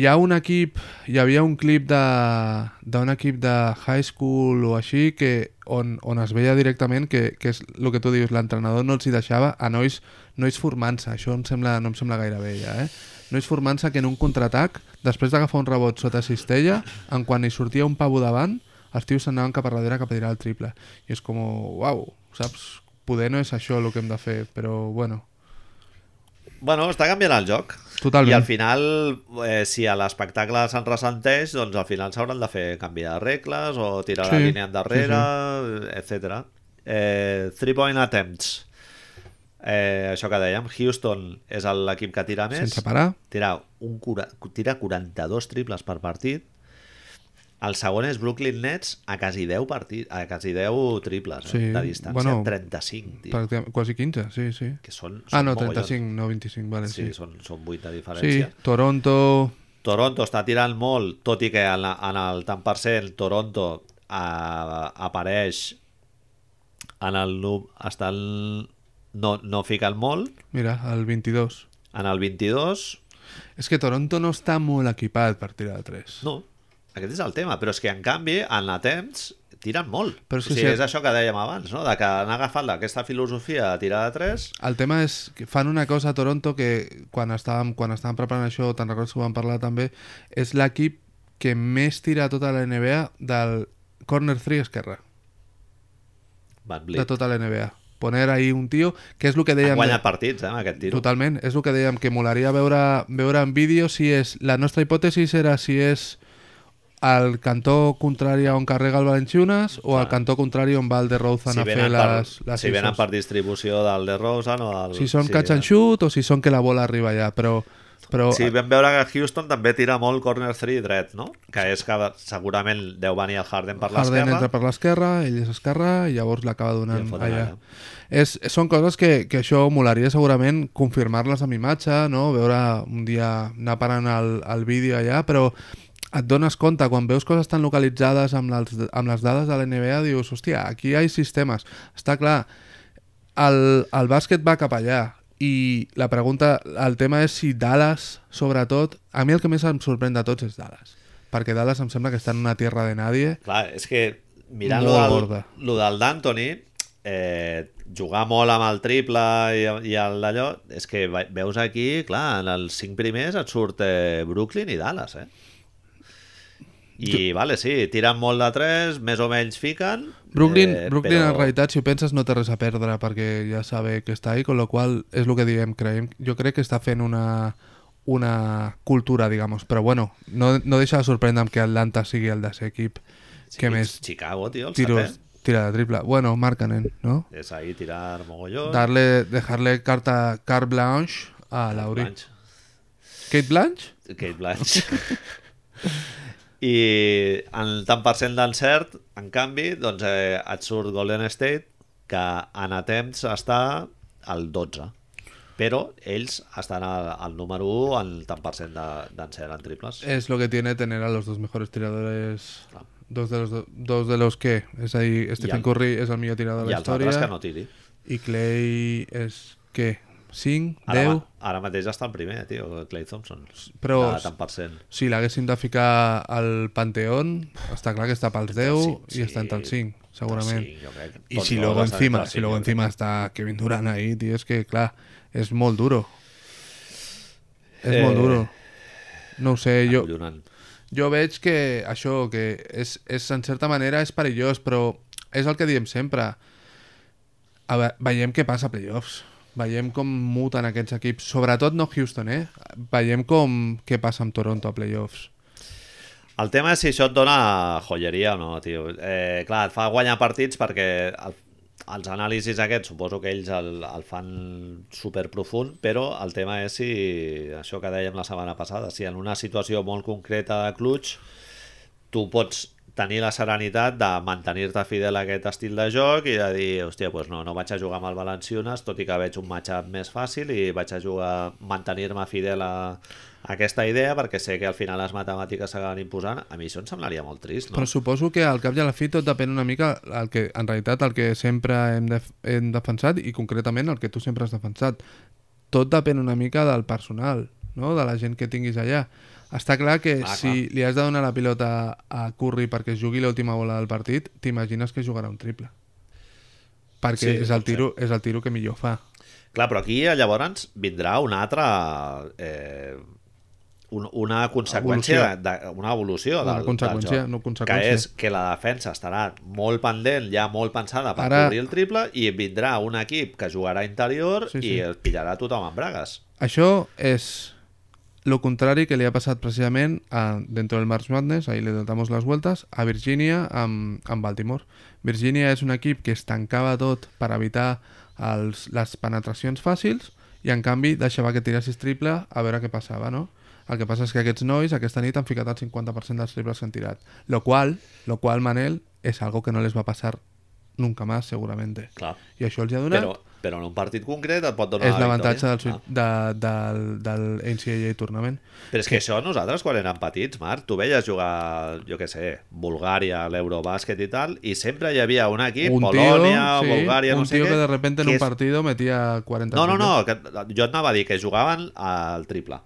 S2: Hi ha un equip, hi havia un clip de- d'un equip de high school o així que on, on es veia directament que, que és el que tu dius, l'entrenador no els hi deixava a nois, nois formant-se, això em sembla, no em sembla gaire bé ja, eh? Nois formant-se que en un contraatac, després d'agafar un rebot sota cistella, en quan hi sortia un pavo davant, els tios s'anaven cap a darrere cap a tirar el triple. I és com, uau, saps? Poder no és això el que hem de fer, però bueno.
S1: Bueno, està canviant el joc.
S2: Totalment.
S1: I al final, eh, si a l'espectacle se'n ressenteix, doncs al final s'hauran de fer canviar de regles o tirar sí,
S2: Sí,
S1: la línia endarrere, sí, sí. etc. Eh, three point attempts. Eh, això que dèiem, Houston és l'equip que tira més.
S2: Sense parar.
S1: Tira, un cura, tira 42 triples per partit. El segon és Brooklyn Nets a quasi 10, partit, a quasi 10 triples eh,
S2: Sí,
S1: de distància,
S2: bueno,
S1: 35, tio,
S2: Pràcticament, quasi 15, sí, sí.
S1: que són, són
S2: Ah, no,
S1: mogollons.
S2: 35, no 25, vale,
S1: Sí,
S2: sí.
S1: són, són 8 de
S2: Sí,
S1: diferència.
S2: Toronto...
S1: Toronto està tirant molt, tot i que en, la, en el tant per cent Toronto a, apareix en el... nu- Està el, no, no fica el molt,
S2: Mira, el 22.
S1: en el 22
S2: És que Toronto no està molt equipat per tirar de 3.
S1: no. Aquest és el tema, però és que en canvi en la temps tiren molt.
S2: Però
S1: Però
S2: és
S1: és,
S2: que
S1: o sigui,
S2: si-
S1: és això que dèiem abans, no? de que han agafat la- aquesta filosofia de tirar de 3
S2: El tema és que fan una cosa a Toronto que quan estàvem, quan estàvem preparant això, te'n recordes que ho vam parlar també, és l'equip que més tira a tota la NBA del corner 3 esquerra,
S1: van
S2: de
S1: blit.
S2: tota la NBA. Poner ahí un tio, que és el que
S1: Han
S2: dèiem...
S1: guanyat partits, eh, amb aquest tiro.
S2: Totalment, és el que dèiem, que molaria veure, veure en vídeo si és... La nostra hipòtesi era si és al cantó contrari on carrega el Valenciunas o al cantó contrari on va el de Rouzan
S1: Ah. si
S2: a fer
S1: venen,
S2: les,
S1: per,
S2: les
S1: si venen
S2: isos.
S1: per distribució del de Rosen o del...
S2: si són catch and shoot o si són que la bola arriba allà, però... però
S1: Sí, vam veure que Houston també tira molt corner 3 dret, no? Que és que segurament deu venir el Harden per
S2: Harden
S1: l'esquerra.
S2: entra per l'esquerra, ell és esquerra i llavors l'acaba
S1: I
S2: donant
S1: el foten
S2: allà.
S1: allà.
S2: És, són coses que, que això molaria segurament confirmar-les amb imatge, no? veure un dia anar parant el, el vídeo allà, però et dones compte, quan veus coses tan localitzades amb les, amb les dades de la NBA, dius, hòstia, aquí hi ha sistemes. Està clar, el, el bàsquet va cap allà i la pregunta, el tema és si Dallas, sobretot, a mi el que més em sorprèn de tots és Dallas, perquè Dallas em sembla que està en una tierra de nadie,
S1: Clar, és que mirant
S2: Molt
S1: lo del,
S2: gorda.
S1: lo del d'Anthony, eh, jugar molt amb el triple i, i el d'allò, és que ve- veus aquí, clar, en els cinc primers et surt eh, Brooklyn i Dallas, eh? I, vale, sí, tiren molt de tres, més o menys fiquen...
S2: Brooklyn,
S1: eh,
S2: Brooklyn
S1: però-
S2: en realitat, si ho penses, no té res a perdre perquè ja sabe que està ahí, con lo cual és el que diem, creiem, jo crec que està fent una, una cultura, digamos, però bueno, no, no deixa de sorprendre'm que Atlanta sigui el de ser equip
S1: Sí, eh?
S2: que més
S1: Chicago, tio, el
S2: tiros
S1: setè.
S2: tira de triple. Bueno, Markkanen, no?
S1: És ahí tirar mogolló.
S2: Darle, dejarle carta carte blanche a Lauri.
S1: Blanche.
S2: Kate Blanche?
S1: Kate Blanche. I en el tant per cent d'encert, en canvi, doncs eh, et surt Golden State, que en attempts està al 12. Però ells estan al, al número 1 en el tant per cent de- d'encert en triples.
S2: Es lo que tiene tener a los dos mejores tiradores.
S1: Claro.
S2: Dos de los do- dos de los que es ahí Stephen
S1: al-
S2: Curry es el millor tirador
S1: I
S2: de la
S1: els altres
S2: historia
S1: que no tiri.
S2: y Clay es ¿qué? 5,
S1: Ara,
S2: 10.
S1: ma- ara mateix està el primer, tio, Clay Thompson.
S2: Però-
S1: De tant per cent.
S2: Si l'haguessin de ficar al Panteón, está claro que está para el 10
S1: cinc,
S2: y está entre el
S1: sí.
S2: 5, seguramente.
S1: Doncs Sí, jo crec.
S2: Y
S1: Tots
S2: si
S1: dos
S2: luego
S1: estan entre
S2: encima,
S1: els
S2: si luego
S1: cinc, jo crec.
S2: encima está Kevin Durant ahí, tío, es que, claro, es muy duro. Es
S1: Eh,
S2: muy duro. No ho sé, yo,
S1: Acollonant.
S2: Jo veig que això, que és, és en certa manera és perillós, però és el que diem sempre. A ve veiem què passa a playoffs. Veiem com muten aquests equips, sobretot no Houston, eh? Veiem com què passa amb Toronto a playoffs.
S1: El tema és si això et dona joieria o no, tio. Eh, clar, et fa guanyar partits perquè el, els anàlisis aquests, suposo que ells el, el fan super profund, però el tema és si, això que dèiem la setmana passada, si en una situació molt concreta de clutch tu pots tenir la serenitat de mantenir-te fidel a aquest estil de joc i de dir, hòstia, doncs no, no vaig a jugar amb el Valenciunes, tot i que veig un matchup més fàcil i vaig a jugar, mantenir-me fidel a aquesta idea perquè sé que al final les matemàtiques s'acaben imposant. A mi això em semblaria molt trist, no?
S2: Però suposo que al cap i a la fi tot depèn una mica el que, en realitat el que sempre hem, def hem defensat i concretament el que tu sempre has defensat. Tot depèn una mica del personal, no? de la gent que tinguis allà. Està clar que
S1: Ah,
S2: si li has de donar la pilota a Curry perquè es jugui l'última bola del partit, t'imagines que jugarà un triple. Perquè
S1: Sí,
S2: és, el tiro, és el tiro que millor fa.
S1: Clar, però aquí eh, llavors vindrà una altra... Eh, un, una conseqüència,
S2: Evolució.
S1: De, de, una evolució
S2: Una
S1: del,
S2: conseqüència,
S1: del joc,
S2: no conseqüència.
S1: que és que la defensa estarà molt pendent, ja molt pensada per
S2: Ara-
S1: Ara... cobrir el triple i vindrà un equip que jugarà interior sí,
S2: Sí, sí.
S1: sí. i el pillarà tothom en bragues.
S2: Això és lo contrari que li ha passat precisament a, dentro del March Madness, ahí le damos las vueltas, a Virginia amb, amb Baltimore. Virginia és un equip que es tancava tot per evitar els, les penetracions fàcils i en canvi deixava que tirassis triple a veure què passava, no? El que passa és que aquests nois aquesta nit han ficat el 50% dels triples que han tirat. Lo qual, lo qual Manel, és algo que no les va passar nunca más, seguramente.
S1: Clar.
S2: I això els hi ha donat...
S1: Però, però en un partit concret et pot donar
S2: és
S1: la
S2: l'avantatge del,
S1: victòria. Ah.
S2: sui- de, del, del NCAA tournament.
S1: Però és que això nosaltres quan érem petits, Marc, tu veies jugar, jo què sé, Bulgària, l'Eurobàsquet i tal, i sempre hi havia un equip,
S2: un
S1: Polònia,
S2: tío, sí,
S1: Bulgària,
S2: un
S1: no sé
S2: tío
S1: què,
S2: que de repente en
S1: que
S2: un
S1: és-
S2: partido metía 40
S1: No, no,
S2: puntos.
S1: no, que, jo et anava a dir que jugaven al triple.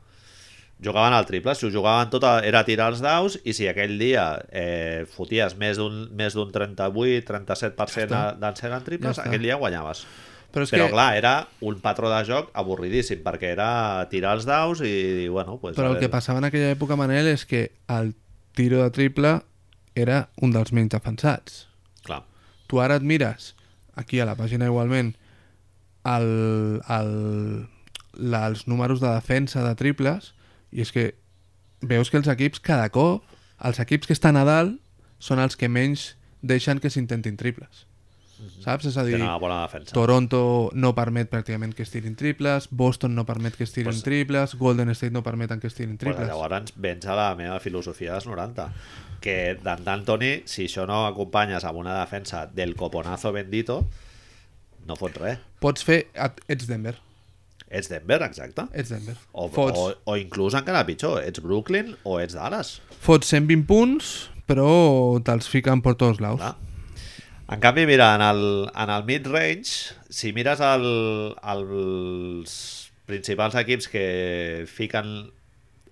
S1: jugaven al triple, si ho jugaven tot a- era tirar els daus i si aquell dia eh, foties més d'un més d'un 38-37%
S2: Ja
S1: ja
S2: està.
S1: d'encert en triples,
S2: Ja està.
S1: aquell dia guanyaves.
S2: Però és
S1: Però
S2: que-
S1: clar, era un patró de joc avorridíssim, perquè era tirar els daus i dir, bueno, pues, eh, a
S2: Però el que
S1: veure.
S2: passava en aquella època, Manel, és que el tiro de triple era un dels menys defensats.
S1: Clar,
S2: Tu ara et mires, aquí a la pàgina igualment, el, el, la, els números de defensa de triples i és que veus que els equips cada cop, els equips que estan a dalt són els que menys deixen que s'intentin triples.
S1: Mhm.
S2: Saps? És a dir,
S1: tenen una bona defensa.
S2: Toronto no permet pràcticament que es tirin triples, Boston no permet que es tirin
S1: Pues-
S2: triples, Golden State no permeten que es tirin triples.
S1: Pues llavors vens a la meva filosofia dels 90, que Dan D'Antoni, si això no acompanyes amb una defensa del coponazo bendito, no fots res.
S2: Pots fer... et- Ets Denver.
S1: Ets Denver, exacte.
S2: Ets Denver.
S1: O,
S2: Eh, fots,
S1: o, o inclús encara pitjor, ets Brooklyn o ets Dallas.
S2: fots 120 punts, però te'ls fiquen per tots laus.
S1: Clar. En canvi, mira, en el, en el mid-range, si mires el, els principals equips que fiquen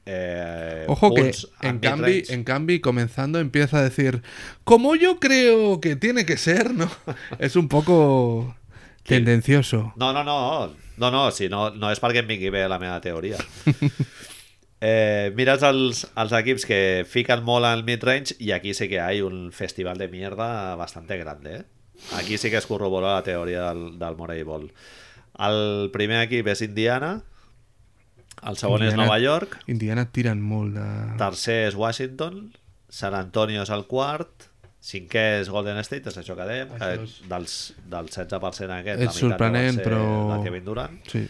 S1: eh,
S2: Ojo que,
S1: punts
S2: en canvi,
S1: mid-range-
S2: en canvi, comenzando, empieza a decir como yo creo que tiene que ser, ¿no? es un poco tendencioso.
S1: No, no, no. No, no, si no, no és perquè em vingui bé la meva teoria. Eh, mires els, els equips que fiquen molt al mid-range i aquí sí que hi ha un festival de mierda bastante grande. Eh? Aquí sí que es corrobora la teoria del, del Morey Ball. El primer equip és Indiana, el segon és
S2: Indiana-
S1: Nova York,
S2: Indiana tiran molt de...
S1: tercer és Washington, San Antonio és el quart, cinquè és Golden State, és això que dèiem, que
S2: Això és-
S1: dels, del 16% aquest,
S2: És
S1: la meitat deu
S2: sorprenent,
S1: ser
S2: però-
S1: de Kevin Durant.
S2: Sí.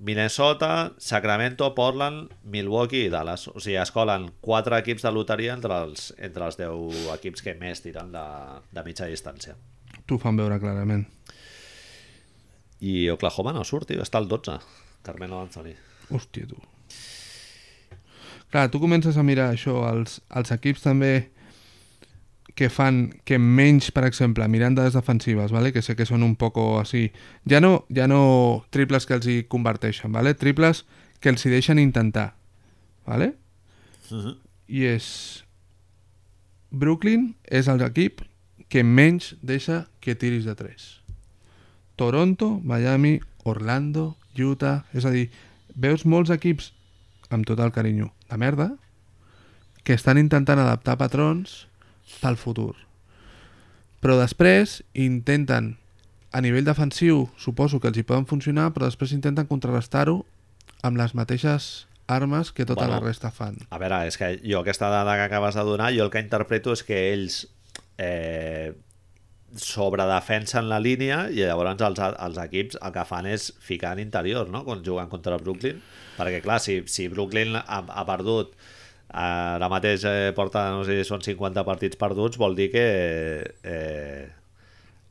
S1: Minnesota, Sacramento, Portland, Milwaukee i Dallas. O sigui, es colen quatre equips de loteria entre els, entre els 10 equips que més tiren de, de mitja distància.
S2: T'ho fan veure clarament.
S1: I Oklahoma no surt, tio, està al 12. Carmelo Anthony.
S2: Hòstia, tu. Clar, tu comences a mirar això, els, els equips també que fan que menys, per exemple, mirandades defensives, vale? que sé que són un poco així, ja no, ja no triples que els hi converteixen, vale? triples que els hi deixen intentar. Vale? I és... Brooklyn és el equip que menys deixa que tiris de 3. Toronto, Miami, Orlando, Utah... És a dir, veus molts equips, amb tot el carinyo, de merda, que estan intentant adaptar patrons pel futur. Però després intenten, a nivell defensiu, suposo que els hi poden funcionar, però després intenten contrarrestar-ho amb les mateixes armes que tota
S1: Bueno,
S2: la resta fan.
S1: A veure, és que jo aquesta dada que acabes de donar, jo el que interpreto és que ells eh, sobredefensen la línia i llavors els, els equips el que fan és ficar en interior, no?, quan juguen contra el Brooklyn, perquè clar, si, si Brooklyn ha, ha perdut eh, ara mateix eh, porta, no sé si són 50 partits perduts, vol dir que eh,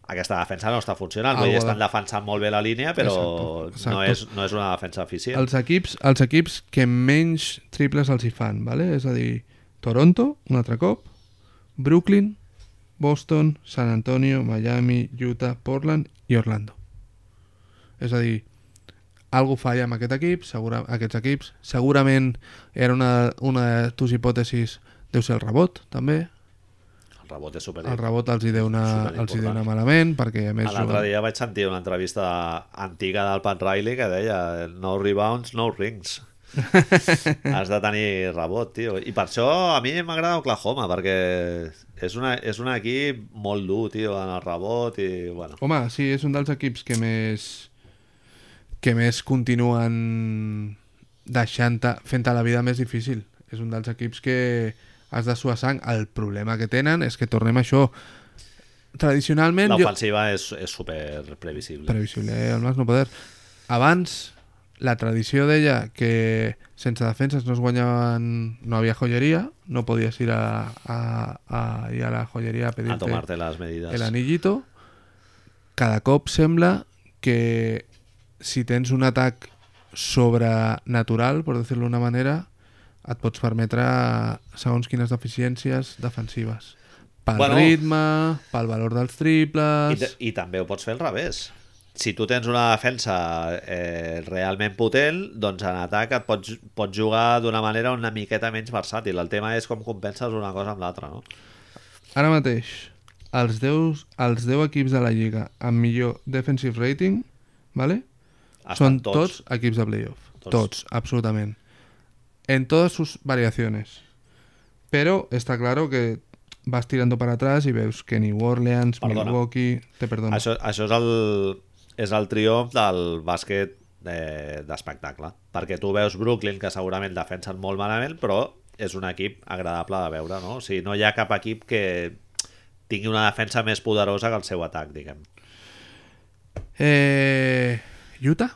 S1: aquesta defensa no està funcionant, vull dir,
S2: Algo de-
S1: estan defensant molt bé la línia, però
S2: Exacto, exacto.
S1: No, és, no és una defensa eficient.
S2: els equips, els equips que menys triples els hi fan, vale? és a dir, Toronto, un altre cop, Brooklyn, Boston, San Antonio, Miami, Utah, Portland i Orlando. És a dir, algo falla amb aquest equip, segura, aquests equips. Segurament era una, una de tus hipòtesis, deu ser el rebot, també.
S1: El rebot és super
S2: El rebot els hi deu anar, els hi deu anar
S1: Superimportant.
S2: malament, perquè a més...
S1: L'altre
S2: juguen-
S1: dia vaig sentir una entrevista antiga del Pat Riley que deia no rebounds, no rings. Has de tenir rebot, tio. I per això a mi m'agrada Oklahoma, perquè és, una, és un equip molt dur, tio, en el rebot i, bueno,
S2: Home, sí, és un dels equips que més que més continuen deixant fent la vida més difícil. És un dels equips que has de suar sang. El problema que tenen és que tornem a això. Tradicionalment... jo-
S1: l'ofensiva és, és super previsible.
S2: Previsible, eh? el más no poder. Abans, la tradició deia que sense defenses no es guanyaven... No havia joieria, no podies ir a, a, a, ahí a la joieria
S1: A
S2: a pedir-te
S1: tomar-te les medides.
S2: el anillito, cada cop sembla que si tens un atac sobrenatural, per dir-ho d'una manera, et pots permetre segons quines deficiències defensives. Pel
S1: Bueno.
S2: ritme, pel valor dels
S1: I,
S2: triples...
S1: ta- I també ho pots fer al revés. si tu tens una defensa eh, realment potent, doncs en atac et pots, pots jugar d'una manera una miqueta menys versàtil. El tema és com compenses una cosa amb l'altra, no?
S2: Ara mateix, els 10, els 10 equips de la Lliga amb millor defensive rating ¿vale?
S1: Estan
S2: son
S1: tots.
S2: tots. equipos de playoff.
S1: Tots.
S2: Tots. absolutamente. En todas sus variaciones. Pero está claro que vas tirando para atrás y ves que New Orleans,
S1: Perdona.
S2: Milwaukee... Te perdono.
S1: Això, això és el, és el triomf del bàsquet eh, d'espectacle. Perquè tu veus Brooklyn, que segurament defensen molt malament, però és un equip agradable de veure, no? O sigui, no hi ha cap equip que tingui una defensa més poderosa que el seu atac, diguem.
S2: Eh, Utah?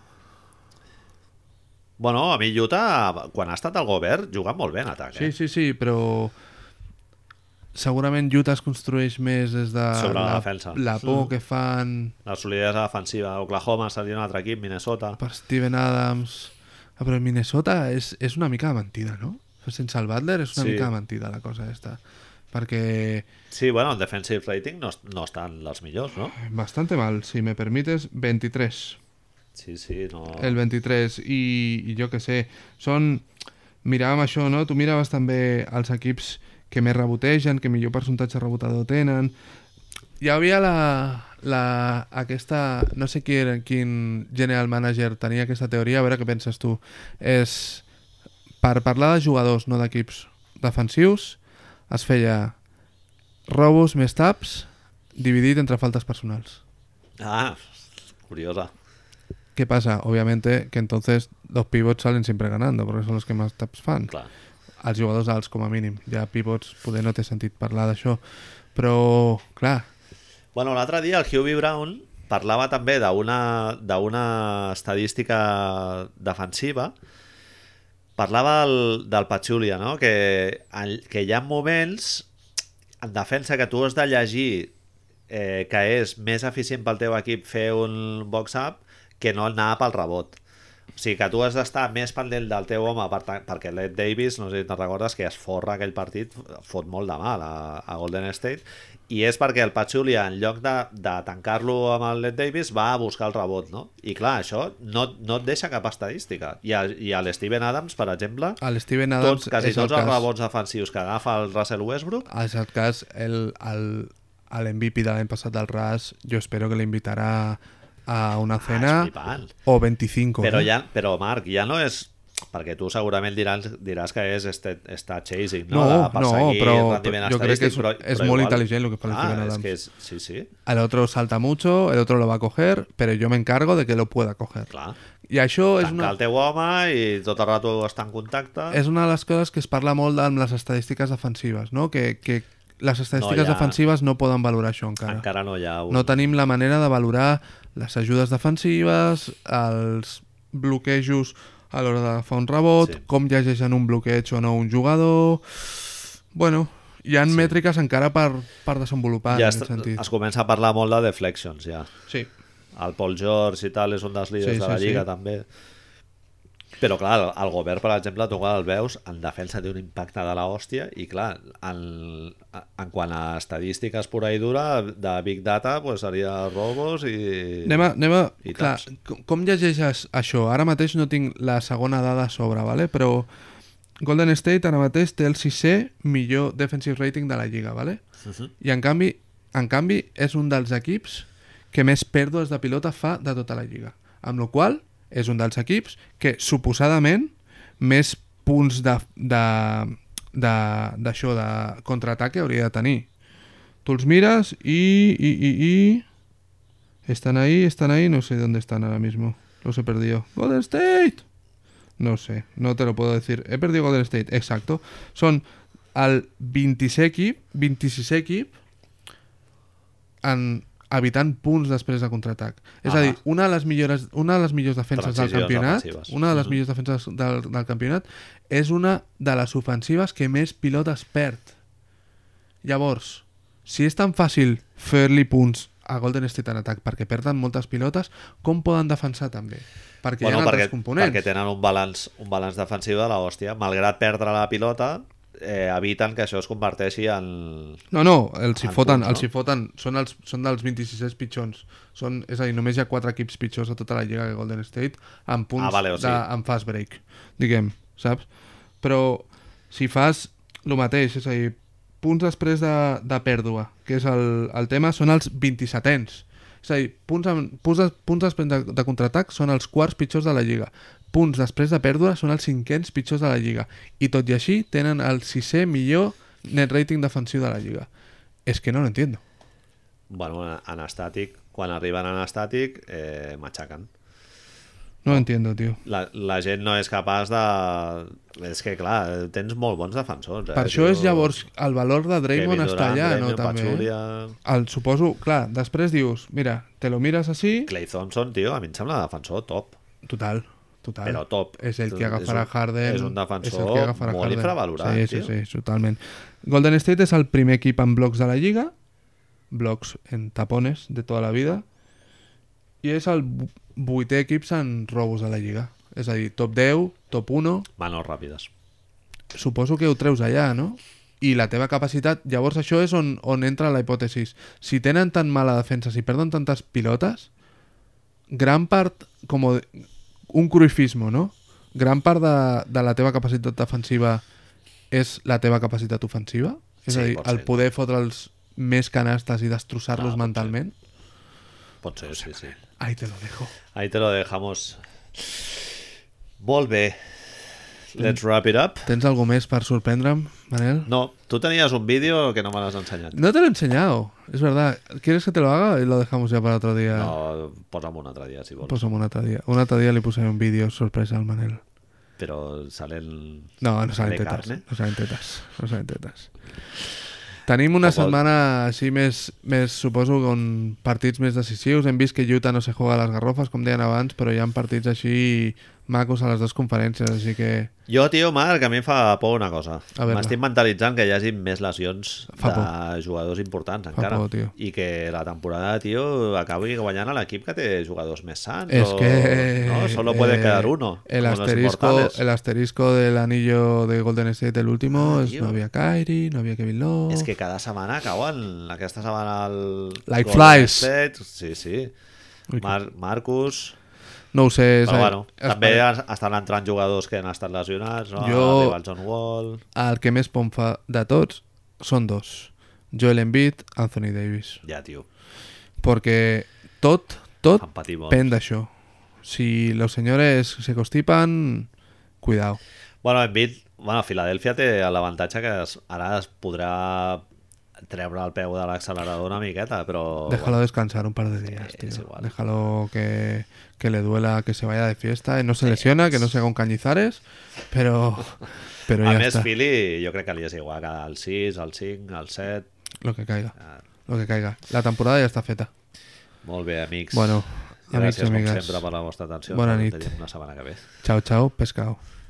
S1: Bueno, a mi Utah, quan ha estat al govern, juga molt bé en atac, eh?
S2: Sí, sí, sí, però segurament Utah es construeix més des de
S1: Sobre la defensa. Mm.
S2: la por que fan
S1: La solidesa defensiva. Oklahoma seria un altre equip, Minnesota.
S2: per Steven Adams... Ah, però Minnesota és, és una mica de mentida, no? Sense el Butler és una
S1: Sí.
S2: mica de mentida la cosa aquesta. Perquè
S1: Sí, bueno, el defensive rating no, es- no estan els millors, no?
S2: Bastante mal, si me permites, 23.
S1: Sí, sí, no...
S2: El 23, i, i jo que sé, són... Miràvem això, no? Tu miraves també els equips que més rebotegen, que millor percentatge rebotador tenen... Hi havia la, la, aquesta... No sé qui era, quin general manager tenia aquesta teoria, a veure què penses tu. És... Per parlar de jugadors, no d'equips defensius, es feia robos més taps dividit entre faltes personals.
S1: Ah, curiosa.
S2: ¿Qué pasa? Obviamente que entonces los pivots salen siempre ganando, porque son los que más taps fan.
S1: Clar.
S2: Els jugadors alts, com a mínim. Ja pivots, poder no t'he sentit parlar d'això. Però, clar,
S1: Bueno, l'altre dia el Hubie Brown parlava també d'una d'una estadística defensiva parlava del, del Pachulia, no? que, en, que hi ha moments en defensa que tu has de llegir eh, que és més eficient pel teu equip fer un box-up que no anar pel rebot. O sigui que tu has d'estar més pendent del teu home per ta- perquè l'Ed Davis, no sé si te'n recordes, que es forra aquell partit, fot molt de mal a, a Golden State, i és perquè el Pachulia, en lloc de, de tancar-lo amb el Led Davis, va a buscar el rebot, no? I clar, això no, no et deixa cap estadística. I, a, i a l'Steven Adams, per exemple,
S2: el Steven Adams
S1: tots, quasi
S2: és el
S1: tots els
S2: cas...
S1: rebots defensius que agafa el Russell Westbrook
S2: És el cas, el, el, el MVP de l'any passat del RAS, jo espero que l'invitarà a
S1: Ah,
S2: una
S1: és
S2: cena
S1: flipant.
S2: o 25.
S1: Però,
S2: eh?
S1: ja, però Marc, ja no és perquè tu segurament diràs, diràs que és este, està chasing, no?
S2: No,
S1: De perseguir
S2: no, però-
S1: rendiment
S2: jo crec que és-
S1: estadístic, però,
S2: és
S1: però
S2: molt
S1: igual-
S2: intel·ligent lo que fa el
S1: ah,
S2: Steven
S1: és
S2: Adams.
S1: que és, sí, sí,
S2: El otro salta mucho, el otro lo va a coger, pero yo me encargo de que lo pueda coger.
S1: clar.
S2: I això és
S1: Tancar
S2: una...
S1: el teu home i tot el rato està en contacte.
S2: és una de les coses que es parla molt amb les estadístiques defensives, no? Que, que les estadístiques
S1: No, ja-
S2: defensives no poden valorar això encara.
S1: Encara no hi ha un...
S2: No tenim la manera de valorar les ajudes defensives, els bloquejos a l'hora d'agafar un rebot,
S1: Sí.
S2: sí. com llegeixen un bloqueig o no un jugador... Bueno, hi ha sí. mètriques encara per, per desenvolupar
S1: ja
S2: ja en
S1: es,
S2: aquest sentit.
S1: es comença a parlar molt de deflections, ja.
S2: Sí.
S1: El Paul George i tal és un dels líders
S2: Sí,
S1: de la
S2: sí,
S1: Lliga,
S2: sí.
S1: també. Però, clar, el, el govern, per exemple, tu quan el veus, en defensa té un impacte de la hòstia i, clar, en, en quant a estadístiques pura i dura, de Big Data, pues, seria robos i...
S2: Anem a, anem a,
S1: I
S2: clar,
S1: taps.
S2: com, com llegeixes això? Ara mateix no tinc la segona dada a sobre, vale? però Golden State ara mateix té el sisè millor defensive rating de la Lliga, vale?
S1: Mhm.
S2: i en canvi, en canvi és un dels equips que més pèrdues de pilota fa de tota la Lliga. Amb la qual cosa, és un dels equips que suposadament més punts de, de, de, d'això, de contraataque hauria de tenir. Tu els mires i, i, i, i... Están ahí, están ahí, no sé dónde están ahora mismo. Los he perdido. Golden State. No sé, no te lo puedo decir. He perdido Golden State, exacto. Son al 26 equip, 26 equip en evitant punts després de contraatac. És
S1: Ah.
S2: a dir, una de les millores, una de les millors defenses del
S1: Transicions
S2: campionat,
S1: defensives.
S2: una de les
S1: Mhm.
S2: millors defenses del, del campionat, és una de les ofensives que més pilotes perd. Llavors, si és tan fàcil fer-li punts a Golden State en atac perquè perden moltes pilotes, com poden defensar també? Perquè hi ha altres
S1: perquè,
S2: components.
S1: perquè tenen un balanç, un balanç defensiu de la hòstia. Malgrat perdre la pilota, eh, eviten que això es converteixi en...
S2: No, no, els hi
S1: Al
S2: foten,
S1: punt,
S2: els
S1: no?
S2: hi foten. Són, els, són dels 26 pitjons. Són, és a dir, només hi ha 4 equips pitjors a tota la lliga que Golden State amb punts
S1: Ah, vale, o sigui-
S2: de, amb fast break, diguem, saps? Però si fas el mateix, és a dir, punts després de, de pèrdua, que és el, el tema, són els 27ens. És a dir, punts, amb, punts, de, punts després de, de contraatac són els quarts pitjors de la Lliga. Punts després de pèrdua són els cinquens pitjors de la Lliga. I tot i així tenen el sisè millor net rating defensiu de la Lliga. És que no lo entiendo.
S1: Bueno, en- en estàtic, quan arriben en estàtic, eh, matxaquen.
S2: No lo entiendo, tío.
S1: La, la gent no és capaç de... És que, clar, tens molt bons defensors. Eh?
S2: Per això és
S1: Tio,
S2: llavors el valor de
S1: Kevin
S2: Draymond està
S1: Durant,
S2: allà, no?
S1: Draymond,
S2: També. eh?
S1: Pachulia,
S2: El, suposo, clar, després dius, mira, te lo mires així,
S1: Clay Thompson, tio, a mi em sembla defensor top.
S2: total, total.
S1: Però top.
S2: És el
S1: És
S2: que
S1: un-
S2: agafarà Harden.
S1: és un defensor
S2: el que agafarà
S1: molt infravalorat,
S2: Sí,
S1: tio.
S2: sí, sí, totalment. Golden State és el primer equip en blocs de la lliga, blocs en tapones de tota la vida, i és el vu- vuitè equip en robos de la lliga. És a dir, top 10, top 1,
S1: Manos ràpides.
S2: suposo que ho treus allà, no? I la teva capacitat... Llavors això és on, on entra la hipòtesi. Si tenen tan mala defensa, si perden tantes pilotes, gran part, com un cruifismo, no? Gran part de, de la teva capacitat defensiva és la teva capacitat ofensiva? És
S1: Sí,
S2: a dir,
S1: pot
S2: el
S1: ser.
S2: poder fotre'ls més canastes i destrossar-los
S1: Ah, pot ser.
S2: mentalment?
S1: Pot ser, sí, sí.
S2: Ahí te lo dejo.
S1: Ahí te lo dejamos. Molt bé. Let's wrap it up.
S2: Tens algú més per sorprendre'm, Manel?
S1: No, tu tenies un vídeo que no me l'has ensenyat.
S2: No te lo he enseñado, es verdad. ¿Quieres que te lo haga y lo dejamos ya para otro día?
S1: No, posa'm un altre dia, si vols.
S2: Posa'm un altre dia. Un altre dia li posaré un vídeo sorpresa al Manel.
S1: Però sale el...
S2: No, no salen
S1: De
S2: tetes.
S1: carne?
S2: No salen tetes. No salen tetes. Tenim una
S1: Tampoc-
S2: setmana així més, més suposo, on partits més decisius. Hem vist que Utah no se juega a les garrofes, com deien abans, però hi ha partits així macos a les dues conferències, així que...
S1: Jo, tio, Marc, a mi em fa por una cosa.
S2: A veure.
S1: M'estic mentalitzant que hi hagi més lesions
S2: Fa
S1: de jugadors importants encara.
S2: por, tio.
S1: I que la temporada, tio, acabi guanyant a l'equip que té jugadors més sants.
S2: Es
S1: o-
S2: que...
S1: No, solo puede
S2: eh,
S1: quedar uno.
S2: El
S1: como los
S2: asterisco,
S1: inmortales.
S2: el asterisco del anillo de Golden State, el último,
S1: Ah,
S2: es,
S1: tio.
S2: no havia Kyrie, no havia Kevin Love...
S1: És que cada setmana cauen. Aquesta setmana el...
S2: Like
S1: Golden
S2: flies.
S1: State. Sí, sí.
S2: Ui,
S1: Mar Marcus...
S2: No ho sé... és
S1: Però
S2: a-
S1: bueno, també
S2: espera-
S1: es- estan entrant jugadors que han estat lesionats, no?
S2: Jo-
S1: Arriba el John Wall...
S2: el que més pom fa de tots són dos. Joel Embiid, Anthony Davis.
S1: Ja, tio,
S2: Perquè tot, tot
S1: han patit molt.
S2: pen d'això. Si los señores se constipan, cuidao.
S1: Bueno, Embiid, bueno, Filadèlfia té l'avantatge que es, ara es podrà treure el peu de l'accelerador una miqueta, però...
S2: Déjalo descansar un par de días,
S1: Eh,
S2: tío.
S1: Oh, es igual.
S2: Déjalo que, que le duela, que se vaya de fiesta, y no se lesiona, que no se haga un cañizares, pero, pero
S1: Bueno, a
S2: ya
S1: més,
S2: está.
S1: Philly jo crec que li és igual que el 6, el 5, el 7...
S2: Lo que
S1: Ah.
S2: caiga. Lo que caiga. La temporada ya está feta.
S1: Molt bé, amics.
S2: Bueno, amics i
S1: Gràcies, com
S2: amigues.
S1: sempre, per la vostra atenció.
S2: Bona
S1: Ens
S2: nit.
S1: veiem Una setmana que ve.
S2: Chao, chao, pescado.